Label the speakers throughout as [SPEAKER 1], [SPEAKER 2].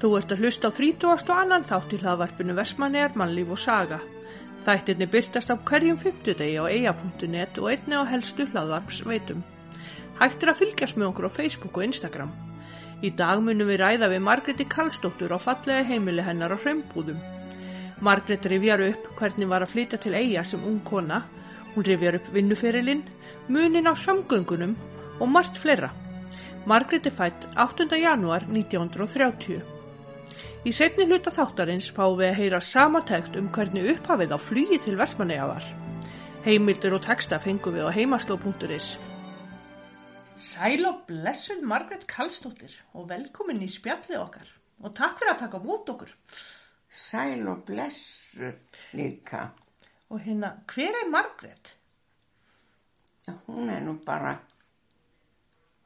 [SPEAKER 1] Þú ert að hlusta á 30. annan þátt í hlaðvarpinu Vestmannegar mannlíf og saga. Þættirni byrtast á hverjum fymtudegi á eia.net og einni á helstu hlaðvarpsveitum. Hægt er að fylgjast með okkur á Facebook og Instagram. Í dag munum við ræða við Margreti Karlsdóttur á fallega heimili hennar á hraumbúðum. Margrét rifjar upp hvernig var að flytja til eiga sem ung kona. Hún rifjar upp vinnuferilinn, munin á samgöngunum og margt fleira. Margrét er fætt 8. janúar 1930. Í setni hluta þáttarins fáum við að heyra samatækt um hvernig upphafið á flugi til versmanega var. Heimildir og texta fengum við á heimasló.is. Sæl og blessun Margrét Kallstóttir og velkomin í spjallið okkar og takk fyrir að taka mút okkur.
[SPEAKER 2] Sæl og blessu líka.
[SPEAKER 1] Og hérna, hver er Margrét?
[SPEAKER 2] Hún er nú bara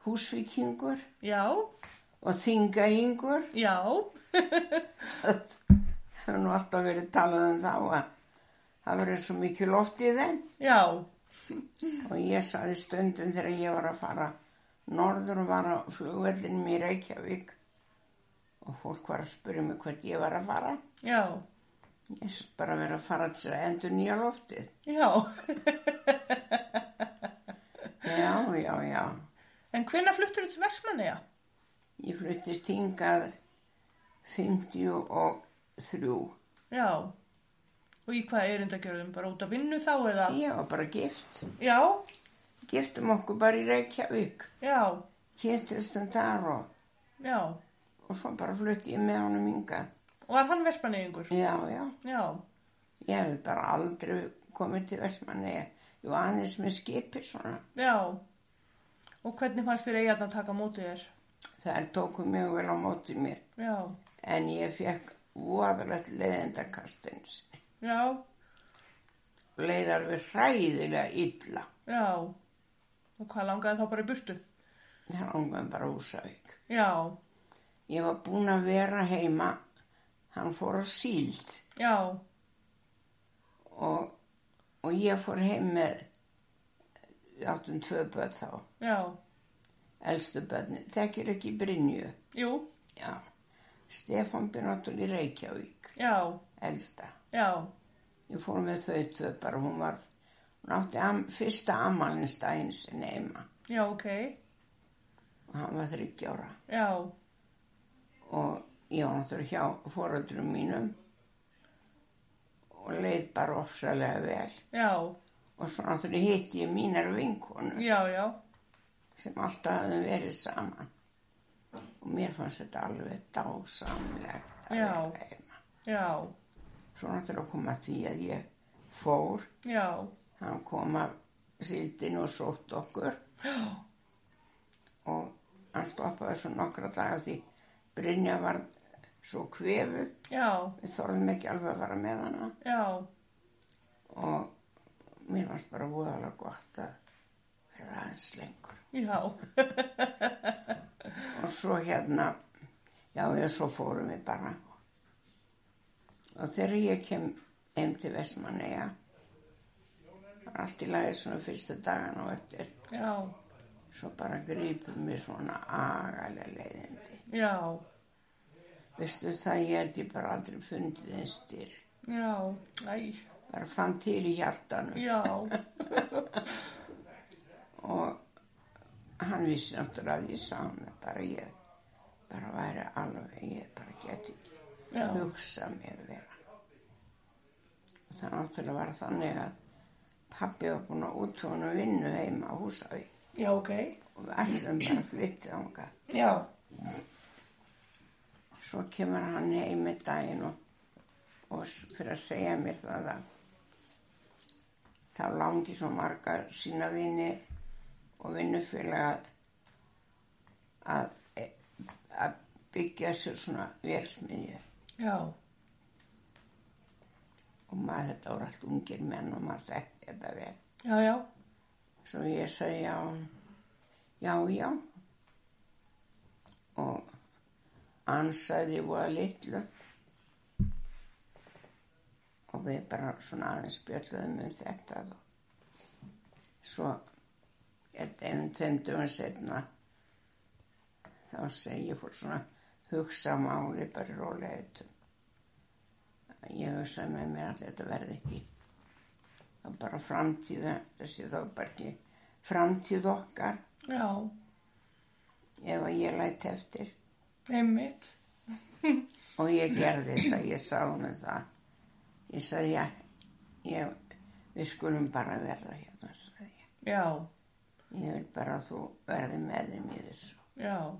[SPEAKER 2] húsvikingur
[SPEAKER 1] Já,
[SPEAKER 2] og þingahingur.
[SPEAKER 1] já,
[SPEAKER 2] Það hefur nú alltaf verið talað um þá að það verið svo mikið loft í þeim.
[SPEAKER 1] já,
[SPEAKER 2] Og ég saði stundum þegar ég var að fara norður og var á flugvellinum í Reykjavík og fólk var að spyrja mig hvert ég var að fara.
[SPEAKER 1] já,
[SPEAKER 2] Ég satt bara að vera að fara til að endur nýja loftið.
[SPEAKER 1] já.
[SPEAKER 2] Já, já, já.
[SPEAKER 1] En hvenna fluttur þú til Vestmanneja?
[SPEAKER 2] Ég fluttist hingað 53.
[SPEAKER 1] Já. Og í hvað erindagjörðum? Bara út að vinnu þá eða?
[SPEAKER 2] Ég var bara gift.
[SPEAKER 1] Já,
[SPEAKER 2] Giftum okkur bara í Reykjavík.
[SPEAKER 1] já,
[SPEAKER 2] Kynntustum þar og,
[SPEAKER 1] já.
[SPEAKER 2] og svo bara flutti ég með honum yngað.
[SPEAKER 1] Og var hann Vestmannegingur?
[SPEAKER 2] Já, já.
[SPEAKER 1] Já,
[SPEAKER 2] Ég hef bara aldrei komið til Vestmanni. Jú, aðeins með skipi svona.
[SPEAKER 1] já. Og hvernig fannst þér eigarn að taka mótið þér?
[SPEAKER 2] Það tóku mjög vel á móti mér.
[SPEAKER 1] Já,
[SPEAKER 2] En ég fekk voðalegt leiðendakastins.
[SPEAKER 1] já,
[SPEAKER 2] Leiðar við hræðilega illa.
[SPEAKER 1] já. Og hvað langaði þá bara í burtu?
[SPEAKER 2] Það langaði bara úsavík.
[SPEAKER 1] Já,
[SPEAKER 2] Ég var búin að vera heima. Hann fór á síld.
[SPEAKER 1] já,
[SPEAKER 2] og, og ég fór heim með við áttum tvö börn þá
[SPEAKER 1] já.
[SPEAKER 2] elstu börnin, þekkir ekki Brynju
[SPEAKER 1] Jú,
[SPEAKER 2] já, Stefán Björnáttur í Reykjavík
[SPEAKER 1] já,
[SPEAKER 2] elsta,
[SPEAKER 1] já,
[SPEAKER 2] ég fór með þau tvö bara hún var, hún átti am, fyrsta amalinn sinni heima
[SPEAKER 1] já, ok,
[SPEAKER 2] og hann var þryggjára
[SPEAKER 1] já,
[SPEAKER 2] og ég var náttúrulega hjá fóröldrum mínum og leið bara ofsalega vel
[SPEAKER 1] já,
[SPEAKER 2] og svo náttúrulega hitti ég mínar vinkonu
[SPEAKER 1] já, já,
[SPEAKER 2] sem alltaf hafði verið saman og mér fannst þetta alveg dásamlegt að
[SPEAKER 1] Já.
[SPEAKER 2] vera heima.
[SPEAKER 1] já,
[SPEAKER 2] Svo náttúrulega kom að því að ég fór,
[SPEAKER 1] já,
[SPEAKER 2] hann kom af síldinu og sótt okkur
[SPEAKER 1] já,
[SPEAKER 2] og hann stoppaði svo nokkra daga því Brynja var svo kvefuð,
[SPEAKER 1] já,
[SPEAKER 2] við þorðum ekki alveg að fara með hana
[SPEAKER 1] já,
[SPEAKER 2] og mér fannst bara voðalega gott að vera aðeins lengur.
[SPEAKER 1] já,
[SPEAKER 2] Og svo hérna, já, já, svo fórum við bara. Og þegar ég kem heim til Vestmanneja, var allt í lagi svona fyrstu dagana og eftir,
[SPEAKER 1] já,
[SPEAKER 2] svo bara grípum við svona agalega leiðindi.
[SPEAKER 1] já,
[SPEAKER 2] Veistu það, ég held ég bara aldrei fundið einn styr.
[SPEAKER 1] já, æ,
[SPEAKER 2] Bara fann til í hjartanu
[SPEAKER 1] já,
[SPEAKER 2] og hann vissi náttúrulega að ég sá hann bara ég, bara væri alveg, ég bara geti ekki.
[SPEAKER 1] já,
[SPEAKER 2] hugsa mér vera. Og það náttúrulega var þannig að pabbi var búinn að útfóna vinnu heima á Húsavík
[SPEAKER 1] já, ok,
[SPEAKER 2] og við ætlum bara að flytja þangað.
[SPEAKER 1] já,
[SPEAKER 2] Svo kemur hann heim með daginn og, og s- fyrir að segja mér það að þá langi svo marga sína vini og vinnufélaga að, að, e, að byggja sér svona velsmiðju.
[SPEAKER 1] já,
[SPEAKER 2] og maður þetta voru allt ungir menn og maður þekkti þetta vel.
[SPEAKER 1] já, já,
[SPEAKER 2] Svo ég sagði já, já, já. Og ansæði voða litlu og við bara svona aðeins bjölluðum um þetta og svo er þetta einum tveim dögum setna þá segi ég fór svona hugsa máli bara rólega þetta. Ég hugsa með mér að þetta verði ekki. Það er bara framtíða, þessi þá er bara ekki framtíð okkar
[SPEAKER 1] já,
[SPEAKER 2] ef að ég læti eftir.
[SPEAKER 1] einmitt,
[SPEAKER 2] Og ég gerði þetta, ég sá henni það. Ég sagði, já, ég, við skulum bara verða hérna, sagði ég.
[SPEAKER 1] já,
[SPEAKER 2] Ég vil bara að þú verði með þeim í þessu.
[SPEAKER 1] já,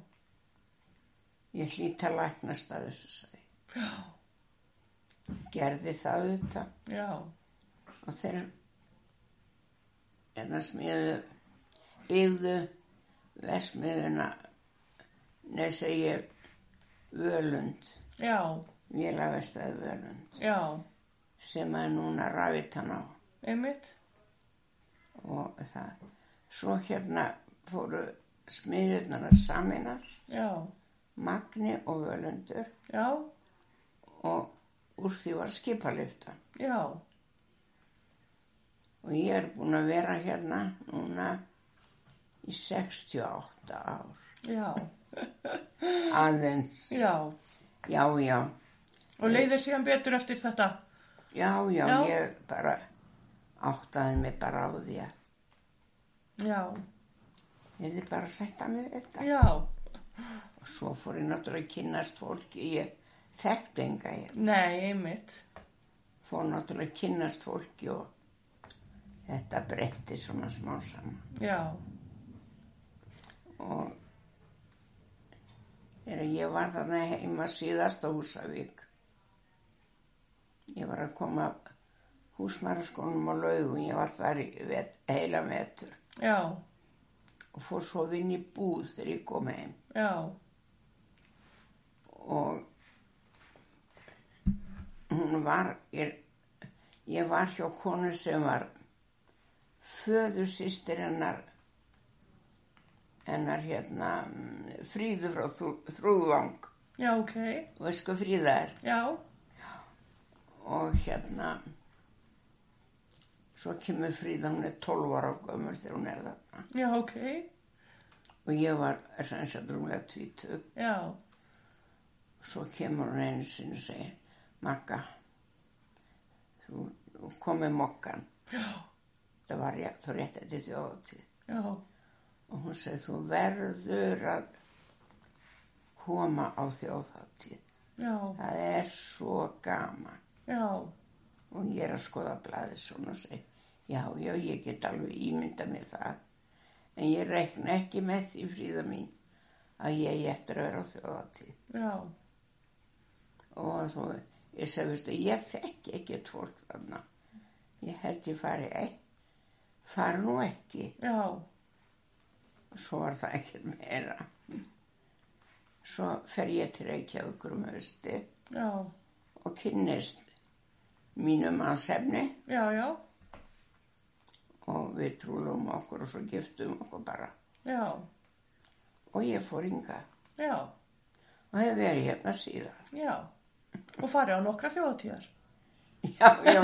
[SPEAKER 2] Ég hlýta læknast að þessu, sagði ég.
[SPEAKER 1] já,
[SPEAKER 2] Gerði það auðvitað.
[SPEAKER 1] já,
[SPEAKER 2] og þeir hérna smiðu byggðu vesmiðuna neð segi völund
[SPEAKER 1] já,
[SPEAKER 2] vélavestaði völund
[SPEAKER 1] já,
[SPEAKER 2] sem er núna rafitan á
[SPEAKER 1] einmitt,
[SPEAKER 2] og það svo hérna fóru smiðurnar að saminast
[SPEAKER 1] já,
[SPEAKER 2] magni og völundur
[SPEAKER 1] já,
[SPEAKER 2] og úr því var skipalifta
[SPEAKER 1] já,
[SPEAKER 2] og ég er búin að vera hérna núna í 68 ár
[SPEAKER 1] já,
[SPEAKER 2] aðeins
[SPEAKER 1] já,
[SPEAKER 2] Já, já,
[SPEAKER 1] og leiðir síðan betur eftir þetta,
[SPEAKER 2] já, já,
[SPEAKER 1] Já.
[SPEAKER 2] ég bara áttaði mig bara á því að
[SPEAKER 1] já,
[SPEAKER 2] ég hefði bara að sætta mig við þetta.
[SPEAKER 1] já,
[SPEAKER 2] Og svo fór ég náttúrulega að kynnast fólki, ég þekkti enga hérna. ég.
[SPEAKER 1] nei, einmitt,
[SPEAKER 2] Fór náttúrulega að kynnast fólki og þetta breytti svona smá saman.
[SPEAKER 1] já,
[SPEAKER 2] Og þegar ég var þarna heima síðast á Húsavík, ég var að koma húsmaraskónum á laugu, ég var þar í vet, heila metur.
[SPEAKER 1] já,
[SPEAKER 2] og fór svo vinn í búð þegar ég kom heim
[SPEAKER 1] já,
[SPEAKER 2] og hún var ég, ég var hjá konu sem var föður sýstir hennar hennar hérna mm, fríðu frá Þrú- þrúðvang
[SPEAKER 1] já, ok,
[SPEAKER 2] og veist hvað fríða er
[SPEAKER 1] já,
[SPEAKER 2] og hérna svo kemur fríða hún er 12 ára gömur þegar hún er þarna
[SPEAKER 1] já, ok,
[SPEAKER 2] og ég var sem sagt rúmlega tvítug
[SPEAKER 1] já,
[SPEAKER 2] Svo kemur hún einu sinni og segir, Magga, þú, þú komið mokkan.
[SPEAKER 1] já,
[SPEAKER 2] Það var rétt, þú rétt eftir þjóðatíð.
[SPEAKER 1] já,
[SPEAKER 2] Og hún segir, þú verður að koma á þjóðatíð.
[SPEAKER 1] já,
[SPEAKER 2] Það er svo gaman.
[SPEAKER 1] já,
[SPEAKER 2] Og ég er að skoða blaðið svona og segir, já, já, ég get alveg ímynda mér það. En ég reikna ekki með því fríða mín að ég ég eftir að vera á þjóðatíð.
[SPEAKER 1] já,
[SPEAKER 2] og þú, ég sagði, veistu, ég þekki ekkert fólk þarna. Ég held ég fari, ei, fari nú ekki.
[SPEAKER 1] já,
[SPEAKER 2] Og svo var það ekkert meira. Svo fer ég til Reykjavíkur um hausti
[SPEAKER 1] já,
[SPEAKER 2] og kynnist mínum mannsefni
[SPEAKER 1] já, já,
[SPEAKER 2] og við trúlum okkur og svo giftum okkur bara.
[SPEAKER 1] já,
[SPEAKER 2] Og ég fór hingað
[SPEAKER 1] já,
[SPEAKER 2] og hef verið hérna síðan.
[SPEAKER 1] já, og farið á nokkra þjóðtíðar,
[SPEAKER 2] Já, já,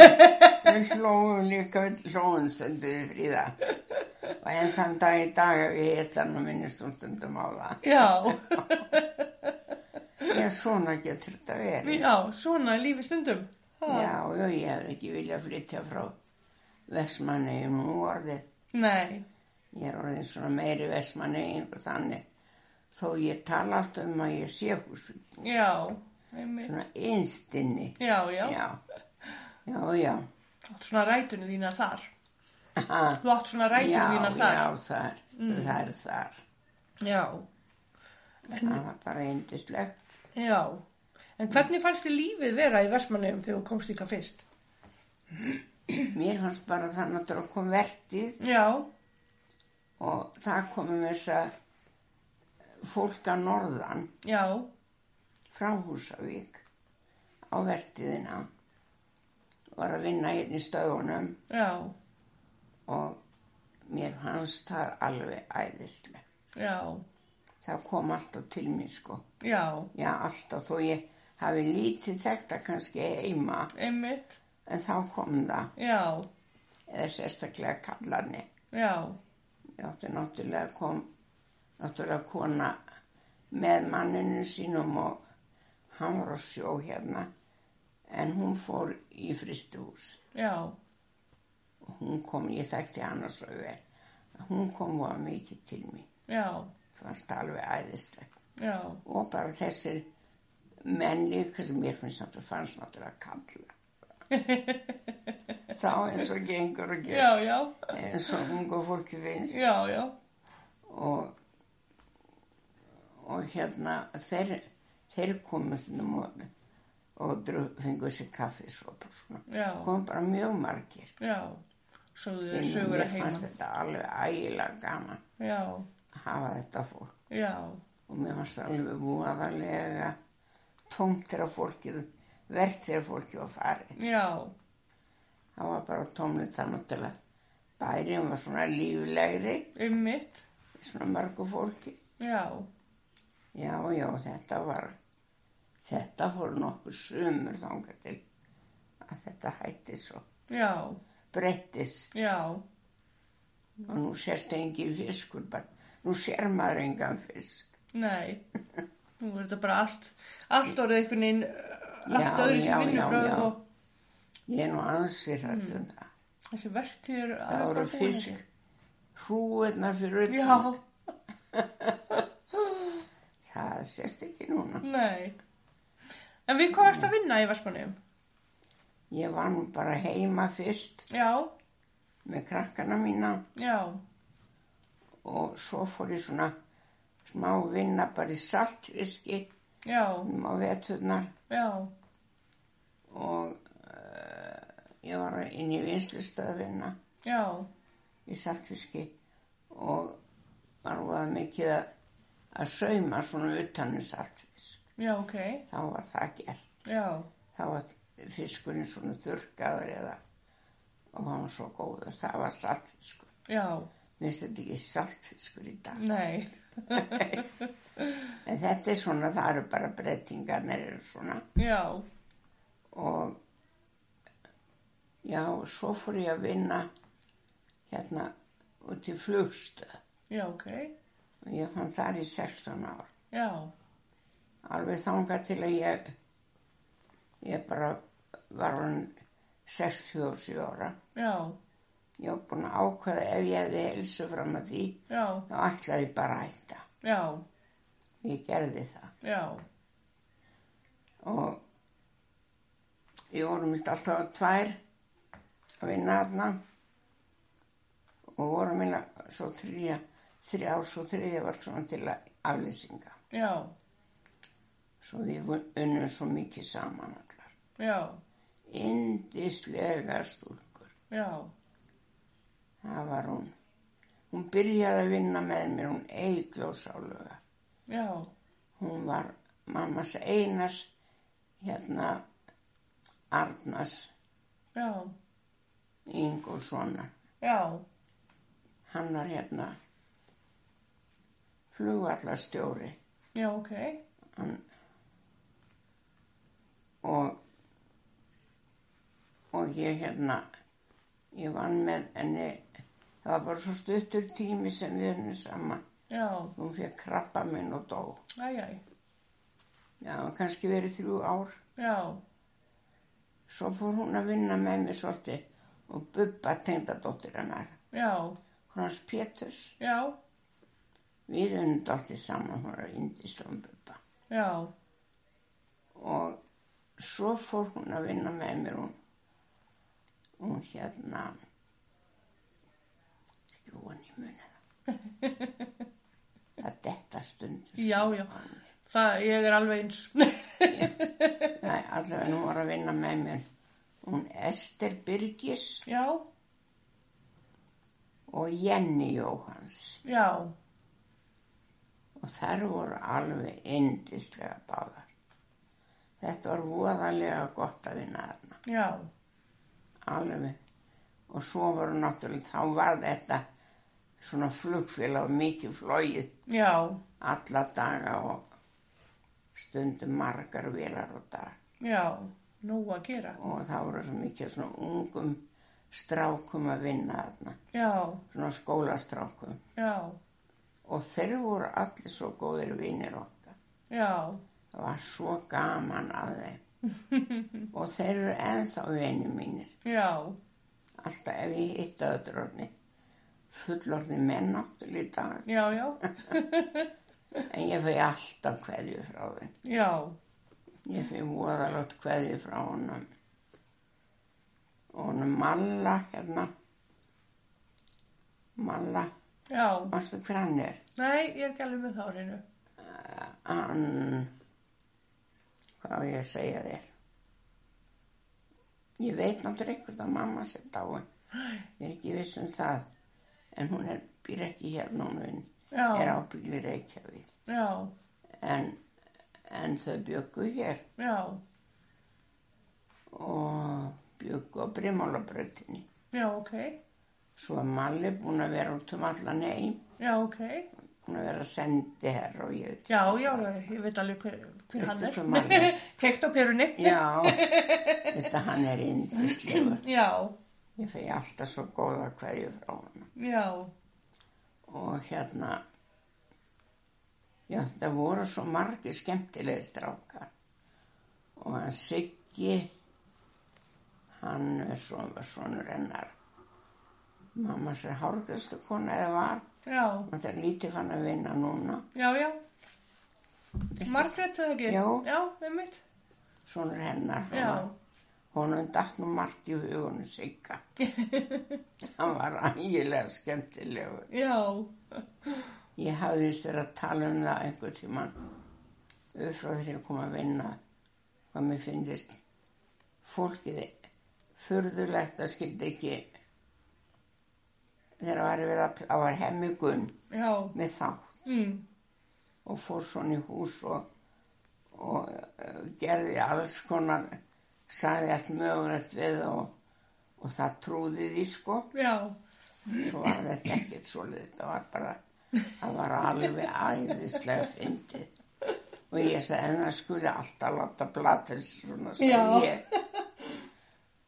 [SPEAKER 2] við hlóðum líka, við hlóðum stundum við fríða. Og enn þann dag í dag ef ég hitt hann og minnist hún stundum á það.
[SPEAKER 1] já,
[SPEAKER 2] Ég svona getur þetta verið.
[SPEAKER 1] já, svona er lífi stundum, ha?
[SPEAKER 2] Já, já, ég hef ekki viljað flytja frá Vestmanni nú orðið.
[SPEAKER 1] nei,
[SPEAKER 2] Ég er orðin svona meiri Vestmanni einhver þannig. Þó ég tala allt um að ég sé húsvík.
[SPEAKER 1] já, einmitt,
[SPEAKER 2] Svona einstinni.
[SPEAKER 1] já, já,
[SPEAKER 2] Já, já, já.
[SPEAKER 1] Þú átt svona rætunni þína þar,
[SPEAKER 2] Ha,
[SPEAKER 1] þú átt svona rætunni
[SPEAKER 2] Já,
[SPEAKER 1] þína þar, Mm.
[SPEAKER 2] já, þar, þar, þar.
[SPEAKER 1] já,
[SPEAKER 2] Það var bara eindislegt.
[SPEAKER 1] já, en hvernig fannst þið lífið vera í Vestmanneum þegar þú komst ykkar fyrst?
[SPEAKER 2] Mér fannst bara það náttúrulega kom vertið
[SPEAKER 1] Já,
[SPEAKER 2] og það komum þess að fólk að norðan
[SPEAKER 1] já,
[SPEAKER 2] frá Húsavík á vertiðina var að vinna hérna í stöðunum
[SPEAKER 1] já,
[SPEAKER 2] og mér fannst það alveg æðislega.
[SPEAKER 1] já,
[SPEAKER 2] Það kom alltaf til mín sko.
[SPEAKER 1] já,
[SPEAKER 2] Já, alltaf þó ég hafi lítið þekta kannski heima
[SPEAKER 1] einmitt,
[SPEAKER 2] en þá kom það
[SPEAKER 1] já,
[SPEAKER 2] eða sérstaklega kallarni.
[SPEAKER 1] já,
[SPEAKER 2] Ég átti náttúrulega kom, náttúrulega kona með manninu sínum og hann var á sjó hérna en hún fór í fristihús
[SPEAKER 1] já,
[SPEAKER 2] og hún kom, ég þekkti hana svo vel hún kom og mikið til mér
[SPEAKER 1] já,
[SPEAKER 2] fannst það alveg æðislega
[SPEAKER 1] já,
[SPEAKER 2] og bara þessir menn líka sem mér finnst að fannst náttúrulega kalla þá eins og gengur og gerð
[SPEAKER 1] já, já,
[SPEAKER 2] eins og ungu fólki finnst
[SPEAKER 1] já, já,
[SPEAKER 2] og, og hérna þeir, þeir komu þennum og, og dru- fengu sér kaffisop og svona
[SPEAKER 1] já,
[SPEAKER 2] kom bara mjög margir
[SPEAKER 1] já, sögðu þau
[SPEAKER 2] Finnum,
[SPEAKER 1] sögur
[SPEAKER 2] mér
[SPEAKER 1] að
[SPEAKER 2] fannst
[SPEAKER 1] heima,
[SPEAKER 2] þetta alveg ægilega gaman
[SPEAKER 1] já,
[SPEAKER 2] að hafa þetta fólk
[SPEAKER 1] já,
[SPEAKER 2] og mér fannst það alveg voðalega tómt þegar fólkið verð þegar fólkið var farið
[SPEAKER 1] já,
[SPEAKER 2] það var bara tómlið það náttúrulega bærið var svona líflegri
[SPEAKER 1] ummitt,
[SPEAKER 2] svona mörgu fólki
[SPEAKER 1] já,
[SPEAKER 2] Já, já, þetta var, þetta voru nokkur sumur þangað til að þetta hætti svo,
[SPEAKER 1] já,
[SPEAKER 2] breyttist
[SPEAKER 1] já,
[SPEAKER 2] og nú sérst engin fiskur bara, nú sér maður engan fisk.
[SPEAKER 1] nei, nú er þetta bara allt, allt orðið einhvern veginn, uh, allt
[SPEAKER 2] Já,
[SPEAKER 1] öðru
[SPEAKER 2] já,
[SPEAKER 1] sem
[SPEAKER 2] já, já.
[SPEAKER 1] vinnubröð og
[SPEAKER 2] Ég er nú ansi hrætt um það.
[SPEAKER 1] þessi verktíður,
[SPEAKER 2] Það voru fisk, hrúunar fyrir
[SPEAKER 1] já,
[SPEAKER 2] utan. Það sérst ekki núna.
[SPEAKER 1] nei, en við hvað varst að vinna í Vespunum,
[SPEAKER 2] Ég var nú bara heima fyrst
[SPEAKER 1] já,
[SPEAKER 2] með krakkana mína
[SPEAKER 1] já,
[SPEAKER 2] og svo fór ég svona smá vinna bara í saltfiski
[SPEAKER 1] já,
[SPEAKER 2] um á veturnar.
[SPEAKER 1] já,
[SPEAKER 2] og uh, ég var inn í vinslustöðvinna
[SPEAKER 1] já,
[SPEAKER 2] í saltfiski og var voða mikið að, að sauma svona utan í saltfisk.
[SPEAKER 1] já, ok,
[SPEAKER 2] Þá var það gert.
[SPEAKER 1] já,
[SPEAKER 2] Þá var fiskurinn svona þurrkaður eða og hann var svo góður. Það var saltfiskur.
[SPEAKER 1] já,
[SPEAKER 2] Mér finnst þetta ekki saltfiskur í dag.
[SPEAKER 1] nei,
[SPEAKER 2] En þetta er svona, það eru bara breytingarnir eru svona.
[SPEAKER 1] já,
[SPEAKER 2] og já, svo fór ég að vinna hérna út í flugstöð
[SPEAKER 1] já, ok,
[SPEAKER 2] og ég fann þar í 16 ár
[SPEAKER 1] já,
[SPEAKER 2] alveg þangað til að ég ég bara var hann 67 ára
[SPEAKER 1] já,
[SPEAKER 2] ég var búin að ákveða ef ég hefði helsu fram að því
[SPEAKER 1] já,
[SPEAKER 2] þá ætlaði ég bara að hætta
[SPEAKER 1] já,
[SPEAKER 2] ég gerði það
[SPEAKER 1] já,
[SPEAKER 2] og ég vorum mitt alltaf tvær að vinna þarna og vorum minna svo þrjá þrjá svo þriðja var svona til að aflýsinga
[SPEAKER 1] já,
[SPEAKER 2] svo við unnum svo mikið saman allar
[SPEAKER 1] já,
[SPEAKER 2] indislega stúlkur.
[SPEAKER 1] já,
[SPEAKER 2] Það var hún. Hún byrjaði að vinna með mér, hún eiglós áluga.
[SPEAKER 1] já,
[SPEAKER 2] Hún var mammas Einars, hérna Arnars
[SPEAKER 1] já,
[SPEAKER 2] Ingolsonar.
[SPEAKER 1] já,
[SPEAKER 2] Hann var hérna flugvallastjóri
[SPEAKER 1] já, ok,
[SPEAKER 2] og, og ég hérna, ég vann með henni, það var bara svo stuttur tími sem við unnum saman.
[SPEAKER 1] já,
[SPEAKER 2] Hún fekk krabba minn og dó.
[SPEAKER 1] æj, æj,
[SPEAKER 2] Já, kannski verið þrjú ár.
[SPEAKER 1] já,
[SPEAKER 2] Svo fór hún að vinna með mér svolítið og Bubba tengdadóttir hennar.
[SPEAKER 1] já,
[SPEAKER 2] Hans Péturs,
[SPEAKER 1] já,
[SPEAKER 2] við unnum dóttir saman, hún er indislega um Bubba.
[SPEAKER 1] já,
[SPEAKER 2] Og svo fór hún að vinna með mér, hún, hún hérna, jú, hann ég muni það. Það detta stundur.
[SPEAKER 1] Já, já. það, ég er alveg eins,
[SPEAKER 2] Nei, allavega hún var að vinna með mér. Hún Ester Byrgis
[SPEAKER 1] já,
[SPEAKER 2] og Jenny Jóhans.
[SPEAKER 1] já,
[SPEAKER 2] Og þær voru alveg yndislega báðar. Þetta var voðalega gott að vinna þarna.
[SPEAKER 1] já,
[SPEAKER 2] Alveg. Og svo voru náttúrulega, þá var þetta svona flugfélag mikið flóið
[SPEAKER 1] já,
[SPEAKER 2] alla daga og stundum margar vilar og dag.
[SPEAKER 1] já, nú að gera,
[SPEAKER 2] Og þá voru svo mikið svona ungum strákum að vinna þarna.
[SPEAKER 1] já,
[SPEAKER 2] Svona skólastrákum.
[SPEAKER 1] já,
[SPEAKER 2] Og þeir voru allir svo góðir vinnir okkar.
[SPEAKER 1] já,
[SPEAKER 2] Það var svo gaman af þeim og þeir eru ennþá vinni mínir.
[SPEAKER 1] já,
[SPEAKER 2] Alltaf ef ég hitta öllur orðni, fullorðni menn náttúrulega í dag,
[SPEAKER 1] já, já,
[SPEAKER 2] en ég fæ alltaf kveðju frá þeim.
[SPEAKER 1] já,
[SPEAKER 2] Ég fæ voðalótt kveðju frá honum. Og honum Malla hérna, Malla,
[SPEAKER 1] já,
[SPEAKER 2] mástu hver hann er?
[SPEAKER 1] nei, ég er ekki alveg með þá hreinu.
[SPEAKER 2] hann hvað á ég að segja þér ég veit náttúrulega einhvern að mamma sér dáin ég er ekki viss um það en hún er, býr ekki hérna hún vinn er
[SPEAKER 1] Já,
[SPEAKER 2] á bíli Reykjavík
[SPEAKER 1] já,
[SPEAKER 2] en, en þau byggu hér
[SPEAKER 1] já,
[SPEAKER 2] og byggu á Brimálabröðinni
[SPEAKER 1] já, ok,
[SPEAKER 2] svo er Malli búin að vera út um allan heim
[SPEAKER 1] já, ok,
[SPEAKER 2] búin að vera sendi herr og ég veit
[SPEAKER 1] já, já, já, ég veit alveg hver, hver
[SPEAKER 2] Veistu hver
[SPEAKER 1] hann
[SPEAKER 2] maður
[SPEAKER 1] er.
[SPEAKER 2] er?
[SPEAKER 1] Kveikt á perunni.
[SPEAKER 2] já veist að hann er indislegur
[SPEAKER 1] Já,
[SPEAKER 2] Ég fegi alltaf svo góða hverju frá hana.
[SPEAKER 1] já,
[SPEAKER 2] Og hérna, já þetta voru svo margi skemmtilegi strákar. Og hann Siggi, hann er svona svonur hennar. Mamma sér hálfgjöðstu kona eða var.
[SPEAKER 1] já,
[SPEAKER 2] Og það er lítið fann að vinna núna.
[SPEAKER 1] já, já,
[SPEAKER 2] Veistu,
[SPEAKER 1] Margrét eða ekki?
[SPEAKER 2] Já.
[SPEAKER 1] Já, einmitt,
[SPEAKER 2] Sonur hennar.
[SPEAKER 1] já,
[SPEAKER 2] Honum datt nú margt í hugunum Sigga. hann var ægilega skemmtilegur.
[SPEAKER 1] já,
[SPEAKER 2] Ég hafði vist verið að tala um það einhver tíman upp frá því að koma að vinna hvað mér finnist fólkið furðulegt að skildi ekki þegar var verið að það var hemmigun
[SPEAKER 1] já,
[SPEAKER 2] með þá
[SPEAKER 1] mm,
[SPEAKER 2] og fór svona í hús og, og eh, gerði alls konar sagði allt mögulegt við og, og það trúði því sko
[SPEAKER 1] já,
[SPEAKER 2] svo var þetta ekkert svoleiðis það var bara, það var alveg æðislega fyndið og ég sagði en það skuli alltaf láta blata þessu svona
[SPEAKER 1] Já.
[SPEAKER 2] sagði ég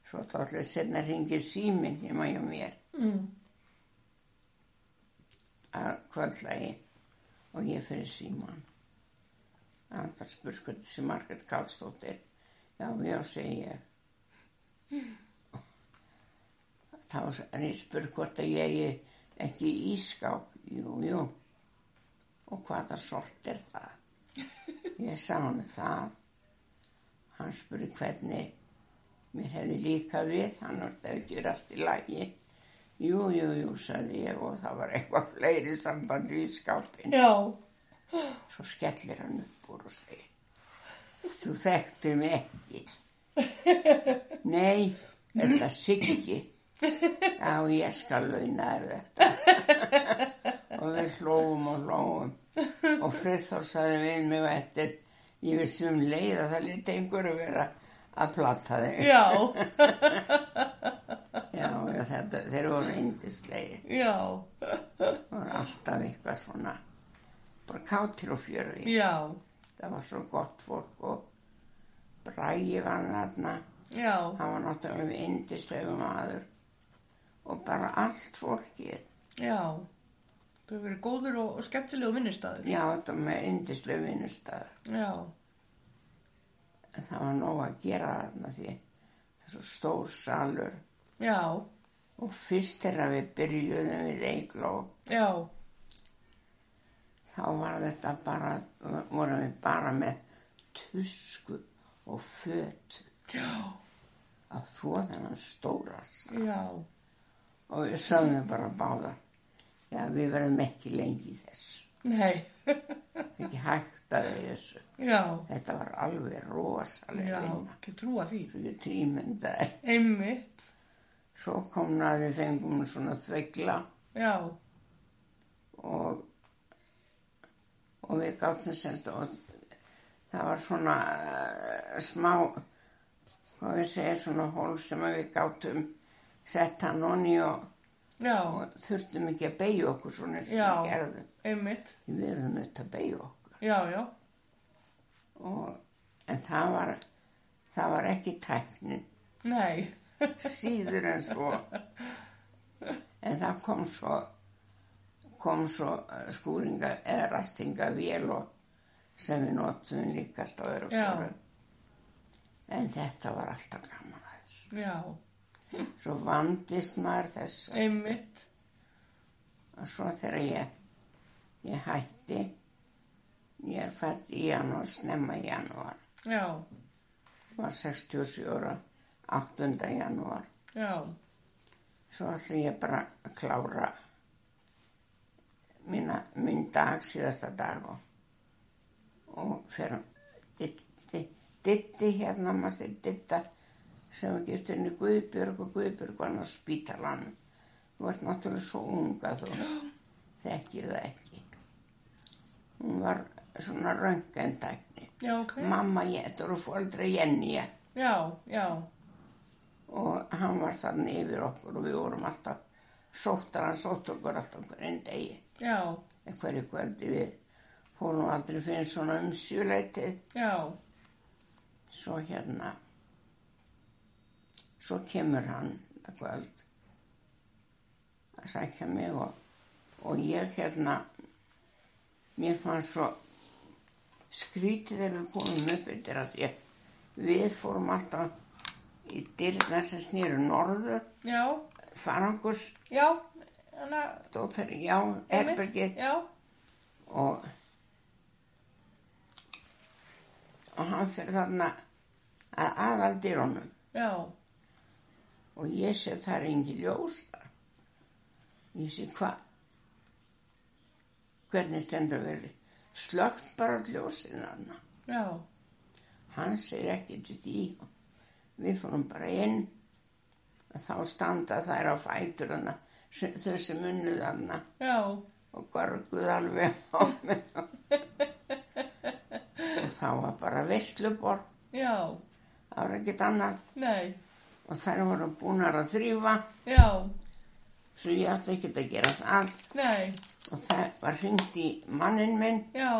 [SPEAKER 2] svo þá ætlaði senna ringi síminn heima hjá mér
[SPEAKER 1] mm,
[SPEAKER 2] að kvöldlagi og ég fyrir síman annar spurkut sem Margrét Karlsdóttir já, já, segi ég þá er ég spurk hvort að ég eigi ekki ískáp jú, jú og hvaða sort er það ég sá hann um það hann spurði hvernig mér hefði líka við hann var þetta ekki verið allt í lagi jú, jú, jú, sagði ég og það var eitthvað fleiri samband við skápin
[SPEAKER 1] já,
[SPEAKER 2] Svo skellir hann upp úr og segir, þú þekktir mig ekki. Nei, þetta Siggi. Já, ég skal launa þér þetta. og við hlófum og hlófum. Og Friðþór sagði við mig og eftir, ég vissi um leið að það liti einhverju vera að plata þig.
[SPEAKER 1] já,
[SPEAKER 2] Já, já, þetta, þeir voru indislegir.
[SPEAKER 1] já,
[SPEAKER 2] Það voru alltaf eitthvað svona, bara kátir og fjörði.
[SPEAKER 1] já,
[SPEAKER 2] það var svo gott fólk og Bræði var þarna
[SPEAKER 1] já,
[SPEAKER 2] hann var náttúrulega indislegu maður og bara allt fólkið
[SPEAKER 1] já. Þú hefur verið góður og, og skemmtilegu vinnustæður.
[SPEAKER 2] já þetta með indislegu vinnustæður
[SPEAKER 1] Já,
[SPEAKER 2] en það var nóg að gera þarna því það er svo stór salur
[SPEAKER 1] já,
[SPEAKER 2] og fyrst þegar við byrjuðum við eigló
[SPEAKER 1] já,
[SPEAKER 2] þá var þetta bara vorum við bara með tusku og föt
[SPEAKER 1] já,
[SPEAKER 2] að þvó þennan stóra sal
[SPEAKER 1] já,
[SPEAKER 2] og við sögðum bara báða já við verðum ekki lengi í þessu
[SPEAKER 1] nei,
[SPEAKER 2] ekki hægt að vera í þessu
[SPEAKER 1] já,
[SPEAKER 2] þetta var alveg
[SPEAKER 1] já,
[SPEAKER 2] rosalega vinna
[SPEAKER 1] ekki trúa því.
[SPEAKER 2] Þú getur ímyndaði
[SPEAKER 1] Einmitt,
[SPEAKER 2] um svo kom að við fengum svona þvegla
[SPEAKER 1] já,
[SPEAKER 2] og og við gáttum semst og það var svona uh, smá hvað við segja svona hól sem að við gáttum sett hann onni og,
[SPEAKER 1] já,
[SPEAKER 2] og þurftum ekki að beigja okkur svona sem
[SPEAKER 1] Já.
[SPEAKER 2] við gerðum
[SPEAKER 1] einmitt,
[SPEAKER 2] við verðum auðvitað að beigja okkur
[SPEAKER 1] já, já,
[SPEAKER 2] og, en það var það var ekki tæknin
[SPEAKER 1] nei,
[SPEAKER 2] síður en svo en það kom svo kom svo eh, skúringa eða rastinga vél og sem við notum líka alltaf öðru
[SPEAKER 1] Já.
[SPEAKER 2] hverju. En þetta var alltaf gaman að þessu.
[SPEAKER 1] já,
[SPEAKER 2] Svo vandist maður þess að
[SPEAKER 1] einmitt,
[SPEAKER 2] og svo þegar ég, ég hætti, ég er fætt í janúar, snemma í janúar,
[SPEAKER 1] já,
[SPEAKER 2] var 67 ára, 8. janúar,
[SPEAKER 1] já,
[SPEAKER 2] svo ætla ég bara að klára mína, minn dag, síðasta dag og, og fyrir ditti, ditti hérna, maður þegar ditta sem að gifta henni Guðbjörg og Guðbjörg var hann á spítalanum. Þú varst náttúrulega svo unga þú þekkir það ekki. Hún var svona röngendækni.
[SPEAKER 1] já, ok,
[SPEAKER 2] Mamma, ég, þetta voru fóldra Jenny
[SPEAKER 1] já, já,
[SPEAKER 2] og hann var þannig yfir okkur og við vorum alltaf sóttar hann sótt okkur alltaf hverjum degi
[SPEAKER 1] já,
[SPEAKER 2] en hverju kvöldi við fórum aldrei fyrir svona umsjuleitið
[SPEAKER 1] já,
[SPEAKER 2] svo hérna svo kemur hann það kvöld að sækja mig og, og ég hérna mér fannst svo skrítið þegar við komum upp yfir að ég, við fórum alltaf í dyrnar sem snýru norður
[SPEAKER 1] já,
[SPEAKER 2] farangurs
[SPEAKER 1] já, hana,
[SPEAKER 2] dóttir, já,
[SPEAKER 1] einmitt,
[SPEAKER 2] Erbergi
[SPEAKER 1] já,
[SPEAKER 2] og og hann fyrir þarna að aðaldýrunum
[SPEAKER 1] já,
[SPEAKER 2] og ég sé það er engin ljós þar. ég sé hvað hvernig stendur verið slögt bara ljósin þarna
[SPEAKER 1] já,
[SPEAKER 2] hann segir ekki til því við fórum bara inn og þá standa þær á fætur þarna sem- þau sem unnu þarna
[SPEAKER 1] já,
[SPEAKER 2] og gorguð alveg á mig og þá var bara veistlubor
[SPEAKER 1] já,
[SPEAKER 2] það var ekkert annað
[SPEAKER 1] nei,
[SPEAKER 2] og þær voru búnar að þrýfa
[SPEAKER 1] já,
[SPEAKER 2] svo ég átti ekkert að gera það
[SPEAKER 1] nei,
[SPEAKER 2] og það var hringt í mannin minn
[SPEAKER 1] já,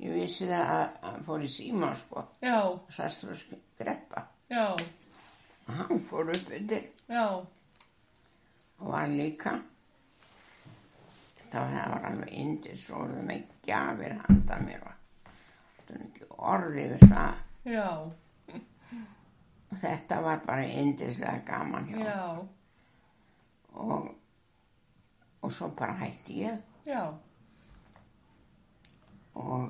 [SPEAKER 1] ég
[SPEAKER 2] ég vissi það að að hann fór í síma sko
[SPEAKER 1] Já,
[SPEAKER 2] sæstur að sk- greppa
[SPEAKER 1] já,
[SPEAKER 2] og hann fór upp undir
[SPEAKER 1] já,
[SPEAKER 2] og var líka þá það var alveg indis og voru með gjafir handa mér og það er ekki orði yfir það
[SPEAKER 1] já,
[SPEAKER 2] Og þetta var bara yndislega gaman hjá. honum.
[SPEAKER 1] já,
[SPEAKER 2] Og, og svo bara hætti ég
[SPEAKER 1] já,
[SPEAKER 2] og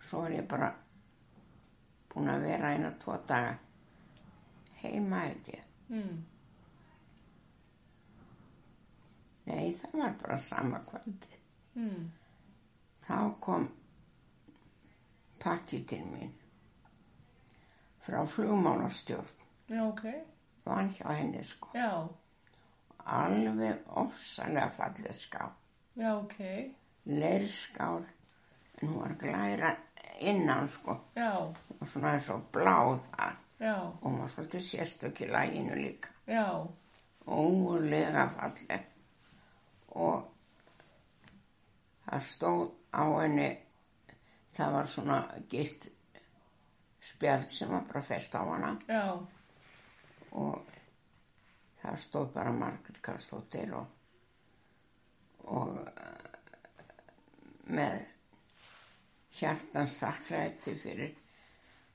[SPEAKER 2] svo er ég bara búin að vera eina tvo daga heima held ég.
[SPEAKER 1] mm,
[SPEAKER 2] Nei, það var bara sama kvöldi.
[SPEAKER 1] mm,
[SPEAKER 2] Þá kom pakki til mín frá flugmálastjórn.
[SPEAKER 1] já, ok,
[SPEAKER 2] Vann hjá henni sko.
[SPEAKER 1] já,
[SPEAKER 2] Alveg ofsalega fallið skáp.
[SPEAKER 1] já, ok,
[SPEAKER 2] leirskál en hún var glæra innan sko
[SPEAKER 1] já,
[SPEAKER 2] og svona eins og blá það
[SPEAKER 1] já,
[SPEAKER 2] og hún var svolítið sérstök í læginu líka
[SPEAKER 1] já,
[SPEAKER 2] ólega falleg og það stóð á henni það var svona gilt spjald sem var bara fest á hana
[SPEAKER 1] já,
[SPEAKER 2] og það stóð bara Margrét Karlsdóttir og, og eh, með hjartans þakklæti fyrir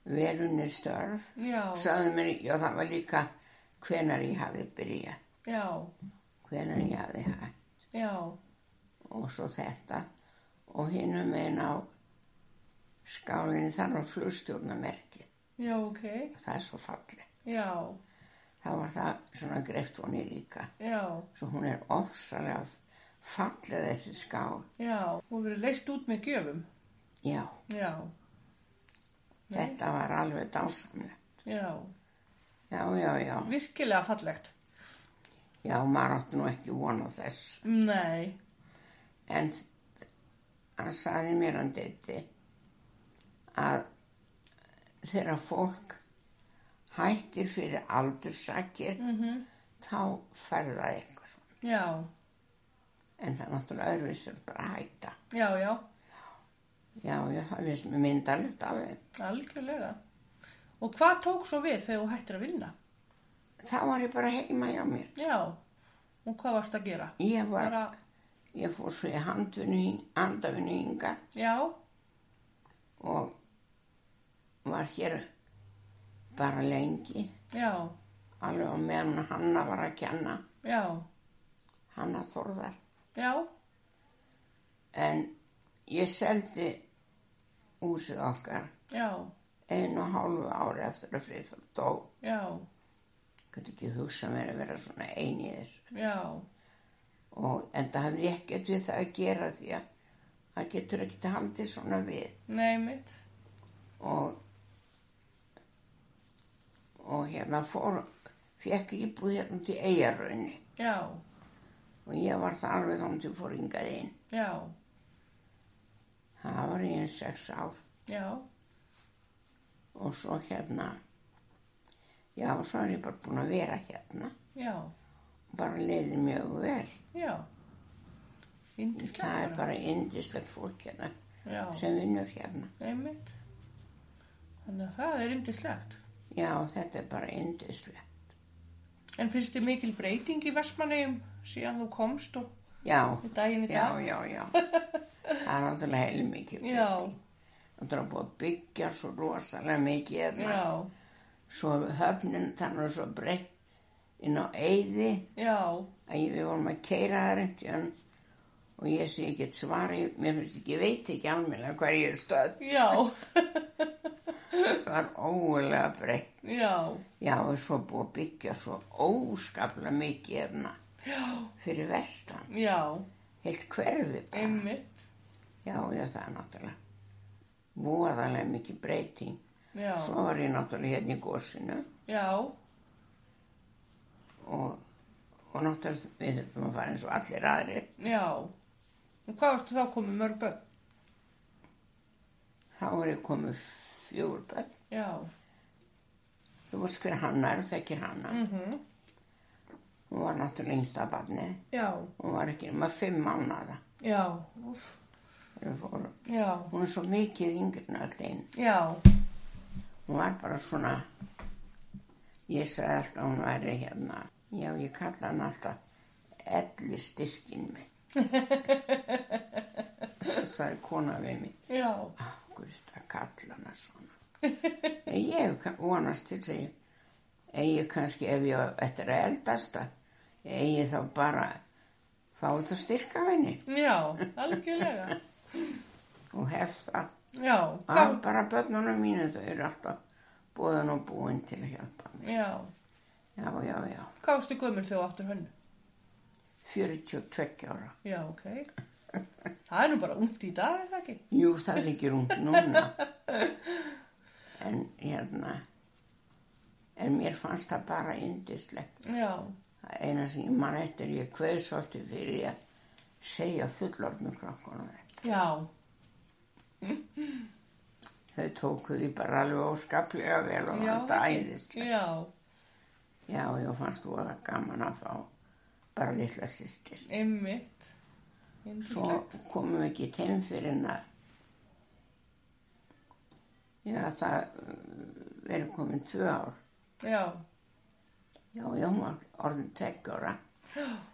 [SPEAKER 2] velunni störf
[SPEAKER 1] já,
[SPEAKER 2] sagði mér, já það var líka hvenar ég hafi byrjað
[SPEAKER 1] já,
[SPEAKER 2] hvenar ég hafi hægt
[SPEAKER 1] já,
[SPEAKER 2] og svo þetta og hinum einn á skálinni þar var flugstjórnamerki
[SPEAKER 1] já, ok,
[SPEAKER 2] það er svo falleg
[SPEAKER 1] já,
[SPEAKER 2] það var það svona greift honi líka
[SPEAKER 1] já,
[SPEAKER 2] Svo hún er ofsalega fallið þessi skál.
[SPEAKER 1] já, og verið leist út með gjöfum,
[SPEAKER 2] Já,
[SPEAKER 1] já,
[SPEAKER 2] þetta var alveg dásamlega.
[SPEAKER 1] já,
[SPEAKER 2] Já, já, já.
[SPEAKER 1] virkilega fallegt,
[SPEAKER 2] Já, maður átti nú ekki von á þess.
[SPEAKER 1] nei,
[SPEAKER 2] En þ- hann saði mér hann ditti að þegar fólk hættir fyrir aldursakir
[SPEAKER 1] mhm,
[SPEAKER 2] þá færði það eitthvað svona.
[SPEAKER 1] já,
[SPEAKER 2] En það er náttúrulega öðruvísir bara að hætta.
[SPEAKER 1] já, já,
[SPEAKER 2] Já, já, það finnst mér myndalegt af þeim.
[SPEAKER 1] algjörlega, og hvað tók svo við þegar þú hættir að vinna,
[SPEAKER 2] Þá var ég bara heima hjá mér.
[SPEAKER 1] já, og hvað varst að gera,
[SPEAKER 2] Ég var
[SPEAKER 1] bara,
[SPEAKER 2] Ég fór svo í handvinni, handavinu ynga
[SPEAKER 1] já,
[SPEAKER 2] og var hér bara lengi
[SPEAKER 1] já,
[SPEAKER 2] alveg á meðan Hanna var að kenna
[SPEAKER 1] já,
[SPEAKER 2] Hanna Þorðar
[SPEAKER 1] já,
[SPEAKER 2] en ég seldi húsið okkar
[SPEAKER 1] já,
[SPEAKER 2] einu og hálfu ári eftir að Friðþór dó
[SPEAKER 1] já,
[SPEAKER 2] ég gæti ekki hugsa mér að vera svona ein í þessu
[SPEAKER 1] já,
[SPEAKER 2] og en það hafði ekkert við það að gera því að það getur ekkert haldið svona við
[SPEAKER 1] nei mitt,
[SPEAKER 2] og og hérna fór fekk íbúð hérna til eigarraunni
[SPEAKER 1] já,
[SPEAKER 2] og ég var það alveg þá til fór hingað inn
[SPEAKER 1] já,
[SPEAKER 2] það var ég eins sex ár
[SPEAKER 1] já,
[SPEAKER 2] og svo hérna já og svo er ég bara búin að vera hérna
[SPEAKER 1] já,
[SPEAKER 2] bara leiði mjög vel
[SPEAKER 1] já,
[SPEAKER 2] það er
[SPEAKER 1] yndislegt bara,
[SPEAKER 2] bara indislegt fólk hérna
[SPEAKER 1] já,
[SPEAKER 2] sem vinnur hérna
[SPEAKER 1] nei mitt, þannig að það er yndislegt.
[SPEAKER 2] já þetta er bara indislegt
[SPEAKER 1] En finnst þið mikil breyting í Vestmanneum síðan þú komst og
[SPEAKER 2] já
[SPEAKER 1] í daginn í
[SPEAKER 2] Já,
[SPEAKER 1] dag?
[SPEAKER 2] já, já. Það er náttúrulega heil mikið.
[SPEAKER 1] já,
[SPEAKER 2] Náttúrulega búið að byggja svo rosalega mikið hérna.
[SPEAKER 1] já,
[SPEAKER 2] Svo höfnin þannig svo breytt inn á eyði
[SPEAKER 1] já,
[SPEAKER 2] að ég- við vorum að keira það reynd en og ég sé ekkert svari, mér finnst ekki, ég veit ekki alveg hver ég er stöð.
[SPEAKER 1] já,
[SPEAKER 2] Það var ógulega breytt.
[SPEAKER 1] já,
[SPEAKER 2] Já, og svo búið að byggja svo óskaplega mikið hérna
[SPEAKER 1] já,
[SPEAKER 2] fyrir vestan.
[SPEAKER 1] já,
[SPEAKER 2] Helt hverfi bara.
[SPEAKER 1] einmitt,
[SPEAKER 2] Já, já, það er náttúrulega voðalega mikið breyting.
[SPEAKER 1] já,
[SPEAKER 2] Svo var ég náttúrulega hérna í gósinu
[SPEAKER 1] já,
[SPEAKER 2] og, og náttúrulega við þurfum að fara eins og allir aðrir.
[SPEAKER 1] já. Og hvað varstu þá komið mörg börn?
[SPEAKER 2] Þá er ég komið fjögur börn.
[SPEAKER 1] Já,
[SPEAKER 2] Þú veist hver hann er, þekkir hanna.
[SPEAKER 1] mhm,
[SPEAKER 2] Hún var náttúrulega yngsta barni.
[SPEAKER 1] já,
[SPEAKER 2] Hún var ekki nema fimm mánada.
[SPEAKER 1] já, úff,
[SPEAKER 2] Hún
[SPEAKER 1] já,
[SPEAKER 2] er svo mikið yngri en öll einn.
[SPEAKER 1] já,
[SPEAKER 2] Hún var bara svona, ég sagði alltaf að hún væri hérna. Já, ég kalla hann alltaf elli styrkin mig. sagði kona við mig.
[SPEAKER 1] já,
[SPEAKER 2] Akkur þetta kalla hana svona. En ég kann- vonast til því, eigi kannski ef ég eftir að eldast að eigi þá bara fá þú styrka henni
[SPEAKER 1] já, algjörlega,
[SPEAKER 2] og hef það.
[SPEAKER 1] já,
[SPEAKER 2] Að
[SPEAKER 1] hvað,
[SPEAKER 2] bara börnunum mínu þau eru alltaf búðan og búin til að hjálpa mig.
[SPEAKER 1] já,
[SPEAKER 2] Já, já, já.
[SPEAKER 1] hvað varstu gömul þegar þú áttur hönnu?
[SPEAKER 2] 42 ára.
[SPEAKER 1] Já, ok, það er nú bara ungt í dag, er það ekki?
[SPEAKER 2] Jú, það þykir hún núna. En hérna, en mér fannst það bara indislegt.
[SPEAKER 1] Já,
[SPEAKER 2] Það eina sem ég man eftir ég kveð svolítið fyrir því að segja fullorðnum krakkonum þetta.
[SPEAKER 1] já,
[SPEAKER 2] Þau tóku því bara alveg óskaplega vel
[SPEAKER 1] Já,
[SPEAKER 2] og fannst það æðislega.
[SPEAKER 1] já,
[SPEAKER 2] Já, ég fannst þú að það gaman að fá bara litla sýstir.
[SPEAKER 1] einmitt,
[SPEAKER 2] Svo
[SPEAKER 1] yndislegt,
[SPEAKER 2] komum við ekki til fyrir en að já, það uh, verið komin tvö ár.
[SPEAKER 1] já,
[SPEAKER 2] Já, já, hún var orðin tveggjara.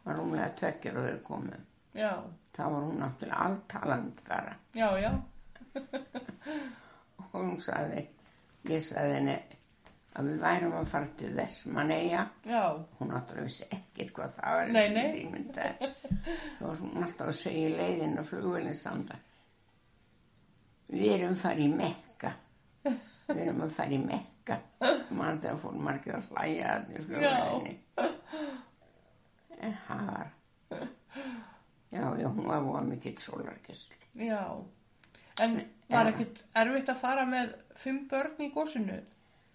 [SPEAKER 2] Var rúmlega tveggjara verið komin.
[SPEAKER 1] já,
[SPEAKER 2] Þá var hún náttúrulega alltalandi bara.
[SPEAKER 1] já, já,
[SPEAKER 2] og hún sagði, ég sagði henni að við værum að fara til Vestmanneia,
[SPEAKER 1] já,
[SPEAKER 2] hún náttúrulega vissi ekkert hvað það var,
[SPEAKER 1] Nei, nei.
[SPEAKER 2] Tímynda. Svo var hún alltaf að segja í leiðin og flugulinn standa, við erum farið í Mekka, við erum að fara í Mekka, mann þegar fór margir að hlæja að því flugulinni. En það var, já, já, hún var voða mikill sólarkessl.
[SPEAKER 1] já, en var ekkit erfitt að fara með fimm börn í gósinu?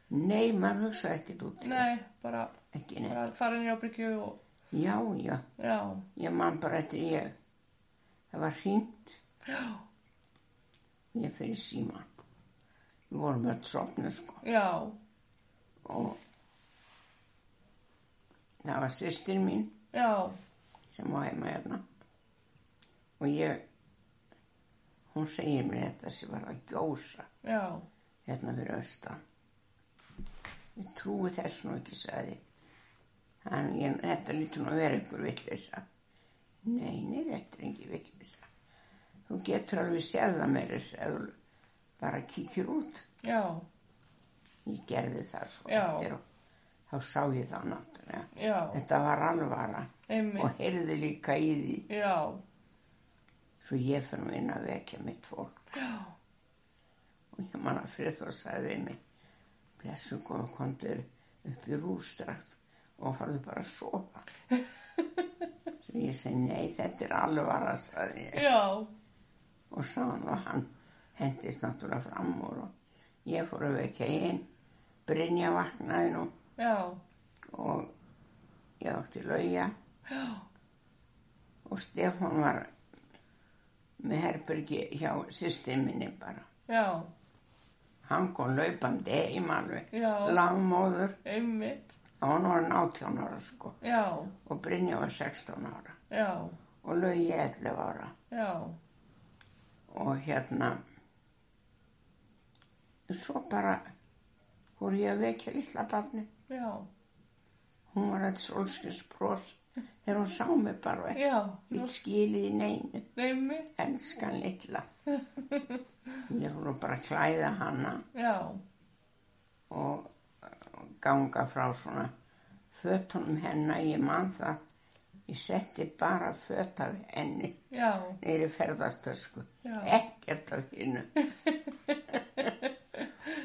[SPEAKER 2] Nei, maður hugsaði ekkert út í það.
[SPEAKER 1] Nei, bara,
[SPEAKER 2] ekki neitt.
[SPEAKER 1] bara fara nýra á byggju og,
[SPEAKER 2] Já, já,
[SPEAKER 1] já,
[SPEAKER 2] ég man bara eftir ég, það var hringt,
[SPEAKER 1] já,
[SPEAKER 2] ég fyrir síman. Við vorum öll sopnu sko
[SPEAKER 1] já,
[SPEAKER 2] og það var sýstir mín
[SPEAKER 1] já,
[SPEAKER 2] sem var heima hérna og ég, hún segir mér þetta sem var að gjósa
[SPEAKER 1] já,
[SPEAKER 2] hérna fyrir austan. Ég trúi þess nú ekki, sagði. ég. En ég, þetta lítur nú að vera einhver villisa. Nei, nei, þetta er ekki villisa. Þú getur alveg séð það meira þess að þú bara kíkir út.
[SPEAKER 1] já,
[SPEAKER 2] Ég gerði það svo
[SPEAKER 1] Já.
[SPEAKER 2] eftir og þá sá ég það náttúrulega.
[SPEAKER 1] já,
[SPEAKER 2] Þetta var alvara
[SPEAKER 1] einmitt,
[SPEAKER 2] og heyrði líka í því
[SPEAKER 1] já,
[SPEAKER 2] svo ég fyrir nú inn að vekja mitt fólk.
[SPEAKER 1] já,
[SPEAKER 2] Og ég manna fyrir þá sagði við mig, blessu góða kontur upp í rústrakt og farðu bara að sofa. Svo ég segi, nei, þetta er alvara, sagði ég.
[SPEAKER 1] já,
[SPEAKER 2] og sá hann og hann hendist náttúrulega fram úr og ég fór að vekja hinn Brynja vaknaði nú
[SPEAKER 1] já,
[SPEAKER 2] og ég átti lauja
[SPEAKER 1] já,
[SPEAKER 2] og Stefán var með herbergi hjá systir minni bara
[SPEAKER 1] já,
[SPEAKER 2] hann kom laupandi heim alveg
[SPEAKER 1] já,
[SPEAKER 2] langmóður,
[SPEAKER 1] einmitt,
[SPEAKER 2] hann var 18 ára sko
[SPEAKER 1] já,
[SPEAKER 2] og Brynja var 16 ára
[SPEAKER 1] já,
[SPEAKER 2] og lauja 11 ára
[SPEAKER 1] já,
[SPEAKER 2] og hérna svo bara fór ég að vekja litla barni
[SPEAKER 1] já,
[SPEAKER 2] hún var eitt solskins þegar hún sá mig bara ekki
[SPEAKER 1] já,
[SPEAKER 2] Ég skilið í neinu
[SPEAKER 1] einmitt,
[SPEAKER 2] elskan litla ég fór nú bara að klæða hana
[SPEAKER 1] já,
[SPEAKER 2] og og ganga frá svona fötunum hennar ég man það ég setti bara föt af henni
[SPEAKER 1] já,
[SPEAKER 2] neyri ferðartösku Eh.
[SPEAKER 1] já,
[SPEAKER 2] ekkert af hinnu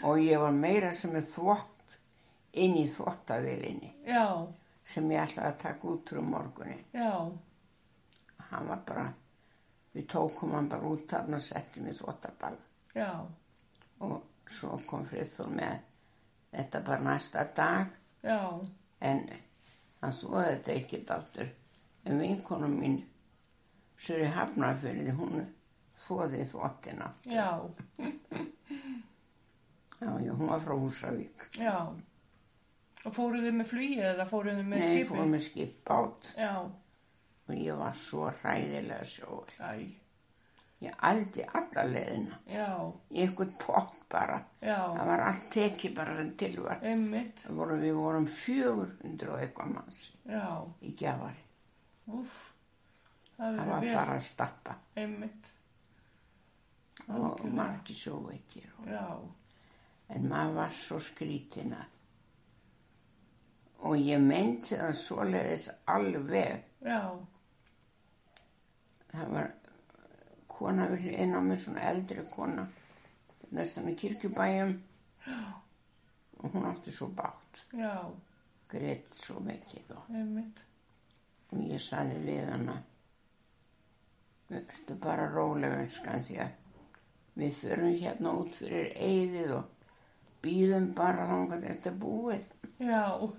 [SPEAKER 2] og ég var meira sem er þvott inn í þvottavilinni
[SPEAKER 1] já,
[SPEAKER 2] sem ég ætlaði að taka út úr morgunni
[SPEAKER 1] já,
[SPEAKER 2] hann var bara við tókum hann bara út þarna og settum í þvottaball
[SPEAKER 1] já,
[SPEAKER 2] og svo kom Friðþór með þetta bara næsta dag
[SPEAKER 1] já,
[SPEAKER 2] en hann þóði þetta ekki dáttur en vinkonum mín Suri Hafnarfyrði hún þóði þvottina
[SPEAKER 1] já,
[SPEAKER 2] já, já, hún var frá Húsavík
[SPEAKER 1] já. Og fóruð þið með flugið eða fóruð þið með
[SPEAKER 2] Nei, fór
[SPEAKER 1] skipið?
[SPEAKER 2] með skipbát
[SPEAKER 1] Já,
[SPEAKER 2] og ég var svo hræðilega sjóð.
[SPEAKER 1] æ,
[SPEAKER 2] Ég aldi alla leðina,
[SPEAKER 1] já,
[SPEAKER 2] í einhvern pott bara.
[SPEAKER 1] já,
[SPEAKER 2] Það var allt tekið bara sem til var.
[SPEAKER 1] einmitt,
[SPEAKER 2] Það voru, við vorum 400 og eitthvað manns
[SPEAKER 1] já,
[SPEAKER 2] í gjafari.
[SPEAKER 1] úff, það
[SPEAKER 2] Það
[SPEAKER 1] verður
[SPEAKER 2] var
[SPEAKER 1] vel,
[SPEAKER 2] bara að stappa
[SPEAKER 1] einmitt,
[SPEAKER 2] og
[SPEAKER 1] Algjörlega.
[SPEAKER 2] margir sjóveikir. og-
[SPEAKER 1] já,
[SPEAKER 2] En maður var svo skrítin að. Og ég meinti það svoleiðis alveg.
[SPEAKER 1] já,
[SPEAKER 2] Það var kona við hliðina á mér, svona eldri kona, næstan í kirkjubæjum og hún átti svo bátt,
[SPEAKER 1] já,
[SPEAKER 2] greitt svo mikið og,
[SPEAKER 1] einmitt,
[SPEAKER 2] og ég saði við hana, verður bara rólega elskan því að við förum hérna út fyrir eyðið og býðum bara þangar þetta er búið.
[SPEAKER 1] já,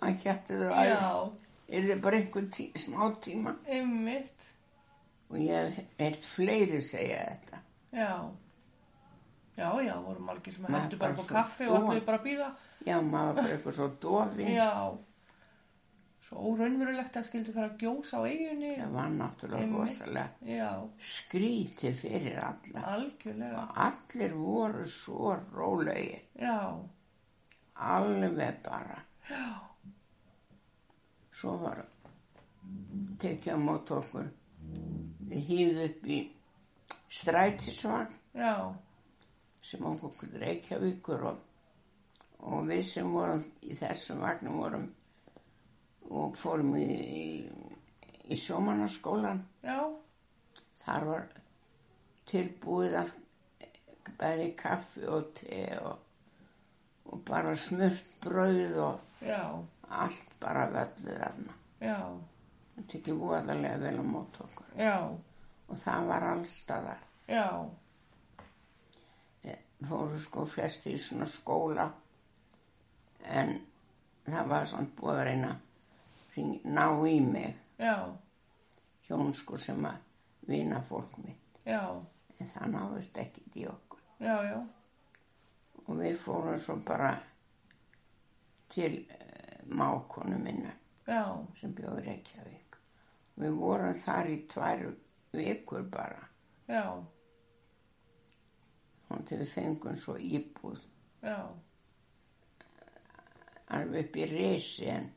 [SPEAKER 2] Það hjætti þau aðeins,
[SPEAKER 1] já,
[SPEAKER 2] er þið bara einhver tí, smá tíma
[SPEAKER 1] einmitt,
[SPEAKER 2] og ég hef heyrt fleiri segja þetta.
[SPEAKER 1] já. Já, já, voru margir sem
[SPEAKER 2] Maður
[SPEAKER 1] hættu bara
[SPEAKER 2] bara
[SPEAKER 1] upp á
[SPEAKER 2] svo
[SPEAKER 1] kaffi og
[SPEAKER 2] dofin.
[SPEAKER 1] ætluðu bara að býða.
[SPEAKER 2] Já, maður var bara eitthvað svo dofin.
[SPEAKER 1] Já, svo óraunverulegt að skildu fara að gjósa á eiginni.
[SPEAKER 2] Það var náttúrulega
[SPEAKER 1] Einmitt.
[SPEAKER 2] rosalega
[SPEAKER 1] Já,
[SPEAKER 2] skrítið fyrir alla.
[SPEAKER 1] algjörlega.
[SPEAKER 2] Og allir voru svo rólegi,
[SPEAKER 1] Já,
[SPEAKER 2] alveg bara.
[SPEAKER 1] já,
[SPEAKER 2] Svo var tekið á mót okkur. Við hýðum upp í strætisvagn
[SPEAKER 1] já,
[SPEAKER 2] sem okkur reykjavíkur og, og við sem vorum í þessum vagnum vorum og fórum í, í, í sjómannaskólan.
[SPEAKER 1] já,
[SPEAKER 2] Þar var tilbúið allt, bæði kaffi og te og, og bara smurt brauð og
[SPEAKER 1] já,
[SPEAKER 2] allt bara völluð þarna.
[SPEAKER 1] já,
[SPEAKER 2] Það tekið voðalega vel á mót okkur
[SPEAKER 1] já,
[SPEAKER 2] og það var allstaðar.
[SPEAKER 1] já,
[SPEAKER 2] Fóru sko flesti í svona skóla en það var samt búið að reyna að hring- ná í mig
[SPEAKER 1] já,
[SPEAKER 2] hjón sko sem að vina fólk mitt
[SPEAKER 1] já,
[SPEAKER 2] en það náðist ekkit í okkur.
[SPEAKER 1] já, já,
[SPEAKER 2] og við fórum svo bara til uh, mákonu minna
[SPEAKER 1] já,
[SPEAKER 2] sem bjóður Reykjavík. Við vorum þar í tvær vikur bara
[SPEAKER 1] já,
[SPEAKER 2] og til við fengum svo íbúð
[SPEAKER 1] já,
[SPEAKER 2] alveg upp í resi en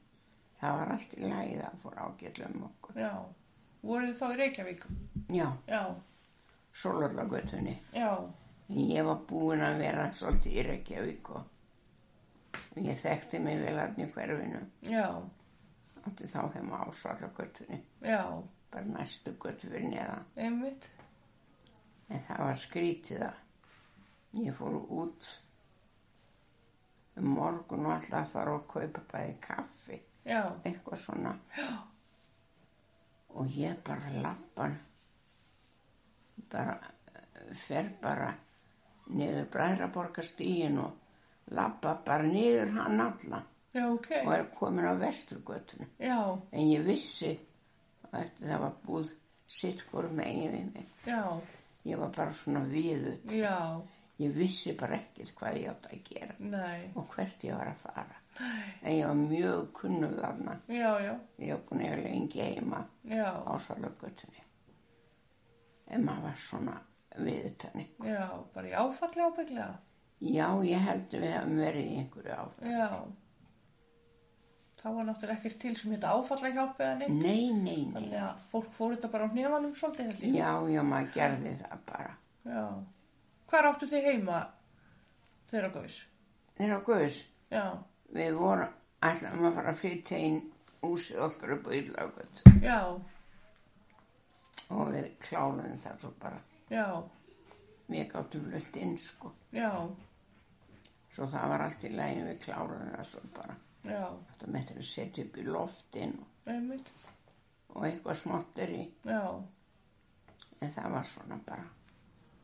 [SPEAKER 2] það var allt í lagi það fór ágjörlega um okkur.
[SPEAKER 1] já. Voruð þið þá í Reykjavík?
[SPEAKER 2] Já,
[SPEAKER 1] Já,
[SPEAKER 2] Sólurlagötunni
[SPEAKER 1] já,
[SPEAKER 2] En ég var búin að vera svolítið í Reykjavík og og ég þekkti mig vel hann í hverfinu.
[SPEAKER 1] já,
[SPEAKER 2] Átti þá heima ásvallagötunni,
[SPEAKER 1] já,
[SPEAKER 2] bara næstu götu fyrir neðan.
[SPEAKER 1] einmitt,
[SPEAKER 2] En það var skrítið að ég fór út um morgun og alltaf að fara og kaupa bæði kaffi,
[SPEAKER 1] já,
[SPEAKER 2] eitthvað svona.
[SPEAKER 1] já,
[SPEAKER 2] og ég bara lappar bara eh, fer bara niður bræðraborgastíin og lappa bara niður hann allan
[SPEAKER 1] já, ok,
[SPEAKER 2] og er komin á vesturgötuna
[SPEAKER 1] já,
[SPEAKER 2] en ég vissi að eftir það var búð sitt hvort megin við mig
[SPEAKER 1] já,
[SPEAKER 2] ég var bara svona viðu
[SPEAKER 1] já,
[SPEAKER 2] ég vissi bara ekkert hvað ég átt að gera
[SPEAKER 1] nei,
[SPEAKER 2] og hvert ég var að fara en ég var mjög kunnug þarna
[SPEAKER 1] já, já,
[SPEAKER 2] ég var búin að eiga lengi heima
[SPEAKER 1] já,
[SPEAKER 2] ásvalagötunni. En maður var svona viðutanni.
[SPEAKER 1] já, bara í áfalli ábygglega,
[SPEAKER 2] Já, ég held að við hefum verið í einhverju á.
[SPEAKER 1] já, þá var náttúrulega ekkert til sem þetta áfalla hjálp eða neitt,
[SPEAKER 2] Nei, nei, nei.
[SPEAKER 1] þannig að fólk fór þetta bara á hnefanum svolítið held ég,
[SPEAKER 2] Mm. Já, já, maður gerði það bara.
[SPEAKER 1] já, hvar áttu þið heima þeirra gauðs,
[SPEAKER 2] Þeirra guðs,
[SPEAKER 1] já,
[SPEAKER 2] við vorum, ætlaðum að fara að flytja inn úsið okkur upp á Íllagöt
[SPEAKER 1] já,
[SPEAKER 2] og við kláðum það svo bara.
[SPEAKER 1] já,
[SPEAKER 2] Við gáttum flutt inn, sko.
[SPEAKER 1] já,
[SPEAKER 2] Svo það var allt í lægin, við kláðum það svo bara.
[SPEAKER 1] já,
[SPEAKER 2] Þetta með þeirra setja upp í loftin og,
[SPEAKER 1] einmitt,
[SPEAKER 2] og eitthvað smáttir í.
[SPEAKER 1] já,
[SPEAKER 2] En það var svona bara.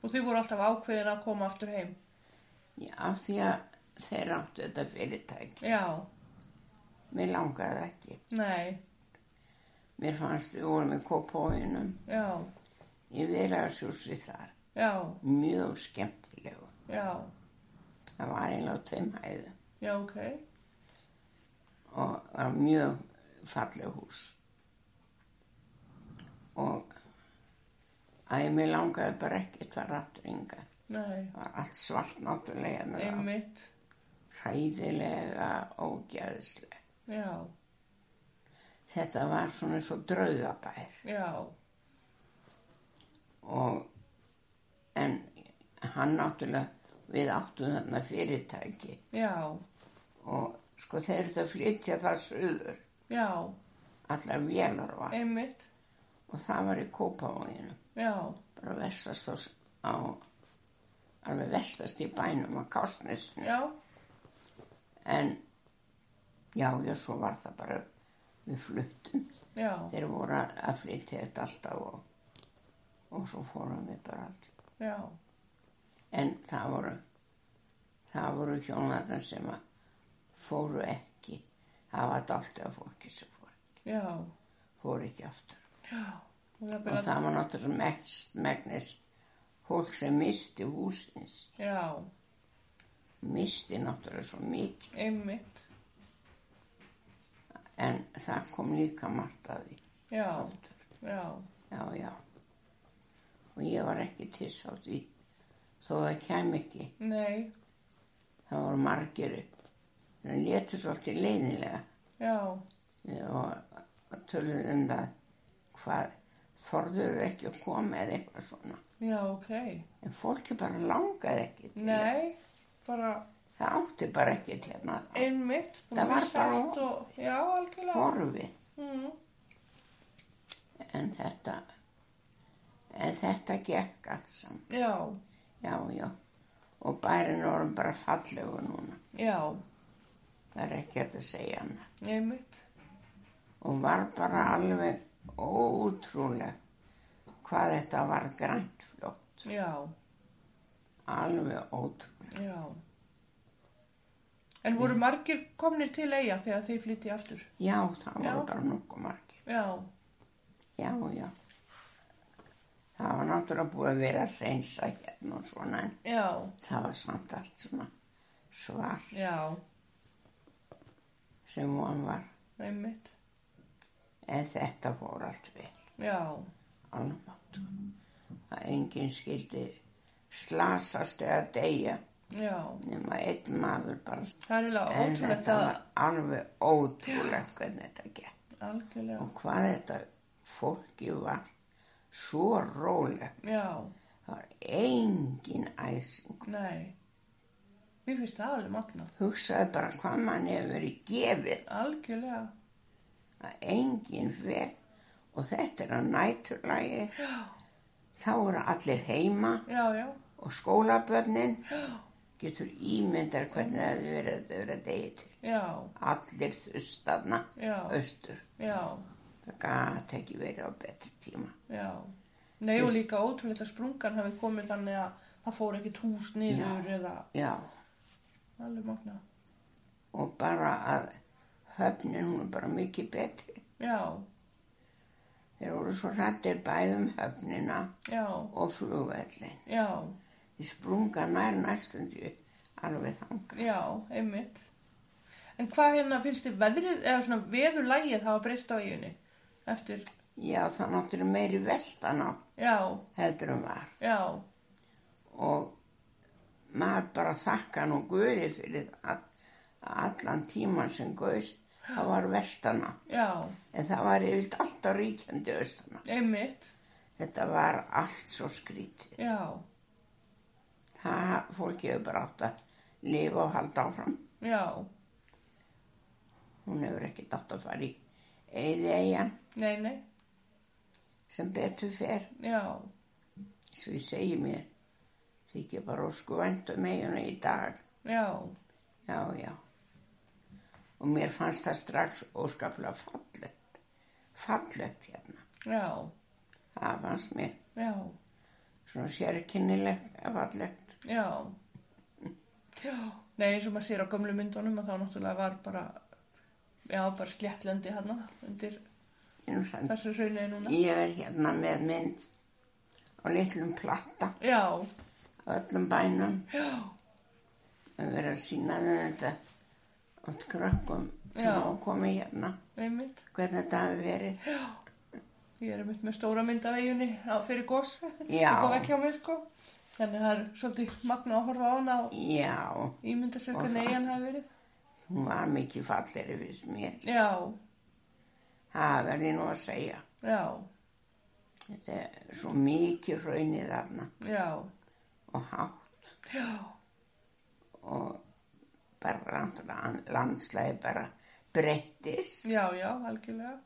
[SPEAKER 1] og þið voru alltaf ákveðin að koma aftur heim,
[SPEAKER 2] Já, af því að þeir áttu þetta fyrirtæki.
[SPEAKER 1] já,
[SPEAKER 2] Mér langaði það ekki.
[SPEAKER 1] nei,
[SPEAKER 2] Mér fannst við vorum í kópóinum
[SPEAKER 1] já,
[SPEAKER 2] í viðræðarsjúsi þar.
[SPEAKER 1] já,
[SPEAKER 2] Mjög skemmtilegu.
[SPEAKER 1] já,
[SPEAKER 2] Það var einlega á tveim hæðu
[SPEAKER 1] já, ok,
[SPEAKER 2] og var mjög falleg hús. Og að ég mér langaði bara ekkert var aftur ynga.
[SPEAKER 1] nei,
[SPEAKER 2] Það var allt svart náttúrulega hérna. með það.
[SPEAKER 1] einmitt,
[SPEAKER 2] Hræðilega, ógæðislega.
[SPEAKER 1] já,
[SPEAKER 2] Þetta var svona eins og draugabær.
[SPEAKER 1] já,
[SPEAKER 2] og en hann náttúrulega við áttum þarna fyrirtæki
[SPEAKER 1] já,
[SPEAKER 2] og sko þeir eru að flytja það söður
[SPEAKER 1] já,
[SPEAKER 2] allar vélar var
[SPEAKER 1] einmitt,
[SPEAKER 2] og það var í Kópavóginu
[SPEAKER 1] já,
[SPEAKER 2] bara vestast á, á alveg vestast í bænum á Kásnesinu
[SPEAKER 1] já,
[SPEAKER 2] en já, já, svo var það bara við fluttum
[SPEAKER 1] já,
[SPEAKER 2] þeir voru að- að flytja þetta alltaf og, og svo fórum við bara all
[SPEAKER 1] já,
[SPEAKER 2] En það voru, það voru hjónarnar sem að fóru ekki. Það var dálta af fólki sem fóru,
[SPEAKER 1] já,
[SPEAKER 2] fóru ekki aftur.
[SPEAKER 1] já, og það
[SPEAKER 2] Og
[SPEAKER 1] byrja,
[SPEAKER 2] það var náttúrulega mest megnis fólk sem misti húsins.
[SPEAKER 1] já,
[SPEAKER 2] Misti náttúrulega svo mikið.
[SPEAKER 1] einmitt,
[SPEAKER 2] En það kom líka margt að því
[SPEAKER 1] já,
[SPEAKER 2] aftur.
[SPEAKER 1] já,
[SPEAKER 2] Já, já. Og ég var ekki tiss á því. Þó það kem ekki.
[SPEAKER 1] nei,
[SPEAKER 2] Það voru margir. Það letur svolítið leiðilega.
[SPEAKER 1] já,
[SPEAKER 2] og töluðu um það hvað þorðuðu ekki að koma eða eitthvað svona
[SPEAKER 1] já, ok,
[SPEAKER 2] en fólki bara langaði ekki til
[SPEAKER 1] nei, bara
[SPEAKER 2] þess. það átti bara ekki til hérna
[SPEAKER 1] einmitt, búin
[SPEAKER 2] Það
[SPEAKER 1] að
[SPEAKER 2] var
[SPEAKER 1] missa
[SPEAKER 2] bara-
[SPEAKER 1] allt og, já, algjörlega,
[SPEAKER 2] horfið
[SPEAKER 1] mm,
[SPEAKER 2] en þetta en þetta gekk allt saman
[SPEAKER 1] já,
[SPEAKER 2] já, já og bærin vorum bara fallegu núna
[SPEAKER 1] já,
[SPEAKER 2] það er ekki hægt að segja hana
[SPEAKER 1] einmitt,
[SPEAKER 2] og var bara alveg ótrúlega hvað þetta var grænt fljótt
[SPEAKER 1] já,
[SPEAKER 2] alveg ótrúlega
[SPEAKER 1] já, en
[SPEAKER 2] Mm.
[SPEAKER 1] voru margir komnir til eiga þegar þið flytti aftur,
[SPEAKER 2] já, það
[SPEAKER 1] Já.
[SPEAKER 2] voru bara nokkuð margir
[SPEAKER 1] já,
[SPEAKER 2] Já, já. Það var náttúrulega búið að vera að reynsa hérna og svona en
[SPEAKER 1] já,
[SPEAKER 2] það var samt allt svona svart
[SPEAKER 1] Já,
[SPEAKER 2] sem hún var.
[SPEAKER 1] einmitt.
[SPEAKER 2] En þetta fór allt vel,
[SPEAKER 1] Já,
[SPEAKER 2] alveg máttu. Það enginn skildi slasast eða deyja
[SPEAKER 1] já.
[SPEAKER 2] nema einn maður bara.
[SPEAKER 1] Það er eiginlega
[SPEAKER 2] En
[SPEAKER 1] ótrúlegt
[SPEAKER 2] þetta
[SPEAKER 1] að
[SPEAKER 2] var alveg ótrúlegt hvernig þetta gekk.
[SPEAKER 1] algjörlega.
[SPEAKER 2] Og hvað þetta fólki var svo róleg.
[SPEAKER 1] Já,
[SPEAKER 2] Það var engin engin æsing.
[SPEAKER 1] Nei. Mér finnst það alveg magnað.
[SPEAKER 2] Hugsaði bara hvað mann hefur verið gefið
[SPEAKER 1] Algjörlega.
[SPEAKER 2] að enginn fer og þetta er að næturlægi.
[SPEAKER 1] Já,
[SPEAKER 2] Þá eru allir heima
[SPEAKER 1] já, já.
[SPEAKER 2] og skólabörnin
[SPEAKER 1] Já,
[SPEAKER 2] getur ímyndar hvernig það hefur verið að vera degi til.
[SPEAKER 1] já,
[SPEAKER 2] Allir þustarna
[SPEAKER 1] já,
[SPEAKER 2] austur.
[SPEAKER 1] já,
[SPEAKER 2] Það gæti ekki verið á betri tíma.
[SPEAKER 1] já. Nei og
[SPEAKER 2] Veist-
[SPEAKER 1] líka ótrúlegt að sprungan hafi komið þannig að það fór ekki tús niður eða
[SPEAKER 2] Já,
[SPEAKER 1] alveg magnað.
[SPEAKER 2] og bara að höfnin hún er bara mikið betri.
[SPEAKER 1] Já,
[SPEAKER 2] Þeir voru svo rættir bæðum höfnina
[SPEAKER 1] já,
[SPEAKER 2] og flugvellin.
[SPEAKER 1] já,
[SPEAKER 2] Því sprunga nær næstum því alveg þanga.
[SPEAKER 1] já, einmitt. En hvað hérna finnst þið veðrið eða svona veðurlægið hafa breyst á eiginni eftir,
[SPEAKER 2] Já, það er náttúrulega meiri vestan á
[SPEAKER 1] já,
[SPEAKER 2] heldur en var.
[SPEAKER 1] já,
[SPEAKER 2] Og maður bara þakka nú Guði fyrir að að allan tíman sem Guðs, það var vestana.
[SPEAKER 1] já,
[SPEAKER 2] En það var yfirlt alltaf ríkjandi austana.
[SPEAKER 1] einmitt,
[SPEAKER 2] Þetta var allt svo skrítið.
[SPEAKER 1] já,
[SPEAKER 2] Það fólk hefur bara átt að lifa og halda áfram.
[SPEAKER 1] já,
[SPEAKER 2] Hún hefur ekki átt að fara í eði eigin
[SPEAKER 1] nei, nei,
[SPEAKER 2] sem betur fer.
[SPEAKER 1] já,
[SPEAKER 2] Svo ég segi mér, þykir bara ósku vænt um eiginu í dag.
[SPEAKER 1] já,
[SPEAKER 2] Já, já. Og mér fannst það strax óskaplega fallegt. Fallegt hérna.
[SPEAKER 1] já,
[SPEAKER 2] Það fannst mér
[SPEAKER 1] já,
[SPEAKER 2] svona sérkennilegt eða fallegt.
[SPEAKER 1] já, já, nei, eins og maður sér á gömlu myndunum að þá náttúrulega var bara, já, bara sléttlendi hann undir
[SPEAKER 2] Nú sann.
[SPEAKER 1] þessu hraunegi núna.
[SPEAKER 2] Ég er hérna með mynd á litlum platta
[SPEAKER 1] Já,
[SPEAKER 2] á öllum bænum.
[SPEAKER 1] já,
[SPEAKER 2] að vera að sína þeim þetta átt krökkum sem
[SPEAKER 1] Já.
[SPEAKER 2] á að koma hérna
[SPEAKER 1] einmitt,
[SPEAKER 2] hvernig þetta hafi verið
[SPEAKER 1] ég er einmitt með stóra mynd af eiginni á fyrir gos,
[SPEAKER 2] Já.
[SPEAKER 1] upp á vekk hjá mér, sko, þannig að það er svolítið magna að horfa á hana og
[SPEAKER 2] já,
[SPEAKER 1] ímynda sér
[SPEAKER 2] Og
[SPEAKER 1] hvernig
[SPEAKER 2] það-
[SPEAKER 1] eigin hafi verið.
[SPEAKER 2] hún var mikið fallegri fyrst mér
[SPEAKER 1] Já,
[SPEAKER 2] það verði nú að segja
[SPEAKER 1] já,
[SPEAKER 2] þetta er svo mikið raunir þarna
[SPEAKER 1] já,
[SPEAKER 2] og hátt
[SPEAKER 1] já,
[SPEAKER 2] og bara land- landslæði bara breyttist
[SPEAKER 1] já, já, algjörlega,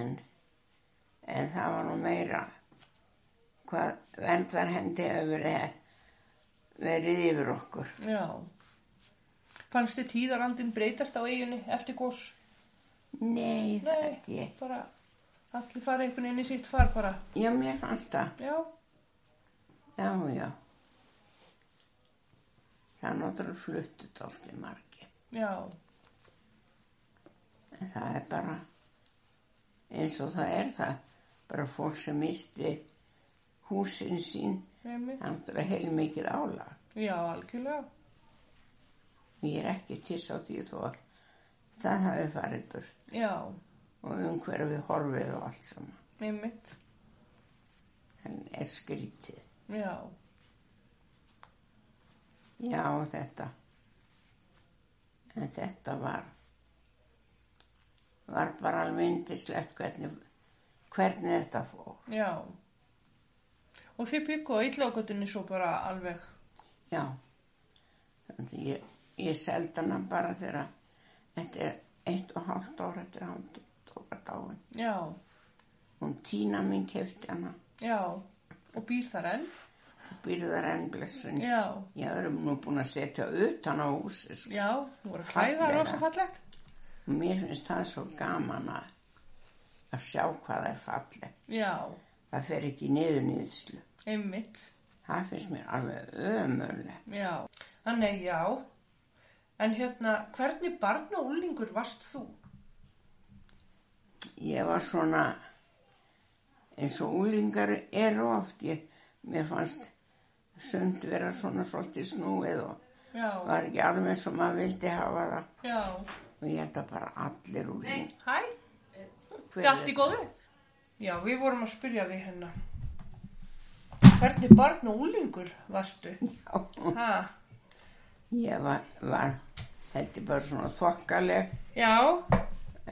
[SPEAKER 2] en, en það var nú meira hvað verndarhendi hefur verið, verið yfir okkur
[SPEAKER 1] já. Fannst þið tíðarandin breytast á eiginni eftir gós?
[SPEAKER 2] Nei, það
[SPEAKER 1] Nei.
[SPEAKER 2] held ég.
[SPEAKER 1] Bara, allir fara einhvern inn í sitt far bara,
[SPEAKER 2] Já, mér fannst það.
[SPEAKER 1] já,
[SPEAKER 2] Já, já. Það er náttúrulega fluttut alltaf margi.
[SPEAKER 1] já,
[SPEAKER 2] En það er bara eins og það er það. Bara fólk sem misti húsin sín,
[SPEAKER 1] einmitt,
[SPEAKER 2] það er náttúrulega heilmikið álag.
[SPEAKER 1] já, algjörlega,
[SPEAKER 2] Ég er ekki tiss á því þó að það hafi farið burt
[SPEAKER 1] já,
[SPEAKER 2] og umhverfið horfið og allt saman.
[SPEAKER 1] einmitt,
[SPEAKER 2] En er skrítið.
[SPEAKER 1] já,
[SPEAKER 2] Já, þetta. En þetta var, var bara alveg indislegt hvernig, hvernig þetta fór.
[SPEAKER 1] já. Og þið byggu á illagötunni svo bara alveg,
[SPEAKER 2] Já, þannig að ég, ég seldi hana bara þegar þetta er eitt og hálft ára eftir að hann tók að dáin.
[SPEAKER 1] já,
[SPEAKER 2] Hún tína mín kefti hana
[SPEAKER 1] já, og býr þar enn,
[SPEAKER 2] og byrðar enn blessun.
[SPEAKER 1] já,
[SPEAKER 2] Ég erum nú búin að setja utan á húsi sko.
[SPEAKER 1] já, þú voru að klæða
[SPEAKER 2] Fallega.
[SPEAKER 1] rosa fallegt,
[SPEAKER 2] og mér finnst það svo gaman að, að sjá hvað það er falleg.
[SPEAKER 1] já,
[SPEAKER 2] Það fer ekki niður nýðslu.
[SPEAKER 1] einmitt,
[SPEAKER 2] Það finnst mér alveg ömurlega.
[SPEAKER 1] Já, þannig já. En hérna, hvernig barn og úlingur varst þú?
[SPEAKER 2] Ég var svona, eins og úlingar eru oft, ég, mér fannst sund vera svona svolítið snúið og
[SPEAKER 1] Já,
[SPEAKER 2] var ekki alveg eins og maður vildi hafa það.
[SPEAKER 1] já.
[SPEAKER 2] Og ég held að bara allir úlingar.
[SPEAKER 1] Hæ, er allt í góðu? Já, við vorum að spyrja því hérna. Hvernig barn og úlingur varstu?
[SPEAKER 2] Já,
[SPEAKER 1] Ha,
[SPEAKER 2] ég var, var held ég bara svona þokkaleg
[SPEAKER 1] já,